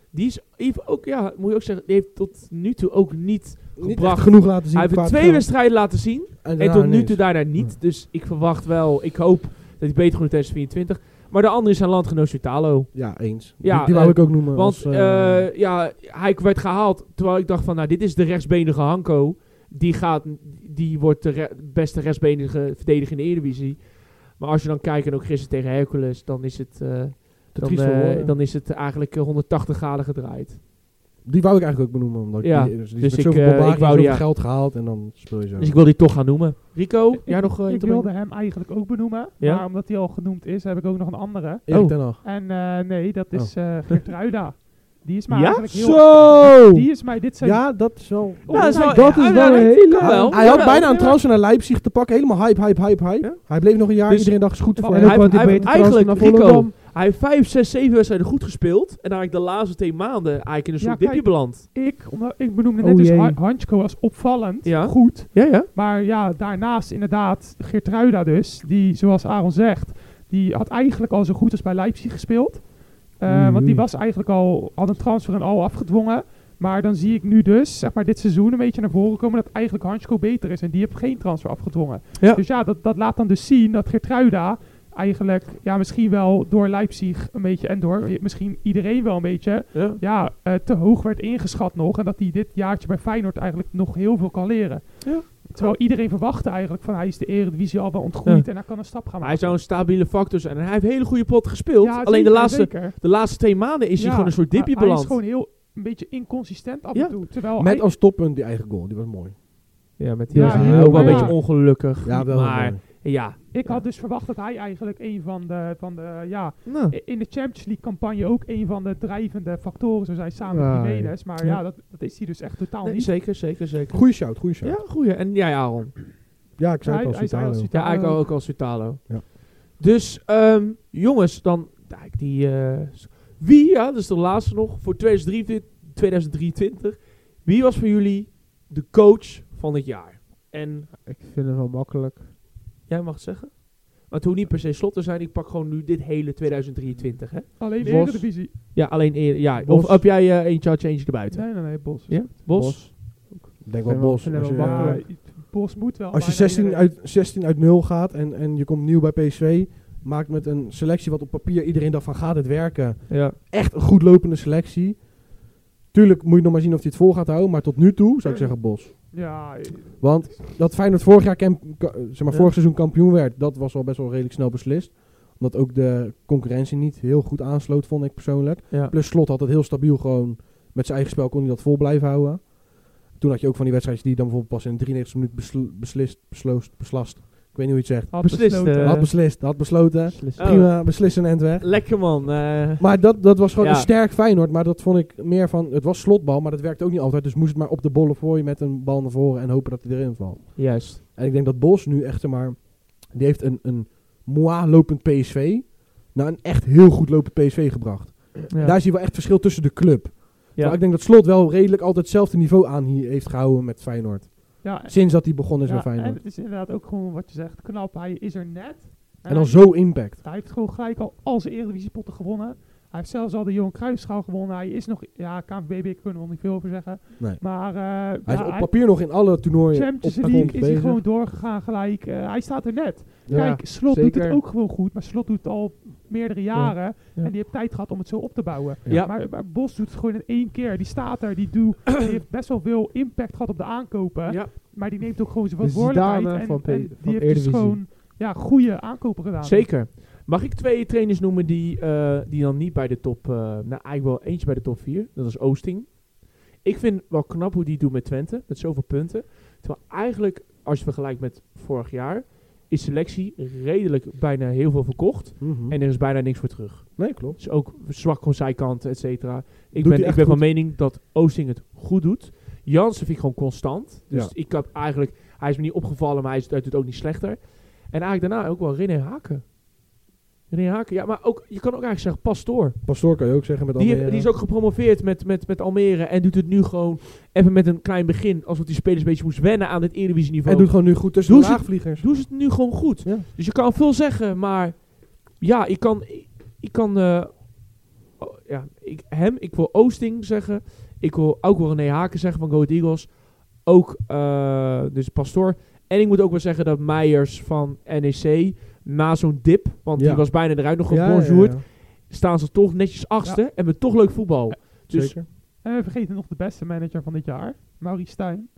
S1: Die is heeft ook, ja, moet je ook zeggen, die heeft tot nu toe ook niet...
S2: Niet
S1: Gebracht.
S2: echt genoeg laten zien.
S1: Hij heeft
S2: qua
S1: twee
S2: talent.
S1: wedstrijden laten zien. En
S2: daarna
S1: tot nu
S2: niks.
S1: toe daarna niet. Dus ik verwacht wel, ik hoop dat hij beter wordt in 2024. Maar de andere is zijn landgenoot Sutalo.
S2: Ja, eens.
S1: Ja,
S2: die die wou
S1: eh,
S2: ik ook noemen.
S1: Want
S2: als, eh,
S1: eh, ja, hij werd gehaald terwijl ik dacht van, nou dit is de rechtsbenige Hanko. Die, gaat, die wordt de re- beste rechtsbenige verdediger in de Eredivisie. Maar als je dan kijkt, en ook gisteren tegen Hercules, dan is het, eh,
S2: te
S1: dan,
S2: triest voor
S1: eh,
S2: woorden.
S1: dan is het eigenlijk eh, 180 graden gedraaid.
S2: die wou ik eigenlijk ook benoemen. Omdat
S1: Ja,
S2: die, dus die
S1: dus
S2: is met
S1: ik,
S2: zoveel
S1: eh, ik
S2: bombarie,
S1: wou
S2: zoveel
S1: die, ja.
S2: geld gehaald en dan speel je zo.
S1: Dus ik wil die toch gaan noemen. Rico, jij nog eh,
S4: Ik
S1: iets op-
S4: wilde hem eigenlijk ook benoemen.
S1: Ja?
S4: Maar omdat hij al genoemd is, heb ik ook nog een andere.
S2: Erik
S1: Oh.
S2: ten Hag.
S4: En eh, nee, dat is
S3: Oh.
S4: eh Geertruida. Die is mij
S1: Ja?
S4: eigenlijk heel...
S2: Zo!
S4: Die is mij... Dit zijn...
S2: Ja, dat is wel...
S1: Ja, Oh, dat is wel,
S3: dat is
S1: ja,
S3: wel
S1: ja,
S3: een
S1: dat
S3: hele-
S1: kan wel.
S2: hij had
S1: Jawel.
S2: bijna een transfer naar Leipzig te pakken. Helemaal hype, hype, hype, hype.
S1: Ja.
S2: Hij bleef nog een jaar.
S1: Dus-
S2: iedereen dacht, is goed voor
S3: En
S1: hij
S2: hem.
S1: heeft-
S3: ook want die
S1: hij heeft
S3: beter transfer naar
S1: eigenlijk, Rico,
S3: Volendam.
S1: Hij heeft 5, 6, 7 wedstrijden goed gespeeld. En eigenlijk de laatste twee maanden eigenlijk in een
S4: Ja,
S1: soort
S4: kijk.
S1: dipje beland.
S4: Ik, omdat, ik benoemde
S3: Oh
S4: net dus
S3: jee.
S4: Han- Hansko als opvallend.
S1: Ja.
S4: Goed.
S1: Ja, ja.
S4: Maar ja, daarnaast inderdaad Geertruida dus. Die, zoals Aaron zegt, die had eigenlijk al zo goed als bij Leipzig gespeeld. Eh,
S2: Mhm.
S4: Want die was eigenlijk al, had een transfer en al afgedwongen. Maar dan zie ik nu dus, zeg maar dit seizoen een beetje naar voren komen... dat eigenlijk Hansko beter is en die heeft geen transfer afgedwongen.
S1: Ja.
S4: Dus ja, dat, dat laat dan dus zien dat Geertruida eigenlijk... ja, misschien wel door Leipzig een beetje en door misschien iedereen wel een beetje...
S1: ja.
S4: ja, eh, te hoog werd ingeschat nog. En dat hij dit jaartje bij Feyenoord eigenlijk nog heel veel kan leren.
S1: Ja.
S4: Terwijl iedereen verwachtte eigenlijk van hij is de Eredivisie al wel ontgroeid en hij kan een stap gaan
S1: Maar hij
S4: maken.
S1: zou een stabiele factor zijn. En hij heeft hele goede pot gespeeld.
S4: Ja,
S1: Alleen de,
S4: zeker,
S1: laatste,
S4: zeker.
S1: de laatste twee maanden is
S4: Ja,
S1: hij gewoon een soort dipje
S4: maar Hij
S1: beland.
S4: is gewoon heel een beetje inconsistent af
S1: Ja.
S4: en toe. Terwijl
S2: Met
S4: hij-
S2: als toppunt die eigen goal. Die was mooi.
S1: ja, met
S4: die Ja,
S2: was hij
S1: hij
S2: heel
S1: ook wel een
S2: mooi.
S1: beetje
S4: Ja.
S1: ongelukkig.
S2: Ja, wel
S1: Maar
S2: mooi.
S1: ja.
S4: ik
S1: ja.
S4: had dus verwacht dat hij eigenlijk een van de, van de ja,
S1: Nou,
S4: in de Champions League campagne ook een van de drijvende factoren zou zijn samen
S3: Ja,
S4: met Jiménez. Maar ja, dat, dat is hij dus echt totaal
S1: nee,
S4: niet.
S1: zeker, zeker, zeker.
S2: Goeie shout, goeie shout.
S1: Ja,
S2: Ja,
S1: goeie. En jij, Aaron.
S2: ik zei het al.
S4: Hij- hij zei
S2: Citaro.
S4: al, Citaro.
S1: Ja, eigenlijk ook als Vitalo.
S2: Ja.
S1: Dus, ehm, jongens, dan... ja, ik die, eh, s- wie, ja, dat is de laatste nog, voor 2023, 2023. Wie was voor jullie de coach van het jaar? En
S3: Ik vind het wel makkelijk.
S1: jij mag het zeggen. Oké, Maar het hoeft niet per se slot te zijn. Ik pak gewoon nu dit hele 2023. Hè?
S4: Alleen
S1: Bos.
S4: Eredivisie.
S1: Ja, alleen eer, ja.
S3: Bos.
S1: Of heb jij eh, eentje had je eentje erbuiten?
S4: Nee, nee, nee, Bos.
S1: Ja? Bos?
S2: Ik denk
S3: Vind
S2: wel
S3: wel-
S2: Bos.
S3: vind
S2: Als je,
S3: wel
S2: eh,
S3: makkelijk.
S4: Ja, Bos moet wel.
S2: als je
S4: bijna
S2: 16
S4: iedereen.
S2: uit, 16 uit 0 gaat en, en je komt nieuw bij PSV, maakt met een selectie wat op papier iedereen dacht van gaat het werken.
S1: Ja.
S2: Echt een goed lopende selectie. Tuurlijk moet je nog maar zien of hij het vol gaat houden, maar tot nu toe zou ik zeggen Bos.
S4: Ja, eh,
S2: Want dat Feyenoord vorig, jaar kamp- ka- eh, zeg maar,
S1: Ja.
S2: vorig seizoen kampioen werd, dat was al best wel redelijk snel beslist. Omdat ook de concurrentie niet heel goed aansloot, vond ik persoonlijk.
S1: ja.
S2: Plus slot had het heel stabiel gewoon met zijn eigen spel kon hij dat vol blijven houden. Toen had je ook van die wedstrijdjes die dan bijvoorbeeld pas in de 93e minuut besl- beslist, besloost, beslast. Ik weet niet hoe je het zegt.
S4: had
S1: Beslist,
S4: besloten.
S1: eh,
S2: had beslist, had besloten.
S1: Oh.
S2: Prima, beslissen en het weg.
S1: Lekker man. eh.
S2: Maar dat, dat was gewoon
S1: Ja.
S2: een sterk Feyenoord. Maar dat vond ik meer van, het was slotbal, maar dat werkte ook niet altijd. Dus moest het maar op de bollen voor je met een bal naar voren en hopen dat hij erin valt.
S1: juist.
S2: En ik denk dat Bos nu echt, zeg maar, die heeft een, een moa lopend PSV naar een echt heel goed lopend PSV gebracht.
S1: Ja.
S2: Daar zie je wel echt verschil tussen de club.
S1: Ja.
S2: Maar ik denk dat Slot wel redelijk altijd hetzelfde niveau aan hier heeft gehouden met Feyenoord.
S4: Ja,
S2: Sinds dat hij begonnen is
S4: ja,
S2: met Feyenoord.
S4: en
S2: En,
S4: het is inderdaad ook gewoon wat je zegt. Knap, hij is er net. En,
S2: dan
S4: hij-
S2: zo impact.
S4: Hij heeft gewoon gelijk al al zijn Eredivisiepotten gewonnen. Hij heeft zelfs al de Johan Cruijffschaal gewonnen. Hij is nog... Ja, KNVB kunnen we nog niet veel over zeggen.
S2: Nee.
S4: Maar eh,
S2: Hij
S4: ja,
S2: is op papier nog in alle toernooien
S4: Champions
S2: op de
S4: League
S2: grond
S4: is hij
S2: bezig.
S4: gewoon doorgegaan gelijk. Eh, hij staat er net.
S1: Ja,
S4: Kijk, Slot doet
S1: zeker.
S4: het ook gewoon goed. Maar Slot doet het al meerdere jaren.
S1: Ja.
S4: En die heeft tijd gehad om het zo op te bouwen.
S1: Ja.
S4: Maar, maar Bos doet het gewoon in één keer. Die staat er, die, doet, die heeft best wel veel impact gehad op de aankopen.
S1: Ja.
S4: Maar die neemt ook gewoon zijn
S3: De
S4: verantwoordelijkheid.
S3: Zidane
S4: en,
S3: van P-
S4: en die
S3: van
S4: heeft dus
S3: Eredivisie.
S4: gewoon ja, goede aankopen gedaan.
S1: Zeker. Mag ik twee trainers noemen die, eh, die dan niet bij de top... eh, nou, eigenlijk wel eentje bij de top 4. Dat is Oosting. Ik vind wel knap hoe die het doet met Twente. Met zoveel punten. Terwijl eigenlijk, als je vergelijkt met vorig jaar... is selectie redelijk bijna heel veel verkocht.
S2: Mhm.
S1: En er is bijna niks voor terug.
S2: nee, klopt.
S1: Dus ook zwak van zijkanten, et cetera. Ik
S2: Doet hij
S1: ben, ik
S2: echt
S1: ben van
S2: goed.
S1: mening dat Oosting het goed doet. Jansen vind ik gewoon constant. Dus
S2: Ja.
S1: ik had eigenlijk... Hij is me niet opgevallen, maar hij is- hij doet het ook niet slechter. En eigenlijk daarna ook wel René Haken. René Haken, ja, maar ook, je kan ook eigenlijk zeggen Pastoor.
S2: Pastoor kan je ook zeggen met
S1: Die,
S2: Almere.
S1: die is ook gepromoveerd met, met, met Almere en doet het nu gewoon even met een klein begin. Alsof die spelers een beetje moest wennen aan dit Eredivisie
S2: En
S1: niveau.
S2: doet gewoon nu goed tussen
S1: Doe
S2: de
S1: ze-
S2: laagvliegers.
S1: Doen ze het nu gewoon goed.
S2: Ja.
S1: Dus je kan veel zeggen, maar ja, ik kan, ik, ik kan eh, oh, ja, ik, hem, ik wil Oosting zeggen. Ik wil ook wel René Haken zeggen van Go Ahead Eagles. Ook eh, dus Pastoor. En ik moet ook wel zeggen dat Meijers van NEC na zo'n dip, want
S2: Ja.
S1: die was bijna eruit nog
S2: Ja,
S1: gebonjourd,
S2: ja, ja.
S1: staan ze toch netjes achtste en met toch leuk voetbal. Dus
S2: Zeker.
S4: En we vergeten Eh, nog de beste manager van dit jaar. Maurice Stijn.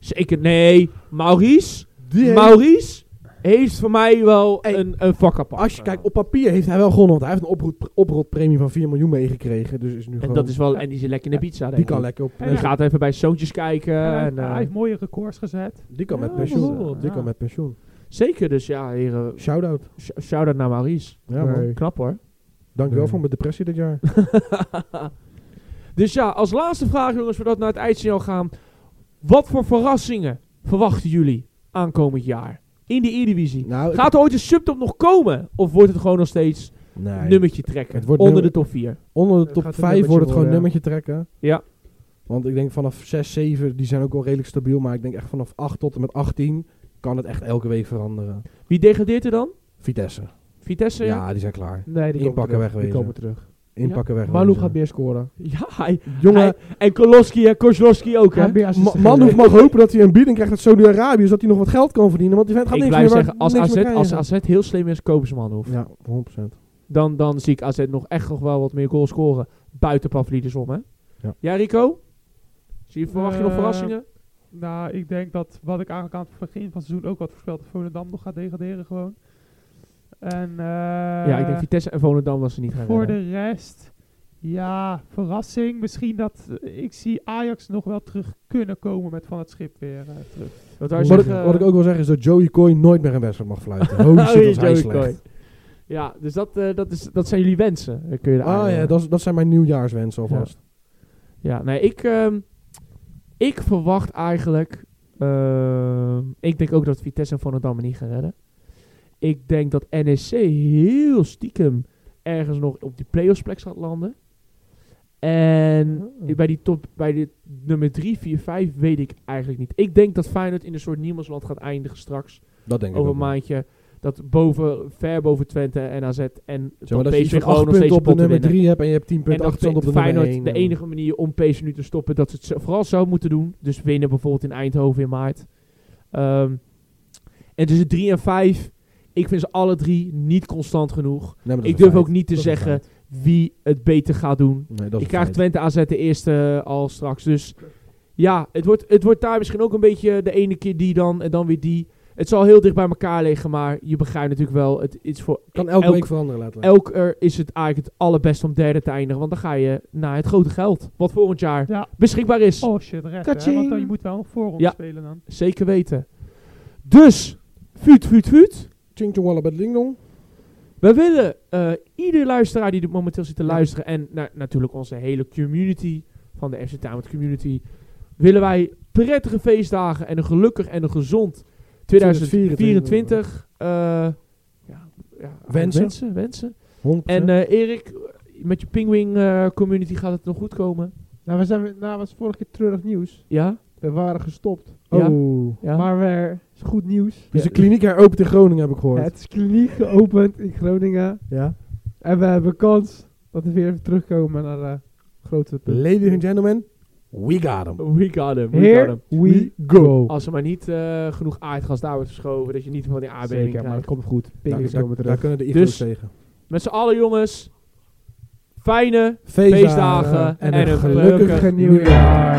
S1: zeker, nee, Maurice,
S2: Die heeft-
S1: Maurice heeft voor mij wel
S2: Hey,
S1: een, een vak apart.
S2: als je kijkt, op papier heeft hij wel gewonnen. Want hij heeft een oproep- oprotpremie van 4 miljoen meegekregen. Dus is nu
S1: En
S2: gewoon,
S1: dat is wel, en die zit lekker in de pizza.
S2: die
S1: denk
S2: kan
S1: ik.
S2: lekker op...
S4: En
S1: Die
S4: Ja.
S1: gaat even bij zoontjes kijken.
S4: En hij,
S1: en, eh,
S4: hij heeft mooie records gezet.
S2: Die kan
S1: Ja,
S2: met pensioen.
S1: bijvoorbeeld,
S2: Die
S1: ja.
S2: kan met pensioen.
S1: Zeker, dus ja, heren.
S2: Shout-out.
S1: sh- Shout-out naar Maurice.
S2: Ja,
S3: Nee.
S2: man.
S1: Knap hoor.
S2: Dankjewel
S3: Nee.
S2: voor mijn depressie dit jaar.
S1: Dus ja, als laatste vraag, jongens, voordat we naar het eindsignaal gaan. Wat voor verrassingen verwachten jullie aankomend jaar in de Eredivisie?
S2: Nou, ik-
S1: Gaat er ooit een subtop nog komen? Of wordt het gewoon nog steeds
S2: Nee.
S1: nummertje trekken?
S2: Het wordt
S1: onder
S2: nummer-
S1: de top 4.
S2: Onder de
S3: Het
S2: top
S3: gaat een
S2: 5 wordt het
S3: nummertje
S2: gewoon
S3: worden,
S2: nummertje trekken.
S1: Ja.
S2: Want ik denk vanaf 6, 7, die zijn ook wel redelijk stabiel. Maar ik denk echt vanaf 8 tot en met 18 kan het echt elke week veranderen.
S1: Wie degradeert er dan?
S2: Vitesse.
S1: Vitesse?
S2: Ja, die zijn klaar.
S3: Nee, die
S2: Inpakken
S3: komen terug. Die
S2: wegwezen.
S3: komen terug.
S2: Inpakken weg.
S3: Malou gaat meer scoren.
S1: Ja, hij-
S2: Jongen,
S1: hij- en Koloski en Kozlowski ook, hè?
S3: Gaat meer assisten
S2: Ma- Manhoef
S3: geven.
S2: mag hopen dat hij een bieding krijgt uit Saudi-Arabië. Zodat hij nog wat geld kan verdienen. Want die vent gaat
S1: Ik
S2: niks
S1: blijf
S2: meer
S1: zeggen, als
S2: niks
S1: AZ,
S2: meer
S1: als
S2: krijgen.
S1: AZ heel slim is, kopen ze Manhoef.
S2: Ja, 100%.
S1: dan, dan zie ik AZ nog echt nog wel wat meer goals scoren. Buiten Pavlidis om, hè?
S2: Ja.
S1: Rico? Zie je, verwacht je nog
S4: Eh,
S1: verrassingen?
S4: Nou, ik denk dat wat ik eigenlijk aan het begin van het seizoen ook had voorspeld. dat Volendam nog gaat degraderen gewoon. En, eh,
S1: ja, ik denk Vitesse en Volendam was ze niet gaan
S4: Voor
S1: redden.
S4: de rest, ja, verrassing. Misschien dat eh, ik zie Ajax nog wel terug kunnen komen met van het schip weer eh, terug.
S1: Wat, wou je
S2: Wat ik,
S1: zeggen?
S2: wat ik ook wil zeggen is dat Joey Coy nooit meer een wedstrijd mag fluiten. Holy shit,
S1: Oei,
S2: was hij
S1: Joey
S2: slecht.
S1: Coy. Ja, dus dat, eh, dat, is, dat zijn jullie wensen. eh, Kun je
S2: Ah ja, dat, is- dat zijn mijn nieuwjaarswensen alvast.
S1: ja, nee, ik, ehm, ik verwacht eigenlijk... ehm, ik denk ook dat Vitesse en Volendam het niet gaan redden. Ik denk dat NEC heel stiekem ergens nog op die playoffs plek gaat landen. En
S2: Ah.
S1: Bij die top, bij de nummer 3, 4, 5 weet ik eigenlijk niet. Ik denk dat Feyenoord in een soort niemandsland gaat eindigen straks.
S2: Dat denk ik
S1: over
S2: ook
S1: een
S2: wel.
S1: maandje. dat boven, ver boven Twente en AZ en
S2: Zeg maar,
S1: dat
S2: dat je
S1: PSV
S2: zeg,
S1: gewoon
S2: 8
S1: nog steeds
S2: punten op de
S1: moeten
S2: nummer
S1: winnen.
S2: 3 hebt en je hebt 10
S1: En
S2: punten
S1: dat
S2: achterstand op de nummer eh.
S1: Feyenoord
S2: 1.
S1: de enige manier om PSV nu te stoppen dat ze het zo- vooral zo moeten doen. Dus winnen bijvoorbeeld in Eindhoven in maart. Ehm, en tussen 3 en 5, ik vind ze alle drie niet constant genoeg. Ik durf ook niet te zeggen wie het beter gaat doen. Ik krijg Twente AZ de eerste eh, al straks. Dus ja, het wordt, het wordt daar misschien ook een beetje de ene keer die dan en dan weer die. Het zal heel dicht bij elkaar liggen, maar je begrijpt natuurlijk wel. Het is voor
S2: Kan elke
S1: elk-
S2: week veranderen letterlijk.
S1: elk er is het eigenlijk het allerbeste om derde te eindigen. Want dan ga je naar het grote geld. Wat volgend jaar
S4: Ja.
S1: beschikbaar is.
S4: Oh shit, recht. Hè?
S3: Kaching.
S4: Want dan, je moet wel een voorronde
S1: Ja.
S4: spelen dan.
S1: Zeker weten. Dus, vuut, vuut, vuut.
S2: Ching chong wallabed ding dong.
S1: We willen eh, ieder luisteraar die er momenteel zit te luisteren. En na- natuurlijk onze hele community van de FC Tamet community. Willen wij prettige feestdagen en een gelukkig en een gezond 2024. eh, ja, ja,
S2: Wensen.
S1: wensen, wensen. En eh, Erik, met je Pingwing eh, community gaat het nog goed komen.
S3: Nou, we zijn, weer- nou, was vorige keer treurig nieuws.
S1: Ja?
S3: We waren gestopt.
S1: eh, ja.
S2: oh.
S1: Ja.
S3: Maar weer is goed nieuws.
S2: Dus de
S1: Ja.
S2: kliniek heropent in Groningen heb ik gehoord.
S3: Het is kliniek geopend in Groningen.
S2: Ja.
S3: En we hebben kans dat we weer even terugkomen naar eh grote punten.
S2: Ladies and gentlemen, we got him.
S1: We got him. We got
S3: Here
S1: him.
S3: we go.
S1: Als er maar niet eh, genoeg aardgas daar wordt verschoven, dat je niet van die aardbeving
S3: Zeker, maar het
S1: krijgt.
S3: komt goed. Pink
S2: Daar,
S3: is
S2: daar,
S3: komen
S2: daar
S3: terug.
S2: kunnen de Igo's
S1: Dus-
S2: tegen.
S1: Met z'n allen jongens, fijne
S2: Feestdagen,
S1: feestdagen en, een gelukkig
S3: nieuwjaar.